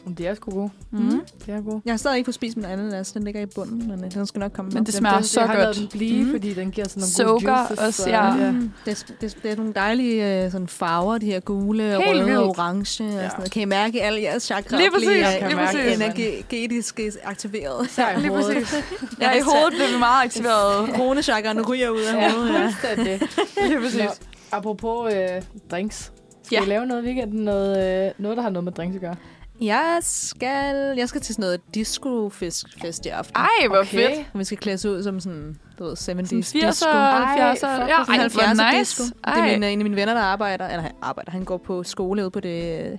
[SPEAKER 3] Men Det er sgu gode.
[SPEAKER 2] Mm.
[SPEAKER 3] Det er gode.
[SPEAKER 4] Jeg har stadig ikke fået spist min ananas. Den ligger i bunden, men øh, den skal nok komme.
[SPEAKER 2] Men
[SPEAKER 4] op.
[SPEAKER 2] det
[SPEAKER 3] Jamen,
[SPEAKER 2] smager
[SPEAKER 3] den-
[SPEAKER 2] så
[SPEAKER 3] jeg har lavet
[SPEAKER 2] godt.
[SPEAKER 3] den blive,
[SPEAKER 2] Mm.
[SPEAKER 3] fordi den giver sådan nogle
[SPEAKER 2] Soaker
[SPEAKER 3] gode juices.
[SPEAKER 2] også,
[SPEAKER 3] så-
[SPEAKER 2] ja. Mm-hmm.
[SPEAKER 3] ja.
[SPEAKER 4] Mm. Det, det, det er nogle dejlige øh, sådan farver, de her gule,
[SPEAKER 2] Helt
[SPEAKER 4] Helt røde
[SPEAKER 2] vildt.
[SPEAKER 4] og orange. Ja. Og sådan noget. Kan I mærke, at alle jeres chakra
[SPEAKER 2] Lige præcis,
[SPEAKER 4] bliver
[SPEAKER 3] lige præcis.
[SPEAKER 4] energetisk aktiveret?
[SPEAKER 3] Især i
[SPEAKER 2] Lige
[SPEAKER 3] hovedet.
[SPEAKER 2] præcis. Ja, i hovedet blev vi meget aktiveret.
[SPEAKER 4] Kronechakraen ryger ud af
[SPEAKER 3] Ja,
[SPEAKER 4] hovedet, ja.
[SPEAKER 3] fuldstændig.
[SPEAKER 2] Lige præcis.
[SPEAKER 3] Nå, apropos øh, drinks. Skal
[SPEAKER 2] Ja.
[SPEAKER 3] ja. vi lave noget i weekenden? Noget, øh, noget, der har noget med drinks at gøre?
[SPEAKER 4] Jeg skal, jeg skal til sådan noget disco-fest i aften.
[SPEAKER 2] Ej, hvor okay. fedt.
[SPEAKER 4] Vi skal klædes ud som sådan, du ved, 70's
[SPEAKER 2] Sådan
[SPEAKER 4] disco.
[SPEAKER 2] 80'er, 70'er.
[SPEAKER 3] fuck,
[SPEAKER 2] Ja,
[SPEAKER 3] hvor
[SPEAKER 2] ej, hvor
[SPEAKER 4] 70'er
[SPEAKER 2] nice.
[SPEAKER 4] disco. Det er
[SPEAKER 2] Ej,
[SPEAKER 4] min, en af mine venner, der arbejder. Eller han arbejder. Han går på skole ude på det øh,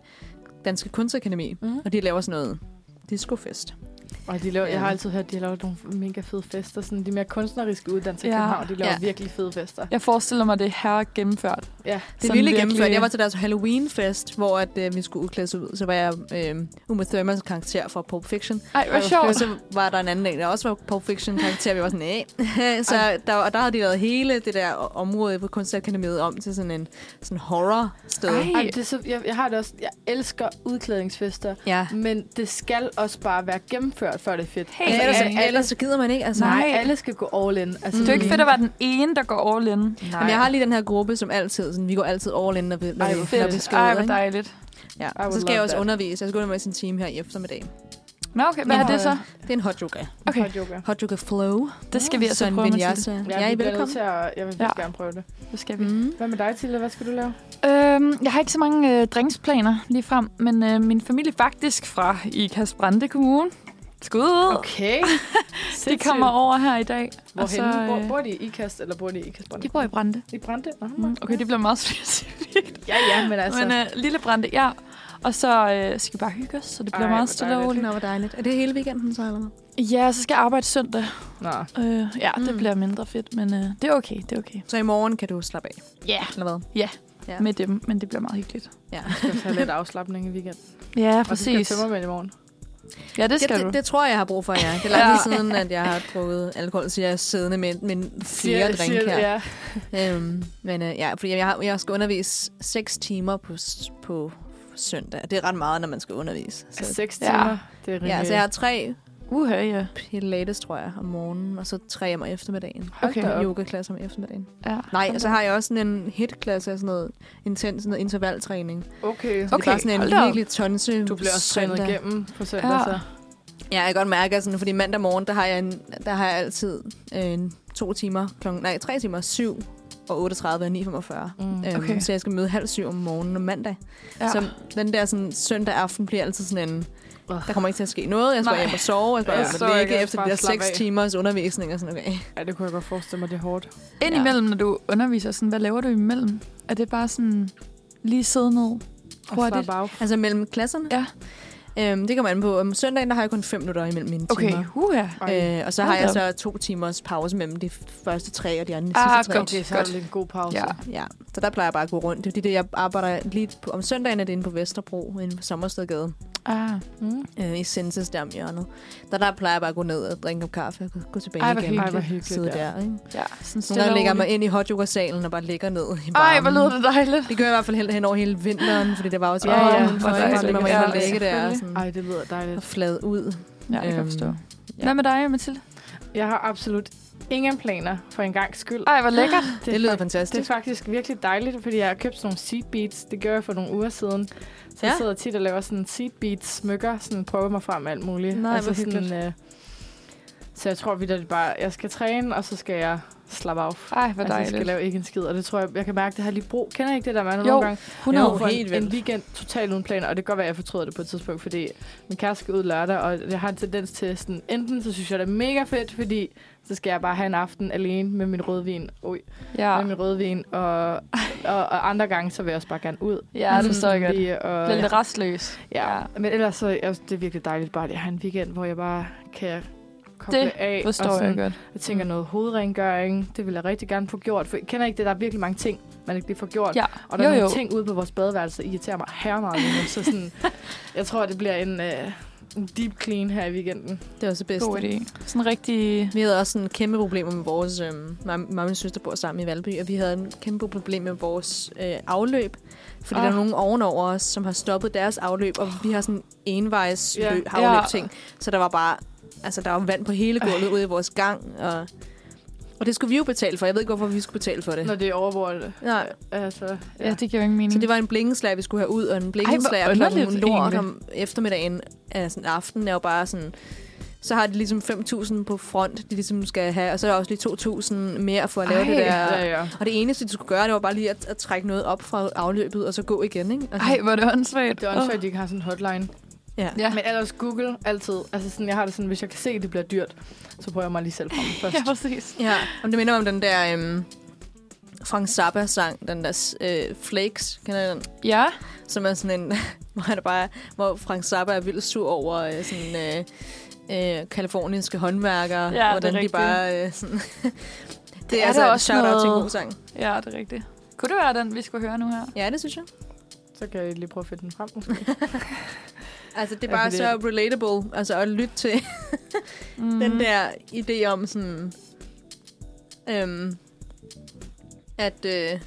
[SPEAKER 4] Danske Kunstakademi.
[SPEAKER 3] Mhm.
[SPEAKER 4] Mm. Og de laver sådan noget discofest.
[SPEAKER 3] Og de laver, jeg har
[SPEAKER 2] Øhm.
[SPEAKER 4] Ja.
[SPEAKER 3] altid hørt, at de laver nogle mega fede fester. Sådan de mere kunstneriske uddannelser i
[SPEAKER 2] Ja.
[SPEAKER 3] København, de laver
[SPEAKER 4] Ja.
[SPEAKER 3] virkelig fede fester.
[SPEAKER 2] jeg forestiller mig, det er her gennemført.
[SPEAKER 3] Ja.
[SPEAKER 4] Det er
[SPEAKER 2] Sådan
[SPEAKER 4] vildt
[SPEAKER 2] virkelig-
[SPEAKER 4] gennemført. Jeg var til deres Halloween-fest, hvor at, øh, vi skulle udklædes ud. Så var jeg øh, Uma Thurmans karakter fra Pulp Fiction.
[SPEAKER 2] Ej, hvor sjovt.
[SPEAKER 4] Og så var der en anden en, der også var Pulp Fiction-karakter. Vi var sådan, æh. så der, og der havde de lavet hele det der område på Kunstakademiet om til sådan en sådan horror-sted.
[SPEAKER 2] Ej.
[SPEAKER 3] Ej, det er så, jeg, jeg, har det også, jeg elsker udklædningsfester,
[SPEAKER 4] Ja.
[SPEAKER 3] men det skal også bare være gennemført, før det er fedt.
[SPEAKER 2] Helt
[SPEAKER 4] ellers,
[SPEAKER 2] enig.
[SPEAKER 3] alle,
[SPEAKER 4] ellers så gider man ikke. Altså,
[SPEAKER 2] Nej.
[SPEAKER 3] nej. alle skal gå all in. Altså,
[SPEAKER 2] Det er jo ikke fedt at være den ene, der går all in.
[SPEAKER 4] Men jeg har lige den her gruppe, som altid, sådan, vi går altid all in, når vi, når
[SPEAKER 3] Ej,
[SPEAKER 4] vi,
[SPEAKER 3] hvor
[SPEAKER 4] når
[SPEAKER 2] Fedt.
[SPEAKER 4] vi skal
[SPEAKER 2] Ej,
[SPEAKER 4] ud.
[SPEAKER 2] hvor
[SPEAKER 4] ikke?
[SPEAKER 2] dejligt.
[SPEAKER 4] Ja.
[SPEAKER 3] would
[SPEAKER 4] Så skal
[SPEAKER 3] love
[SPEAKER 4] jeg også
[SPEAKER 3] that.
[SPEAKER 4] undervise. Jeg skal undervise en time her i eftermiddag.
[SPEAKER 2] Nå, okay. Hvad
[SPEAKER 4] Ja.
[SPEAKER 2] er det så?
[SPEAKER 4] Det er en hot yoga.
[SPEAKER 2] Okay.
[SPEAKER 3] Hot yoga.
[SPEAKER 4] Hot yoga flow.
[SPEAKER 2] Det skal vi altså
[SPEAKER 4] Sådan
[SPEAKER 2] prøve, Mathilde.
[SPEAKER 4] vinyasa. Ja, I er
[SPEAKER 3] bliver nødt
[SPEAKER 4] velkommen.
[SPEAKER 3] Til at, jeg vil
[SPEAKER 2] Ja.
[SPEAKER 3] ja. gerne prøve det.
[SPEAKER 2] Det skal vi.
[SPEAKER 4] Mm.
[SPEAKER 3] Hvad med dig, Tilde? Hvad skal du lave?
[SPEAKER 2] Øhm, jeg har ikke så mange øh, drinksplaner lige frem, men øh, min familie er faktisk fra i Kasbrande Kommune. Skud! Okay. De
[SPEAKER 3] Sindssygt.
[SPEAKER 2] kommer over her i dag. og
[SPEAKER 3] Hvorhenne?
[SPEAKER 2] så,
[SPEAKER 3] Hvor,
[SPEAKER 2] øh,
[SPEAKER 3] bor de i Ikast, eller bor de i Ikast Brande?
[SPEAKER 2] De bor i Brande.
[SPEAKER 3] I Brande? Nå,
[SPEAKER 2] Mm, okay, det bliver meget specifikt.
[SPEAKER 3] Ja, ja, men altså...
[SPEAKER 2] Altså. Men øh, lille Brande, ja. Og så øh, skal vi bare hygge os, så det bliver
[SPEAKER 3] Ej,
[SPEAKER 2] Ej, meget
[SPEAKER 3] hvor
[SPEAKER 2] stille og
[SPEAKER 3] dejligt.
[SPEAKER 2] roligt.
[SPEAKER 4] Nå, hvor dejligt. Er det hele weekenden så, eller hvad?
[SPEAKER 2] Ja, så skal jeg arbejde søndag.
[SPEAKER 3] Nå.
[SPEAKER 2] Øh, ja, mm. det
[SPEAKER 4] Mm.
[SPEAKER 2] bliver mindre fedt, men øh, det er okay, det er okay.
[SPEAKER 4] Så i morgen kan du slappe af,
[SPEAKER 2] Ja, yeah.
[SPEAKER 4] eller hvad? Ja.
[SPEAKER 2] med dem, men det bliver meget hyggeligt.
[SPEAKER 4] Ja.
[SPEAKER 3] Jeg skal tage lidt afslappning i weekenden.
[SPEAKER 2] Ja,
[SPEAKER 3] Og så skal jeg
[SPEAKER 2] præcis.
[SPEAKER 3] tømmermænd i morgen.
[SPEAKER 2] Ja, det
[SPEAKER 4] Det,
[SPEAKER 2] skal du.
[SPEAKER 4] det, det, tror jeg, jeg har brug for, ja. Det er
[SPEAKER 2] Ja.
[SPEAKER 4] lang tid siden, at jeg har drukket alkohol, så jeg er siddende med, med flere drink her.
[SPEAKER 3] Ja.
[SPEAKER 4] Øhm, men øh, ja, fordi jeg, har, jeg skal undervise 6 timer på, s- på søndag. Det er ret meget, når man skal undervise. Så,
[SPEAKER 3] Seks
[SPEAKER 2] Ja.
[SPEAKER 3] timer. Det er rimelig...
[SPEAKER 4] ja, så jeg har tre
[SPEAKER 2] Uha, ja.
[SPEAKER 4] pilates, tror jeg, om morgenen, og så tre om eftermiddagen.
[SPEAKER 3] Hold da op.
[SPEAKER 4] Yoga-klasse om eftermiddagen.
[SPEAKER 2] ja.
[SPEAKER 4] Nej,
[SPEAKER 3] altså,
[SPEAKER 4] og så har jeg også sådan en hit-klasse af sådan noget intens sådan noget intervaltræning. Så
[SPEAKER 3] Okay.
[SPEAKER 4] det er bare sådan en
[SPEAKER 2] hold da op.
[SPEAKER 4] virkelig tonse
[SPEAKER 3] Du bliver også trænet
[SPEAKER 4] søndag.
[SPEAKER 3] igennem på søndag,
[SPEAKER 2] Ja.
[SPEAKER 3] så.
[SPEAKER 4] Ja, jeg kan godt mærke, at sådan, fordi mandag morgen, der har jeg, en, der har jeg altid øh, en, to timer, klokken, nej, tre timer, syv og 38 og 9.45.
[SPEAKER 3] Mm.
[SPEAKER 4] Øhm,
[SPEAKER 2] Okay.
[SPEAKER 4] okay. Så jeg skal møde halv syv om morgenen om mandag.
[SPEAKER 2] Ja.
[SPEAKER 4] Ja. Så den der sådan, søndag aften bliver altid sådan en,
[SPEAKER 3] Ugh.
[SPEAKER 4] der kommer ikke til at ske noget. Jeg skal
[SPEAKER 2] Nej.
[SPEAKER 4] bare hjem og sove, jeg skal
[SPEAKER 3] Ja.
[SPEAKER 4] bare hjem
[SPEAKER 3] Så
[SPEAKER 4] og
[SPEAKER 3] jeg
[SPEAKER 4] ligge
[SPEAKER 3] kan
[SPEAKER 4] efter
[SPEAKER 3] bare
[SPEAKER 4] de der
[SPEAKER 3] slappe
[SPEAKER 4] seks
[SPEAKER 3] af.
[SPEAKER 4] timers undervisning og sådan, okay.
[SPEAKER 3] Ja, det kunne jeg godt forestille mig, det er hårdt.
[SPEAKER 2] Indimellem, når du underviser, sådan, hvad laver du imellem? Er det bare sådan lige sidde ned
[SPEAKER 3] Og
[SPEAKER 2] hurtigt?
[SPEAKER 3] slappe af.
[SPEAKER 4] Altså mellem klasserne?
[SPEAKER 2] Ja.
[SPEAKER 4] Øhm, det kommer an på. Om søndagen, der har jeg kun fem minutter imellem mine
[SPEAKER 2] Okay,
[SPEAKER 4] timer.
[SPEAKER 2] huha.
[SPEAKER 3] Ej.
[SPEAKER 4] Øh, og så har
[SPEAKER 2] Hold
[SPEAKER 4] jeg
[SPEAKER 2] da
[SPEAKER 4] så to timers pause mellem de første tre og de andre
[SPEAKER 2] Ah,
[SPEAKER 4] sidste tre.
[SPEAKER 2] godt.
[SPEAKER 3] Det er så
[SPEAKER 2] Godt.
[SPEAKER 3] lidt en god pause.
[SPEAKER 2] Ja.
[SPEAKER 4] Ja, så der plejer jeg bare at gå rundt. Det er fordi, det, jeg arbejder lige på, om søndagen er det inde på Vesterbro, inde på Sommerstedgade,
[SPEAKER 2] Ah.
[SPEAKER 3] Mm.
[SPEAKER 4] øh, i Senses der om hjørnet. Der, der plejer jeg bare at gå ned og drikke en kop kaffe og gå, gå tilbage
[SPEAKER 2] Ej, hvor
[SPEAKER 4] igen.
[SPEAKER 2] hyggeligt.
[SPEAKER 3] Ej, hvor hyggeligt.
[SPEAKER 4] Sidde
[SPEAKER 3] ja.
[SPEAKER 4] der, ikke?
[SPEAKER 2] Ja, sådan
[SPEAKER 4] Nogle
[SPEAKER 2] stille
[SPEAKER 4] gange
[SPEAKER 2] og
[SPEAKER 4] lægger jeg mig
[SPEAKER 2] roligt.
[SPEAKER 4] ind i hot yoga salen og bare ligger ned i varmen.
[SPEAKER 2] Ej, hvor lød det dejligt.
[SPEAKER 4] Det gør jeg i hvert fald helt hen over hele vinteren, fordi det var jo så
[SPEAKER 2] Ja,
[SPEAKER 4] varmt
[SPEAKER 2] ja,
[SPEAKER 4] udenfor,
[SPEAKER 2] hvor
[SPEAKER 4] ikke?
[SPEAKER 2] dejligt.
[SPEAKER 4] Så man må ind og
[SPEAKER 2] Ja,
[SPEAKER 4] ligge der og
[SPEAKER 2] selvfølgelig.
[SPEAKER 4] sådan,
[SPEAKER 3] Ej, det lyder dejligt.
[SPEAKER 4] og flad ud.
[SPEAKER 2] Ja, det kan jeg
[SPEAKER 4] Øhm,
[SPEAKER 2] forstå.
[SPEAKER 4] ja.
[SPEAKER 2] Hvad med dig, Mathilde?
[SPEAKER 3] Jeg har absolut ingen planer for en gang skyld. Ah,
[SPEAKER 2] Ej, hvor lækkert.
[SPEAKER 4] Det lyder
[SPEAKER 3] Altså, Det er
[SPEAKER 4] fantastisk.
[SPEAKER 3] faktisk virkelig dejligt, fordi jeg har købt sådan nogle seed beads. Det gjorde jeg for nogle uger siden. Så ja. jeg
[SPEAKER 4] Ja.
[SPEAKER 3] sidder tit og laver sådan seed beads smykker, sådan prøver mig frem med alt muligt.
[SPEAKER 4] Nej,
[SPEAKER 3] altså
[SPEAKER 4] hvor
[SPEAKER 3] sådan, øh, så jeg tror vidt, at det bare, jeg skal træne, og så skal jeg slappe af.
[SPEAKER 2] Ej, hvor
[SPEAKER 3] Altså, jeg skal
[SPEAKER 2] dejligt.
[SPEAKER 3] lave ikke en skid, og det tror jeg, jeg kan mærke, det har jeg lige brug. Kender I ikke det der, man
[SPEAKER 2] Jo,
[SPEAKER 3] nogle gange?
[SPEAKER 2] 100.
[SPEAKER 4] Jo,
[SPEAKER 3] for
[SPEAKER 4] helt
[SPEAKER 3] en, en
[SPEAKER 4] vildt.
[SPEAKER 3] weekend totalt uden planer, og det kan godt være, at jeg fortryder det på et tidspunkt, fordi min kæreste skal ud lørdag, og jeg har en tendens til sådan, enten så synes jeg, det er mega fedt, fordi så skal jeg bare have en aften alene med min rødvin. Oj,
[SPEAKER 2] Ja,
[SPEAKER 3] med min rødvin, og, og, og andre gange, så vil jeg også bare gerne ud.
[SPEAKER 2] ja det forstår jeg godt.
[SPEAKER 3] Lige, øh, og,
[SPEAKER 2] Bliver lidt restløs.
[SPEAKER 3] ja. ja. Men ellers så er det virkelig dejligt bare lige at have en weekend, hvor jeg bare kan koble
[SPEAKER 2] Det
[SPEAKER 3] af. og
[SPEAKER 2] Forstår
[SPEAKER 3] sådan,
[SPEAKER 2] jeg godt. Mm.
[SPEAKER 3] Jeg tænker noget hovedrengøring, det vil jeg rigtig gerne få gjort. For jeg kender ikke det, der er virkelig mange ting, man ikke lige får gjort.
[SPEAKER 2] Ja,
[SPEAKER 3] Og der
[SPEAKER 2] jo,
[SPEAKER 3] er nogle
[SPEAKER 2] jo.
[SPEAKER 3] ting ude på vores badeværelse, der irriterer mig her meget lige nu. Så sådan, jeg tror, det bliver en... Øh, en deep clean her i weekenden.
[SPEAKER 4] Det var så bedst.
[SPEAKER 2] God idé. Sådan rigtig...
[SPEAKER 4] Vi havde også sådan kæmpe problemer med vores... Øh, mamma og min søster bor sammen i Valby, og vi havde en kæmpe problem med vores øh, afløb. Fordi
[SPEAKER 2] Ah.
[SPEAKER 4] der er nogen ovenover os, som har stoppet deres afløb, og vi har sådan envejs
[SPEAKER 3] Ja.
[SPEAKER 4] yeah. afløb-ting. Så der var bare... Altså, der var vand på hele gulvet ude i vores gang, og... Og det skulle vi jo betale for. Jeg ved ikke, hvorfor vi skulle betale for det.
[SPEAKER 3] Når det er overvåret.
[SPEAKER 4] Nej.
[SPEAKER 3] Altså,
[SPEAKER 2] Ja, det giver jo ingen mening.
[SPEAKER 4] Så det var en blinkenslager, vi skulle have ud, og en
[SPEAKER 2] Ej,
[SPEAKER 4] blinkenslager
[SPEAKER 2] hvor
[SPEAKER 4] klokken nogle
[SPEAKER 2] underligt,
[SPEAKER 4] lort
[SPEAKER 2] egentlig.
[SPEAKER 4] om eftermiddagen, altså aften, er jo bare sådan... Så har de ligesom 5.000 på front, de ligesom skal have, og så er der også lige 2.000 mere for at lave
[SPEAKER 2] Ej.
[SPEAKER 4] Ej, det der.
[SPEAKER 3] ja, ja.
[SPEAKER 4] Og det eneste, de skulle gøre, det var bare lige at, at trække noget op fra afløbet, og så gå igen, ikke? Altså,
[SPEAKER 2] Ej, hvor er det åndssvagt.
[SPEAKER 3] Det er åndssvagt, at de ikke har sådan en hotline.
[SPEAKER 4] Ja.
[SPEAKER 2] Ja.
[SPEAKER 3] Men ellers Google altid. Altså sådan, jeg har det sådan, hvis jeg kan se, at det bliver dyrt, så prøver jeg mig lige selv frem først.
[SPEAKER 2] Ja, præcis.
[SPEAKER 4] ja. Om det minder om den der... Øhm, Frank Zappa-sang, den der øh, Flakes, kender I den?
[SPEAKER 2] Ja.
[SPEAKER 4] som er sådan en, hvor, han er bare, hvor Frank Zappa er vildt sur over øh, sådan, øh, øh, kaliforniske håndværkere,
[SPEAKER 2] det er
[SPEAKER 4] hvordan de
[SPEAKER 2] rigtigt.
[SPEAKER 4] bare... Øh, sådan, det,
[SPEAKER 2] er
[SPEAKER 4] er altså
[SPEAKER 2] da
[SPEAKER 4] også
[SPEAKER 2] også
[SPEAKER 4] shout-out til en
[SPEAKER 2] noget-
[SPEAKER 4] god sang.
[SPEAKER 2] Ja, det er rigtigt. Kunne det være den, vi skulle høre nu her?
[SPEAKER 4] Ja, det synes jeg.
[SPEAKER 3] Så kan jeg lige prøve at finde den frem. måske.
[SPEAKER 4] Altså, det er
[SPEAKER 3] Ja,
[SPEAKER 4] bare
[SPEAKER 3] fordi-
[SPEAKER 4] så relatable altså, at lytte til mm.
[SPEAKER 2] Mm.
[SPEAKER 4] den der idé om sådan... Øhm, at... Øh,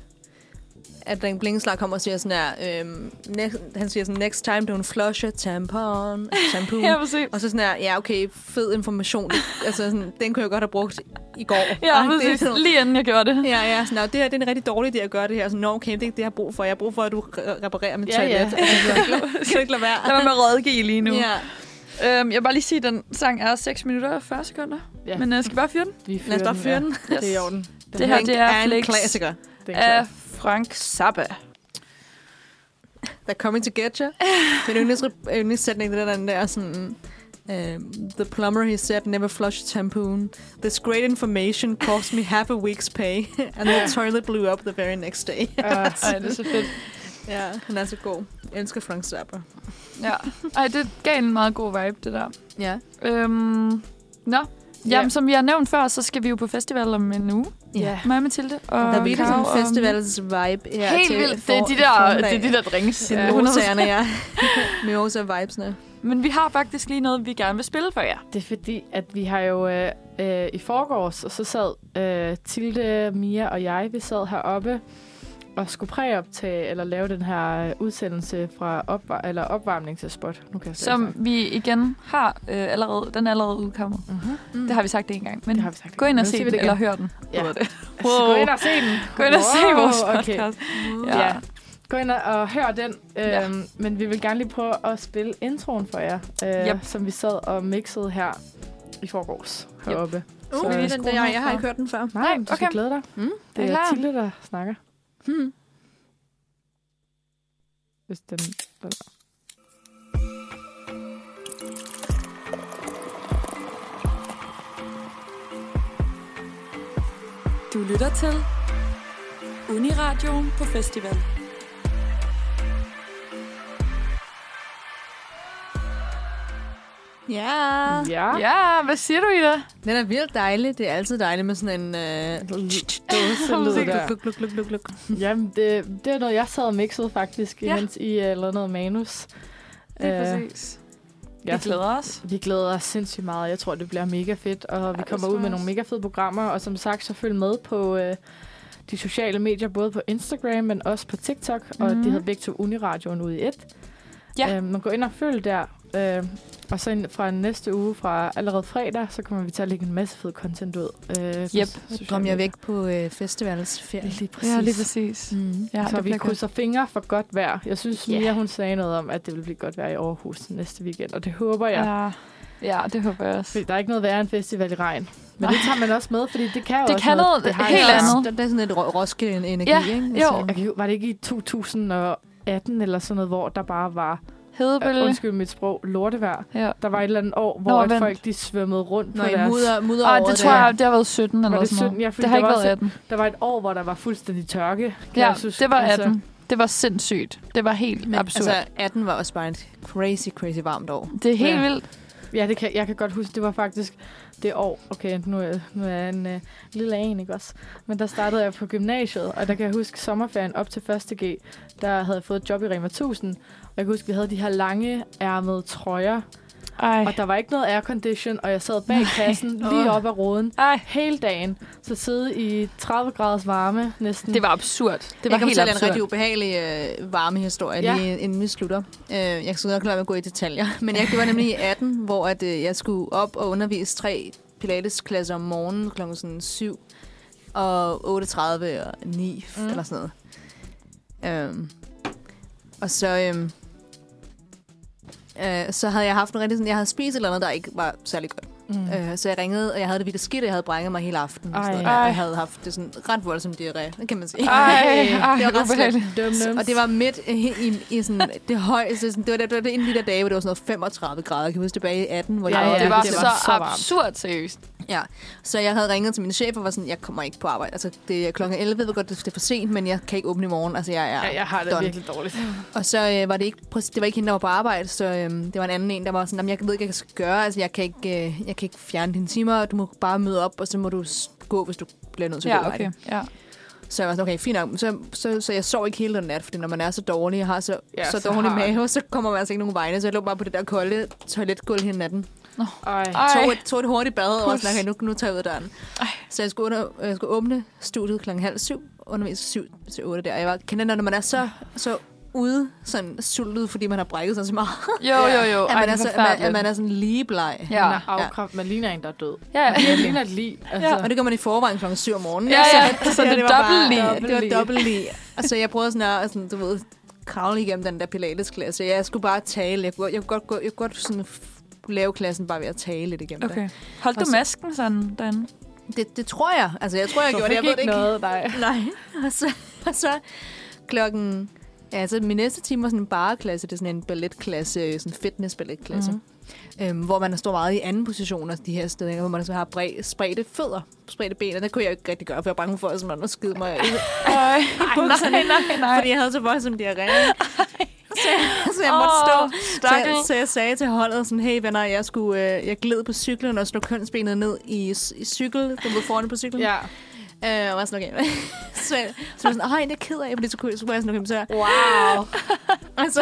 [SPEAKER 4] at den blingeslag kommer og siger sådan her, øhm, next, han siger sådan, next time don't flush a tampon, shampoo.
[SPEAKER 2] Ja, præcis.
[SPEAKER 4] Og så sådan her, ja okay, fed information. altså sådan, den kunne jeg godt have brugt i går.
[SPEAKER 2] Ja,
[SPEAKER 4] Og det er
[SPEAKER 2] præcis.
[SPEAKER 4] sådan-
[SPEAKER 2] Lige inden jeg gjorde det.
[SPEAKER 4] Ja, ja, sådan, "Nå, det her det er en rigtig dårlig idé at gøre det her. Så, Nå, okay, det er ikke det, jeg har brug for. Jeg har brug for, at du re- reparerer mit
[SPEAKER 3] Ja,
[SPEAKER 4] toilet.
[SPEAKER 3] ja.
[SPEAKER 4] Altså, så, kan du ikke lade være?
[SPEAKER 2] Lad mig med at rådgive lige nu.
[SPEAKER 4] Ja,
[SPEAKER 2] Øhm, jeg vil bare lige sige, at den sang er 6 minutter og 40 sekunder.
[SPEAKER 3] Ja.
[SPEAKER 2] Men øh, skal vi bare fyre den?
[SPEAKER 3] Vi
[SPEAKER 4] lad os bare fyre den.
[SPEAKER 3] Ja. Det er i orden.
[SPEAKER 2] Det, her,
[SPEAKER 4] Blink
[SPEAKER 2] det er,
[SPEAKER 4] en
[SPEAKER 2] Flakes
[SPEAKER 4] klassiker.
[SPEAKER 3] Det er
[SPEAKER 2] af
[SPEAKER 3] klart.
[SPEAKER 2] Frank Zappa.
[SPEAKER 4] They're coming to get you. Min yndlings, yndlingssætning, det er den der sådan... Uh, the plumber, he said, never flush a tampon. This great information cost me half a week's pay. And the toilet blew up the very next day.
[SPEAKER 3] Ah,
[SPEAKER 2] Ej, det er så fedt.
[SPEAKER 4] ja, han er så god. Jeg elsker Frank Zappa.
[SPEAKER 2] Ja. Ej, det gav en meget god vibe, det der.
[SPEAKER 4] Ja.
[SPEAKER 2] Øhm, nå. Jamen,
[SPEAKER 3] Ja.
[SPEAKER 2] som jeg har nævnt før, så skal vi jo på festival om en uge.
[SPEAKER 3] Ja.
[SPEAKER 2] Mig og Mathilde. Og
[SPEAKER 4] Der er virkelig sådan
[SPEAKER 2] Karo
[SPEAKER 4] en
[SPEAKER 2] og-
[SPEAKER 4] festivals-vibe her
[SPEAKER 2] Helt
[SPEAKER 4] til
[SPEAKER 2] vildt.
[SPEAKER 4] for-
[SPEAKER 2] Det er de der, det
[SPEAKER 4] formiddagen.
[SPEAKER 2] er de der drinks.
[SPEAKER 4] Det er
[SPEAKER 2] Ja.
[SPEAKER 4] Mimosaerne, ja. Mimosa-vibesene.
[SPEAKER 2] Men vi har faktisk lige noget, vi gerne vil spille for jer.
[SPEAKER 3] Det er fordi, at vi har jo øh, øh, i forgårs, og så sad øh, Tilde, Mia og jeg, vi sad heroppe og skulle præoptage eller lave den her øh, udsendelse fra opvar- eller opvarmning til spot. Nu kan jeg slet ikke
[SPEAKER 2] Som vi igen har øh, allerede. Den er allerede udkommet.
[SPEAKER 3] snakke. Mhm.
[SPEAKER 4] Mm.
[SPEAKER 2] Det har vi sagt en gang. Men
[SPEAKER 3] Det har vi sagt.
[SPEAKER 2] gå ind
[SPEAKER 3] Nu
[SPEAKER 2] og
[SPEAKER 3] siger
[SPEAKER 2] se
[SPEAKER 3] vi
[SPEAKER 2] den,
[SPEAKER 3] det igen.
[SPEAKER 2] eller hør den.
[SPEAKER 3] Ja.
[SPEAKER 2] Hedder det.
[SPEAKER 3] Wow. Gå ind og se den.
[SPEAKER 2] Gå ind og se
[SPEAKER 3] Wow,
[SPEAKER 2] vores
[SPEAKER 3] okay.
[SPEAKER 4] Uh,
[SPEAKER 2] podcast.
[SPEAKER 3] Ja. ja. Gå ind og, og hør den. Øhm,
[SPEAKER 2] Ja.
[SPEAKER 3] Men vi vil gerne lige prøve at spille introen for jer, øh,
[SPEAKER 2] Yep.
[SPEAKER 3] som vi sad og mixede her i forgårs heroppe.
[SPEAKER 4] Uh,
[SPEAKER 3] Så-
[SPEAKER 4] det er den der, jeg har ikke hørt den før.
[SPEAKER 3] Nej, du skal
[SPEAKER 2] okay.
[SPEAKER 3] glæde dig.
[SPEAKER 4] Mm.
[SPEAKER 2] Er I
[SPEAKER 3] Det er
[SPEAKER 2] klar?
[SPEAKER 3] Tilde, der snakker.
[SPEAKER 4] Hmm.
[SPEAKER 3] Hvis den, den
[SPEAKER 6] Du lytter til Uniradioen på festival.
[SPEAKER 4] Ja.
[SPEAKER 3] Ja.
[SPEAKER 2] Ah. Ja, hvad siger du, Ida?
[SPEAKER 4] Den er vildt dejlig. Det er altid dejligt med sådan en... Øh,
[SPEAKER 3] Dåselyd der.
[SPEAKER 4] luk, luk, luk, luk, luk.
[SPEAKER 3] Jamen, det, det er noget, jeg sad og mixede faktisk,
[SPEAKER 2] Ja.
[SPEAKER 3] imens I uh, lavede noget manus.
[SPEAKER 2] Det er
[SPEAKER 3] Øh,
[SPEAKER 2] præcis.
[SPEAKER 3] ja,
[SPEAKER 2] Vi glæder os.
[SPEAKER 3] Vi glæder os sindssygt meget. Jeg tror, det bliver mega fedt, og vi
[SPEAKER 2] det
[SPEAKER 3] kommer
[SPEAKER 2] tror
[SPEAKER 3] ud med
[SPEAKER 2] jeg
[SPEAKER 3] nogle
[SPEAKER 2] også.
[SPEAKER 3] mega fede programmer. Og som sagt, så følg med på øh, de sociale medier, både på Instagram, men også på TikTok. Mm. Og
[SPEAKER 2] Mhm.
[SPEAKER 3] de hedder begge to Uniradioen ude i et.
[SPEAKER 2] Ja.
[SPEAKER 3] Øh, man går ind og følg der. Øh, og så ind- fra næste uge, fra allerede fredag, så kommer vi til at lægge en masse fed content ud. Øh, på
[SPEAKER 2] Yep.
[SPEAKER 3] sociale
[SPEAKER 4] Kom jeg
[SPEAKER 3] medier.
[SPEAKER 4] væk på øh, festivalsferie.
[SPEAKER 3] Lige præcis.
[SPEAKER 2] Ja, lige præcis.
[SPEAKER 4] Mm.
[SPEAKER 2] Ja,
[SPEAKER 3] så
[SPEAKER 2] det
[SPEAKER 3] vi
[SPEAKER 2] bliver godt.
[SPEAKER 3] krydser fingre for godt vejr. Jeg synes,
[SPEAKER 2] Ja.
[SPEAKER 3] yeah. Mia hun sagde noget om, at det vil blive godt vejr i Aarhus næste weekend, og det håber jeg.
[SPEAKER 2] Ja. ja, det håber jeg også.
[SPEAKER 3] Fordi der er ikke noget værre end festival i regn. Men det tager man også med, fordi det kan jo
[SPEAKER 2] Det
[SPEAKER 3] også
[SPEAKER 2] kan
[SPEAKER 3] noget.
[SPEAKER 2] noget
[SPEAKER 3] har
[SPEAKER 2] helt
[SPEAKER 3] jeg også.
[SPEAKER 2] andet.
[SPEAKER 4] Det er sådan lidt roske-energi,
[SPEAKER 2] Ja,
[SPEAKER 4] ikke? Altså,
[SPEAKER 2] jo.
[SPEAKER 3] Jeg kan, hu- var det ikke i 2018 eller sådan noget, hvor der bare var, øh,
[SPEAKER 2] Hedebølge.
[SPEAKER 3] undskyld mit sprog, lortevejr.
[SPEAKER 2] Ja.
[SPEAKER 3] Der var et eller andet år, hvor at
[SPEAKER 2] vent.
[SPEAKER 3] folk de svømmede rundt
[SPEAKER 4] Når
[SPEAKER 3] på
[SPEAKER 4] I
[SPEAKER 3] deres...
[SPEAKER 4] mudder, mudder
[SPEAKER 2] Ej,
[SPEAKER 4] over
[SPEAKER 2] det tror
[SPEAKER 4] der.
[SPEAKER 2] jeg, det har været 17 eller
[SPEAKER 3] det
[SPEAKER 2] sådan noget.
[SPEAKER 3] 17? Ja, fordi
[SPEAKER 2] det har
[SPEAKER 3] der
[SPEAKER 2] ikke
[SPEAKER 3] var
[SPEAKER 2] været 18.
[SPEAKER 3] Der var et år, hvor der var fuldstændig tørke. kan
[SPEAKER 2] Ja,
[SPEAKER 3] jeg synes.
[SPEAKER 2] det var
[SPEAKER 3] Altså,
[SPEAKER 2] 18. Det var sindssygt. Det var helt
[SPEAKER 4] Men,
[SPEAKER 2] absurd.
[SPEAKER 4] altså, 18 var også bare et crazy, crazy varmt år.
[SPEAKER 2] Det er helt
[SPEAKER 3] Ja.
[SPEAKER 2] vildt.
[SPEAKER 3] Ja, det kan, jeg kan godt huske, det var faktisk det år, okay, nu er, nu er jeg en øh, lille en, ikke også? Men der startede jeg på gymnasiet, og der kan jeg huske sommerferien op til 1.G, der havde jeg fået et job i Rema 1000, og jeg kan huske, vi havde de her lange ærmede trøjer,
[SPEAKER 2] Ej.
[SPEAKER 3] Og der var ikke noget aircondition, og jeg sad bag kassen lige op ad roden
[SPEAKER 2] Ej.
[SPEAKER 3] hele dagen. Så sidde i 30 graders varme næsten.
[SPEAKER 2] Det var absurd. Det var
[SPEAKER 4] jeg kan
[SPEAKER 2] helt
[SPEAKER 4] fortælle
[SPEAKER 2] absurd.
[SPEAKER 4] en rigtig ubehagelig øh, varmehistorie,
[SPEAKER 3] Ja.
[SPEAKER 4] ja. lige inden vi slutter. Øh, jeg kan så godt klare med at gå i detaljer, men jeg, det var nemlig i 18, hvor at, øh, jeg skulle op og undervise tre pilatesklasser om morgenen kl. Sådan 7 og 8.30 og 9 mm. eller sådan noget. Øhm, og så, øhm, øh, så havde jeg haft en rigtig sådan, jeg havde spist et eller andet, der ikke var særlig godt.
[SPEAKER 3] Mm.
[SPEAKER 4] Øh, så jeg ringede, og jeg havde det vildt skidt, og jeg havde brænget mig hele aftenen. og sådan
[SPEAKER 3] Ej.
[SPEAKER 4] noget der.
[SPEAKER 2] Ej.
[SPEAKER 4] Jeg havde haft det sådan ret voldsomt diarré, det kan man sige.
[SPEAKER 2] Ej, ej,
[SPEAKER 4] det var ret slemt.
[SPEAKER 2] ubehageligt.
[SPEAKER 3] Dum, dum.
[SPEAKER 4] Og det var midt i, i, i sådan, det højeste, sådan, det var, det, det var en af de der dage, hvor det var sådan noget 35 grader, kan du huske tilbage i 18, hvor det
[SPEAKER 3] Ja,
[SPEAKER 4] var,
[SPEAKER 3] ja,
[SPEAKER 2] Det var,
[SPEAKER 3] det
[SPEAKER 2] det
[SPEAKER 3] var
[SPEAKER 2] var
[SPEAKER 3] så
[SPEAKER 2] så
[SPEAKER 3] varmt.
[SPEAKER 2] absurd, seriøst.
[SPEAKER 4] Ja, så jeg havde ringet til min chef og var sådan, jeg kommer ikke på arbejde. Altså, det er klokken 11, jeg ved godt, det er for sent, men jeg kan ikke åbne i morgen. Altså, jeg er
[SPEAKER 3] Ja, jeg har det
[SPEAKER 4] done.
[SPEAKER 3] virkelig dårligt.
[SPEAKER 4] Og så øh, var det ikke, præcis- det var ikke hende, der var på arbejde, så øh, det var en anden en, der var sådan, "Jamen, jeg ved ikke, hvad jeg skal gøre. Altså, jeg kan ikke, øh, jeg kan ikke fjerne dine timer, og du må bare møde op, og så må du s- gå, hvis du bliver nødt til at
[SPEAKER 2] Ja,
[SPEAKER 4] gå arbejde."
[SPEAKER 2] okay. Ja.
[SPEAKER 4] Så jeg var sådan, okay, fint nok. Så, så, så jeg sov ikke hele den nat, fordi når man er så dårlig og har så,
[SPEAKER 3] Ja,
[SPEAKER 4] ja, så,
[SPEAKER 3] så
[SPEAKER 4] dårlig
[SPEAKER 3] har-
[SPEAKER 4] mave, så kommer man altså ikke nogen vegne. Så jeg lå bare på det der kolde toiletgulv hele natten.
[SPEAKER 3] Ej.
[SPEAKER 4] Tog
[SPEAKER 2] Ej,
[SPEAKER 4] et, tog et hurtigt bad og var sådan,
[SPEAKER 2] Puls.
[SPEAKER 4] okay, nu, nu tager jeg ud af døren.
[SPEAKER 2] Ej.
[SPEAKER 4] Så jeg skulle, under, jeg skulle åbne studiet klokken halv syv, undervis syv til otte der. Jeg var, kender det, når man er så, så ude, sådan sultet, fordi man har brækket sig så meget.
[SPEAKER 2] jo, jo, jo.
[SPEAKER 4] at,
[SPEAKER 2] Ej,
[SPEAKER 4] man
[SPEAKER 2] det
[SPEAKER 4] er
[SPEAKER 2] er
[SPEAKER 4] så, at, man,
[SPEAKER 2] forfærdeligt.
[SPEAKER 4] at altså, man er sådan lige bleg.
[SPEAKER 2] Ja.
[SPEAKER 3] Man, er afkram, man ligner en, der er død.
[SPEAKER 2] Ja,
[SPEAKER 3] Man ligner et lig. Altså.
[SPEAKER 4] Og det gør man i forvejen klokken 7 om morgenen.
[SPEAKER 2] Ja,
[SPEAKER 4] ikke?
[SPEAKER 2] ja. Så
[SPEAKER 4] her,
[SPEAKER 2] det er
[SPEAKER 4] var
[SPEAKER 2] dobbelt
[SPEAKER 4] bare-
[SPEAKER 2] lige.
[SPEAKER 4] Det var dobbelt lige. Og så jeg prøvede sådan at, sådan, du ved, kravle igennem den der pilatesklasse. Jeg skulle bare tale. Jeg kunne, jeg kunne godt, gå, jeg kunne godt sådan f- lave klassen bare ved at tale lidt igennem
[SPEAKER 2] okay. Holdt du
[SPEAKER 4] Og så-
[SPEAKER 2] masken sådan derinde?
[SPEAKER 4] det. det. Det tror jeg. Altså, jeg tror, jeg
[SPEAKER 3] Så
[SPEAKER 4] gjorde det. Jeg
[SPEAKER 3] fik
[SPEAKER 4] ved det ikke.
[SPEAKER 3] noget, nej.
[SPEAKER 4] Nej. Og så, og så klokken... Ja, så min næste time var sådan en bareklasse. Det er sådan en balletklasse, sådan en fitness-balletklasse. Mm-hmm. Øhm, hvor man står meget i anden position og de her steder, hvor man så har bre- spredte fødder, spredte ben, og det kunne jeg jo ikke rigtig gøre, for jeg var bange for, at sådan, man skide mig i
[SPEAKER 2] Ej,
[SPEAKER 4] bukserne,
[SPEAKER 2] nej, nej.
[SPEAKER 4] fordi jeg havde så voldsom diarré. Så, jeg- så jeg måtte
[SPEAKER 2] Åh,
[SPEAKER 4] stå. Så
[SPEAKER 2] stakkel.
[SPEAKER 4] jeg, så jeg sagde til holdet sådan, hey venner, jeg, skulle, øh, jeg gled på cyklen og slog kønsbenet ned i, i cykel, du ved foran på cyklen.
[SPEAKER 3] Ja.
[SPEAKER 4] Øh, og var sådan, okay. så, så var jeg sådan, ej, det er jeg ked af, fordi så kunne så var jeg sådan, okay, så...
[SPEAKER 3] Wow.
[SPEAKER 4] Og så,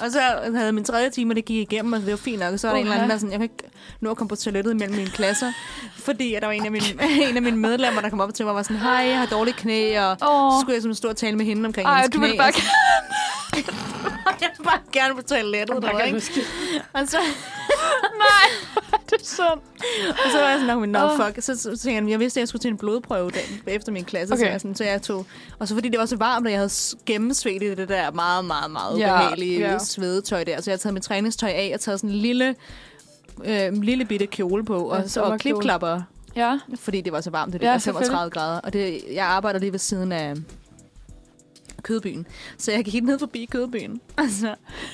[SPEAKER 4] og så havde jeg min tredje time, og det gik igennem, og det var fint nok. Og så var der en eller anden, der sådan, jeg kan ikke nå at komme på toilettet mellem mine klasser, fordi at der var en af mine, en af mine medlemmer, der kom op til mig og var sådan, hej, jeg har dårlige knæ, og
[SPEAKER 2] Åh.
[SPEAKER 4] så skulle jeg sådan stå og tale med hende omkring
[SPEAKER 2] Ej,
[SPEAKER 4] hendes
[SPEAKER 2] du
[SPEAKER 4] knæ.
[SPEAKER 2] ville bare...
[SPEAKER 4] og så- jeg vil bare gerne på toilettet, der, ikke? Og så,
[SPEAKER 2] Nej, det er sundt.
[SPEAKER 4] og så var jeg sådan, no,
[SPEAKER 2] Åh.
[SPEAKER 4] fuck. Så, så tænkte jeg, jeg vidste, at jeg skulle til en blodprøve dagen efter min klasse. Så,
[SPEAKER 2] Okay.
[SPEAKER 4] jeg sådan, så jeg tog... Og så fordi det var så varmt, og jeg havde s- gennemsvedt i det der meget, meget, meget
[SPEAKER 2] Ja,
[SPEAKER 4] ubehagelige
[SPEAKER 3] ja.
[SPEAKER 4] svedetøj der. Så jeg havde taget mit træningstøj af og taget sådan en lille, øh, lille bitte kjole på, og, så, og
[SPEAKER 3] sommerkjole.
[SPEAKER 4] klipklapper,
[SPEAKER 2] Ja.
[SPEAKER 4] fordi det var så varmt, det
[SPEAKER 2] Ja,
[SPEAKER 4] ja, var
[SPEAKER 2] selvfølgelig.
[SPEAKER 4] 35 grader. Og det, jeg arbejder lige ved siden af kødbyen. Så jeg gik ned forbi kødbyen, og så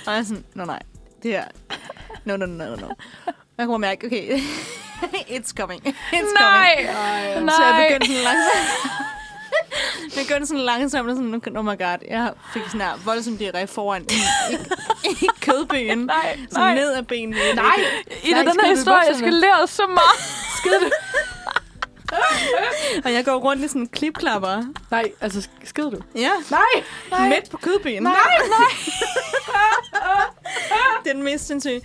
[SPEAKER 4] og jeg er sådan, nå nej, det her, no, no, no, no, no. Og jeg kunne bare mærke, okay, it's coming, it's
[SPEAKER 2] Nej,
[SPEAKER 4] coming.
[SPEAKER 2] nej.
[SPEAKER 4] Så jeg begyndte sådan langsomt. Jeg begyndte sådan langsomt og sådan, okay, oh my god, jeg fik sådan her voldsom diarré foran i, i, i kødbyen.
[SPEAKER 2] Nej,
[SPEAKER 4] Sådan
[SPEAKER 2] nej.
[SPEAKER 4] ned ad benene.
[SPEAKER 3] Nej.
[SPEAKER 2] Ida,
[SPEAKER 3] Nej,
[SPEAKER 2] den her
[SPEAKER 3] skide
[SPEAKER 2] historie
[SPEAKER 3] bukserne.
[SPEAKER 2] eskalerede så meget.
[SPEAKER 4] Og jeg går rundt i sådan en klipklapper.
[SPEAKER 3] Nej, altså skid du.
[SPEAKER 4] Ja.
[SPEAKER 3] Nej.
[SPEAKER 4] Nej. Midt på kødbenen. Nej, nej. det er den mest sindssyge.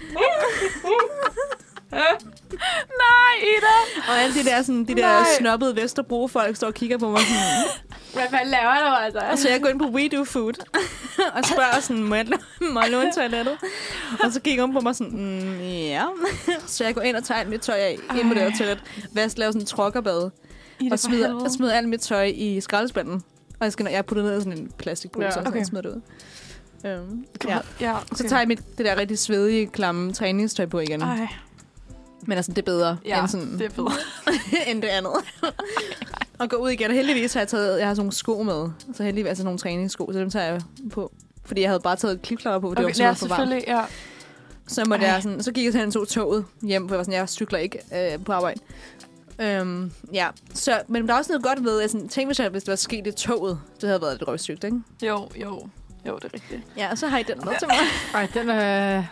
[SPEAKER 2] Nej, Ida.
[SPEAKER 4] Og alle de der, sådan, de der
[SPEAKER 2] Nej.
[SPEAKER 4] snobbede Vesterbro-folk står og kigger på mig. Sådan.
[SPEAKER 2] Hvad fanden laver du, altså?
[SPEAKER 4] Og så jeg går ind på We Do Food og spørger sådan, må jeg, lå- må jeg låne toilettet? Og så kigger hun på mig sådan, mm, ja. Så jeg går ind og tager alt mit tøj af, ind på det her toilet. Vask laver sådan en trokkerbad.
[SPEAKER 2] Ida,
[SPEAKER 4] Og smider, og smider alt mit tøj i skraldespanden. Og jeg, skal, jeg putter det ned i sådan en plastikpose,
[SPEAKER 3] Ja.
[SPEAKER 4] ja, okay. og
[SPEAKER 2] Okay.
[SPEAKER 4] sådan smider det ud. Øhm, ja.
[SPEAKER 2] Ja, okay.
[SPEAKER 4] Så tager jeg mit, det der rigtig svedige, klamme træningstøj på igen.
[SPEAKER 2] Ej,
[SPEAKER 4] Men altså, det er bedre
[SPEAKER 2] ja,
[SPEAKER 4] ja, end, sådan,
[SPEAKER 2] det
[SPEAKER 4] det.
[SPEAKER 2] er bedre.
[SPEAKER 4] end det andet. og gå ud igen. Og heldigvis har jeg taget, jeg har sådan nogle sko med. Så heldigvis, altså nogle træningssko, så dem tager jeg på. Fordi jeg havde bare taget klipklapper på, for det
[SPEAKER 2] Okay,
[SPEAKER 4] okay,
[SPEAKER 2] ja,
[SPEAKER 4] var simpelthen for varmt.
[SPEAKER 2] selvfølgelig, ja.
[SPEAKER 4] Så, måtte
[SPEAKER 2] Ej.
[SPEAKER 4] jeg sådan, så gik jeg til og tog toget hjem, for jeg var sådan, jeg cykler ikke øh, på arbejde. Øhm, ja, så, men der er også noget godt ved, at sådan, tænk hvis, jeg, hvis det var sket i toget, det havde været et røvsygt, ikke?
[SPEAKER 2] Jo, jo. Jo, det er rigtigt.
[SPEAKER 4] Ja, og så har I den med til mig.
[SPEAKER 3] Ej, den er...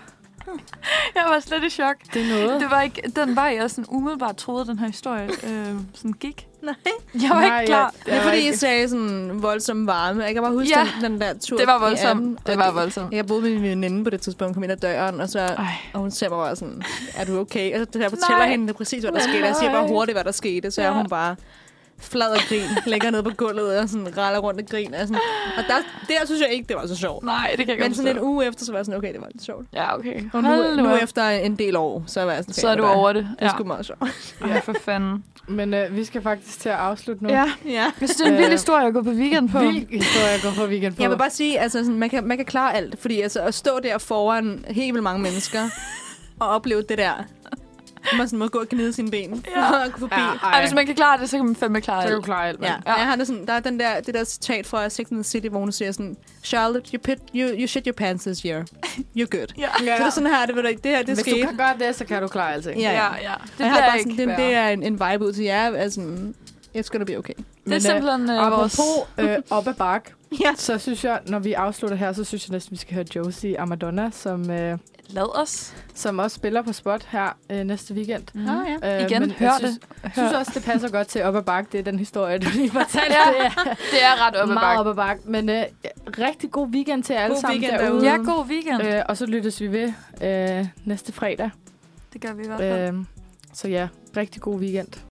[SPEAKER 2] Jeg var slet i chok.
[SPEAKER 3] Det er noget.
[SPEAKER 2] Det var ikke den vej, jeg sådan umiddelbart troede, den her historie øh, sådan gik.
[SPEAKER 4] Nej.
[SPEAKER 2] Jeg var
[SPEAKER 3] Nej,
[SPEAKER 2] ikke klar.
[SPEAKER 3] jeg-
[SPEAKER 4] Det er fordi,
[SPEAKER 3] ikke-
[SPEAKER 4] I sagde sådan voldsom varme. Jeg kan bare huske
[SPEAKER 2] Ja.
[SPEAKER 4] den, den der tur.
[SPEAKER 2] Det var
[SPEAKER 4] i
[SPEAKER 2] voldsomt.
[SPEAKER 4] Atten,
[SPEAKER 2] Det
[SPEAKER 4] og
[SPEAKER 2] var voldsomt.
[SPEAKER 4] Jeg boede med min veninde på det tidspunkt, kom ind ad døren, og, så,
[SPEAKER 2] Ej.
[SPEAKER 4] og hun ser mig bare sådan, er du okay? Og så jeg fortæller hende det præcis, hvad der skete. Altså, Jeg siger bare hurtigt, hvad der skete, så er
[SPEAKER 2] Ja.
[SPEAKER 4] hun bare flad og grin, ligger ned på gulvet og sådan raller rundt og griner. Og, sådan. og der, der synes jeg ikke, det var så sjovt.
[SPEAKER 2] Nej, det kan jeg
[SPEAKER 4] Men
[SPEAKER 2] ikke
[SPEAKER 4] sådan en uge efter, så var jeg sådan, okay, det var lidt sjovt.
[SPEAKER 2] Ja, okay.
[SPEAKER 4] Og nu, nu
[SPEAKER 2] op.
[SPEAKER 4] efter en del år, så var jeg sådan,
[SPEAKER 2] så er
[SPEAKER 4] okay,
[SPEAKER 2] du
[SPEAKER 4] det var-
[SPEAKER 2] over det.
[SPEAKER 4] Det er sgu meget sjovt.
[SPEAKER 2] ja. for fanden.
[SPEAKER 3] Men øh, vi skal faktisk til at afslutte nu.
[SPEAKER 4] Ja.
[SPEAKER 2] Jeg synes, det er en vild
[SPEAKER 3] Øh,
[SPEAKER 2] historie at gå på weekend på.
[SPEAKER 3] Vild historie at gå på weekend på.
[SPEAKER 4] Jeg vil bare sige, altså, sådan, man, kan, man kan klare alt. Fordi altså, at stå der foran helt vildt mange mennesker og opleve det der. Man sådan må gå og gnide sine ben ja. og gå forbi. Ja.
[SPEAKER 2] Ej, hvis man kan klare det, så kan man fandme klare
[SPEAKER 3] Så kan du
[SPEAKER 2] det.
[SPEAKER 3] klare alt, mand.
[SPEAKER 4] Ja. ja. Jeg har det sådan, der er den der, det der citat fra Sex and the City, hvor hun siger sådan, Charlotte, you, pit, you, you shit your pants this year. You're good.
[SPEAKER 2] Ja.
[SPEAKER 4] Ja. Så det er sådan her, det, ved du ikke, det her, det
[SPEAKER 3] Hvis
[SPEAKER 4] skete.
[SPEAKER 3] du kan gøre det, så kan du klare alting.
[SPEAKER 4] Ja, ja.
[SPEAKER 2] ja, ja. Det
[SPEAKER 4] Det, jeg har
[SPEAKER 2] bliver
[SPEAKER 4] bare
[SPEAKER 2] ikke
[SPEAKER 4] sådan, det, det er en, en vibe ud til jer. Altså, it's gonna be okay.
[SPEAKER 2] Det er simpelthen øh, vores...
[SPEAKER 3] Apropos øh, op ad bakke,
[SPEAKER 4] Ja.
[SPEAKER 3] så synes jeg, når vi afslutter her, så synes jeg næsten, vi skal høre Josie Amadonna, som, øh,
[SPEAKER 2] Lad os.
[SPEAKER 3] som også spiller på spot her øh, næste weekend.
[SPEAKER 2] Mm-hmm.
[SPEAKER 4] Mm. Ah, ja.
[SPEAKER 3] Øh,
[SPEAKER 2] Igen,
[SPEAKER 3] men
[SPEAKER 2] hør
[SPEAKER 3] jeg synes,
[SPEAKER 2] det.
[SPEAKER 3] Jeg synes også, det passer godt til op ad bakke. Det er den historie, du lige fortalte.
[SPEAKER 2] Ja,
[SPEAKER 3] det
[SPEAKER 2] Det er ret
[SPEAKER 3] er
[SPEAKER 2] op ad
[SPEAKER 3] meget
[SPEAKER 2] bakke.
[SPEAKER 3] op ad bakke. Men øh, rigtig god weekend til jer alle
[SPEAKER 4] God
[SPEAKER 3] sammen
[SPEAKER 4] weekend
[SPEAKER 3] derude.
[SPEAKER 2] Ja, god weekend.
[SPEAKER 3] Øh, og så lyttes vi ved øh, næste fredag.
[SPEAKER 2] Det gør vi i hvert fald.
[SPEAKER 3] Øh, så ja, rigtig god weekend.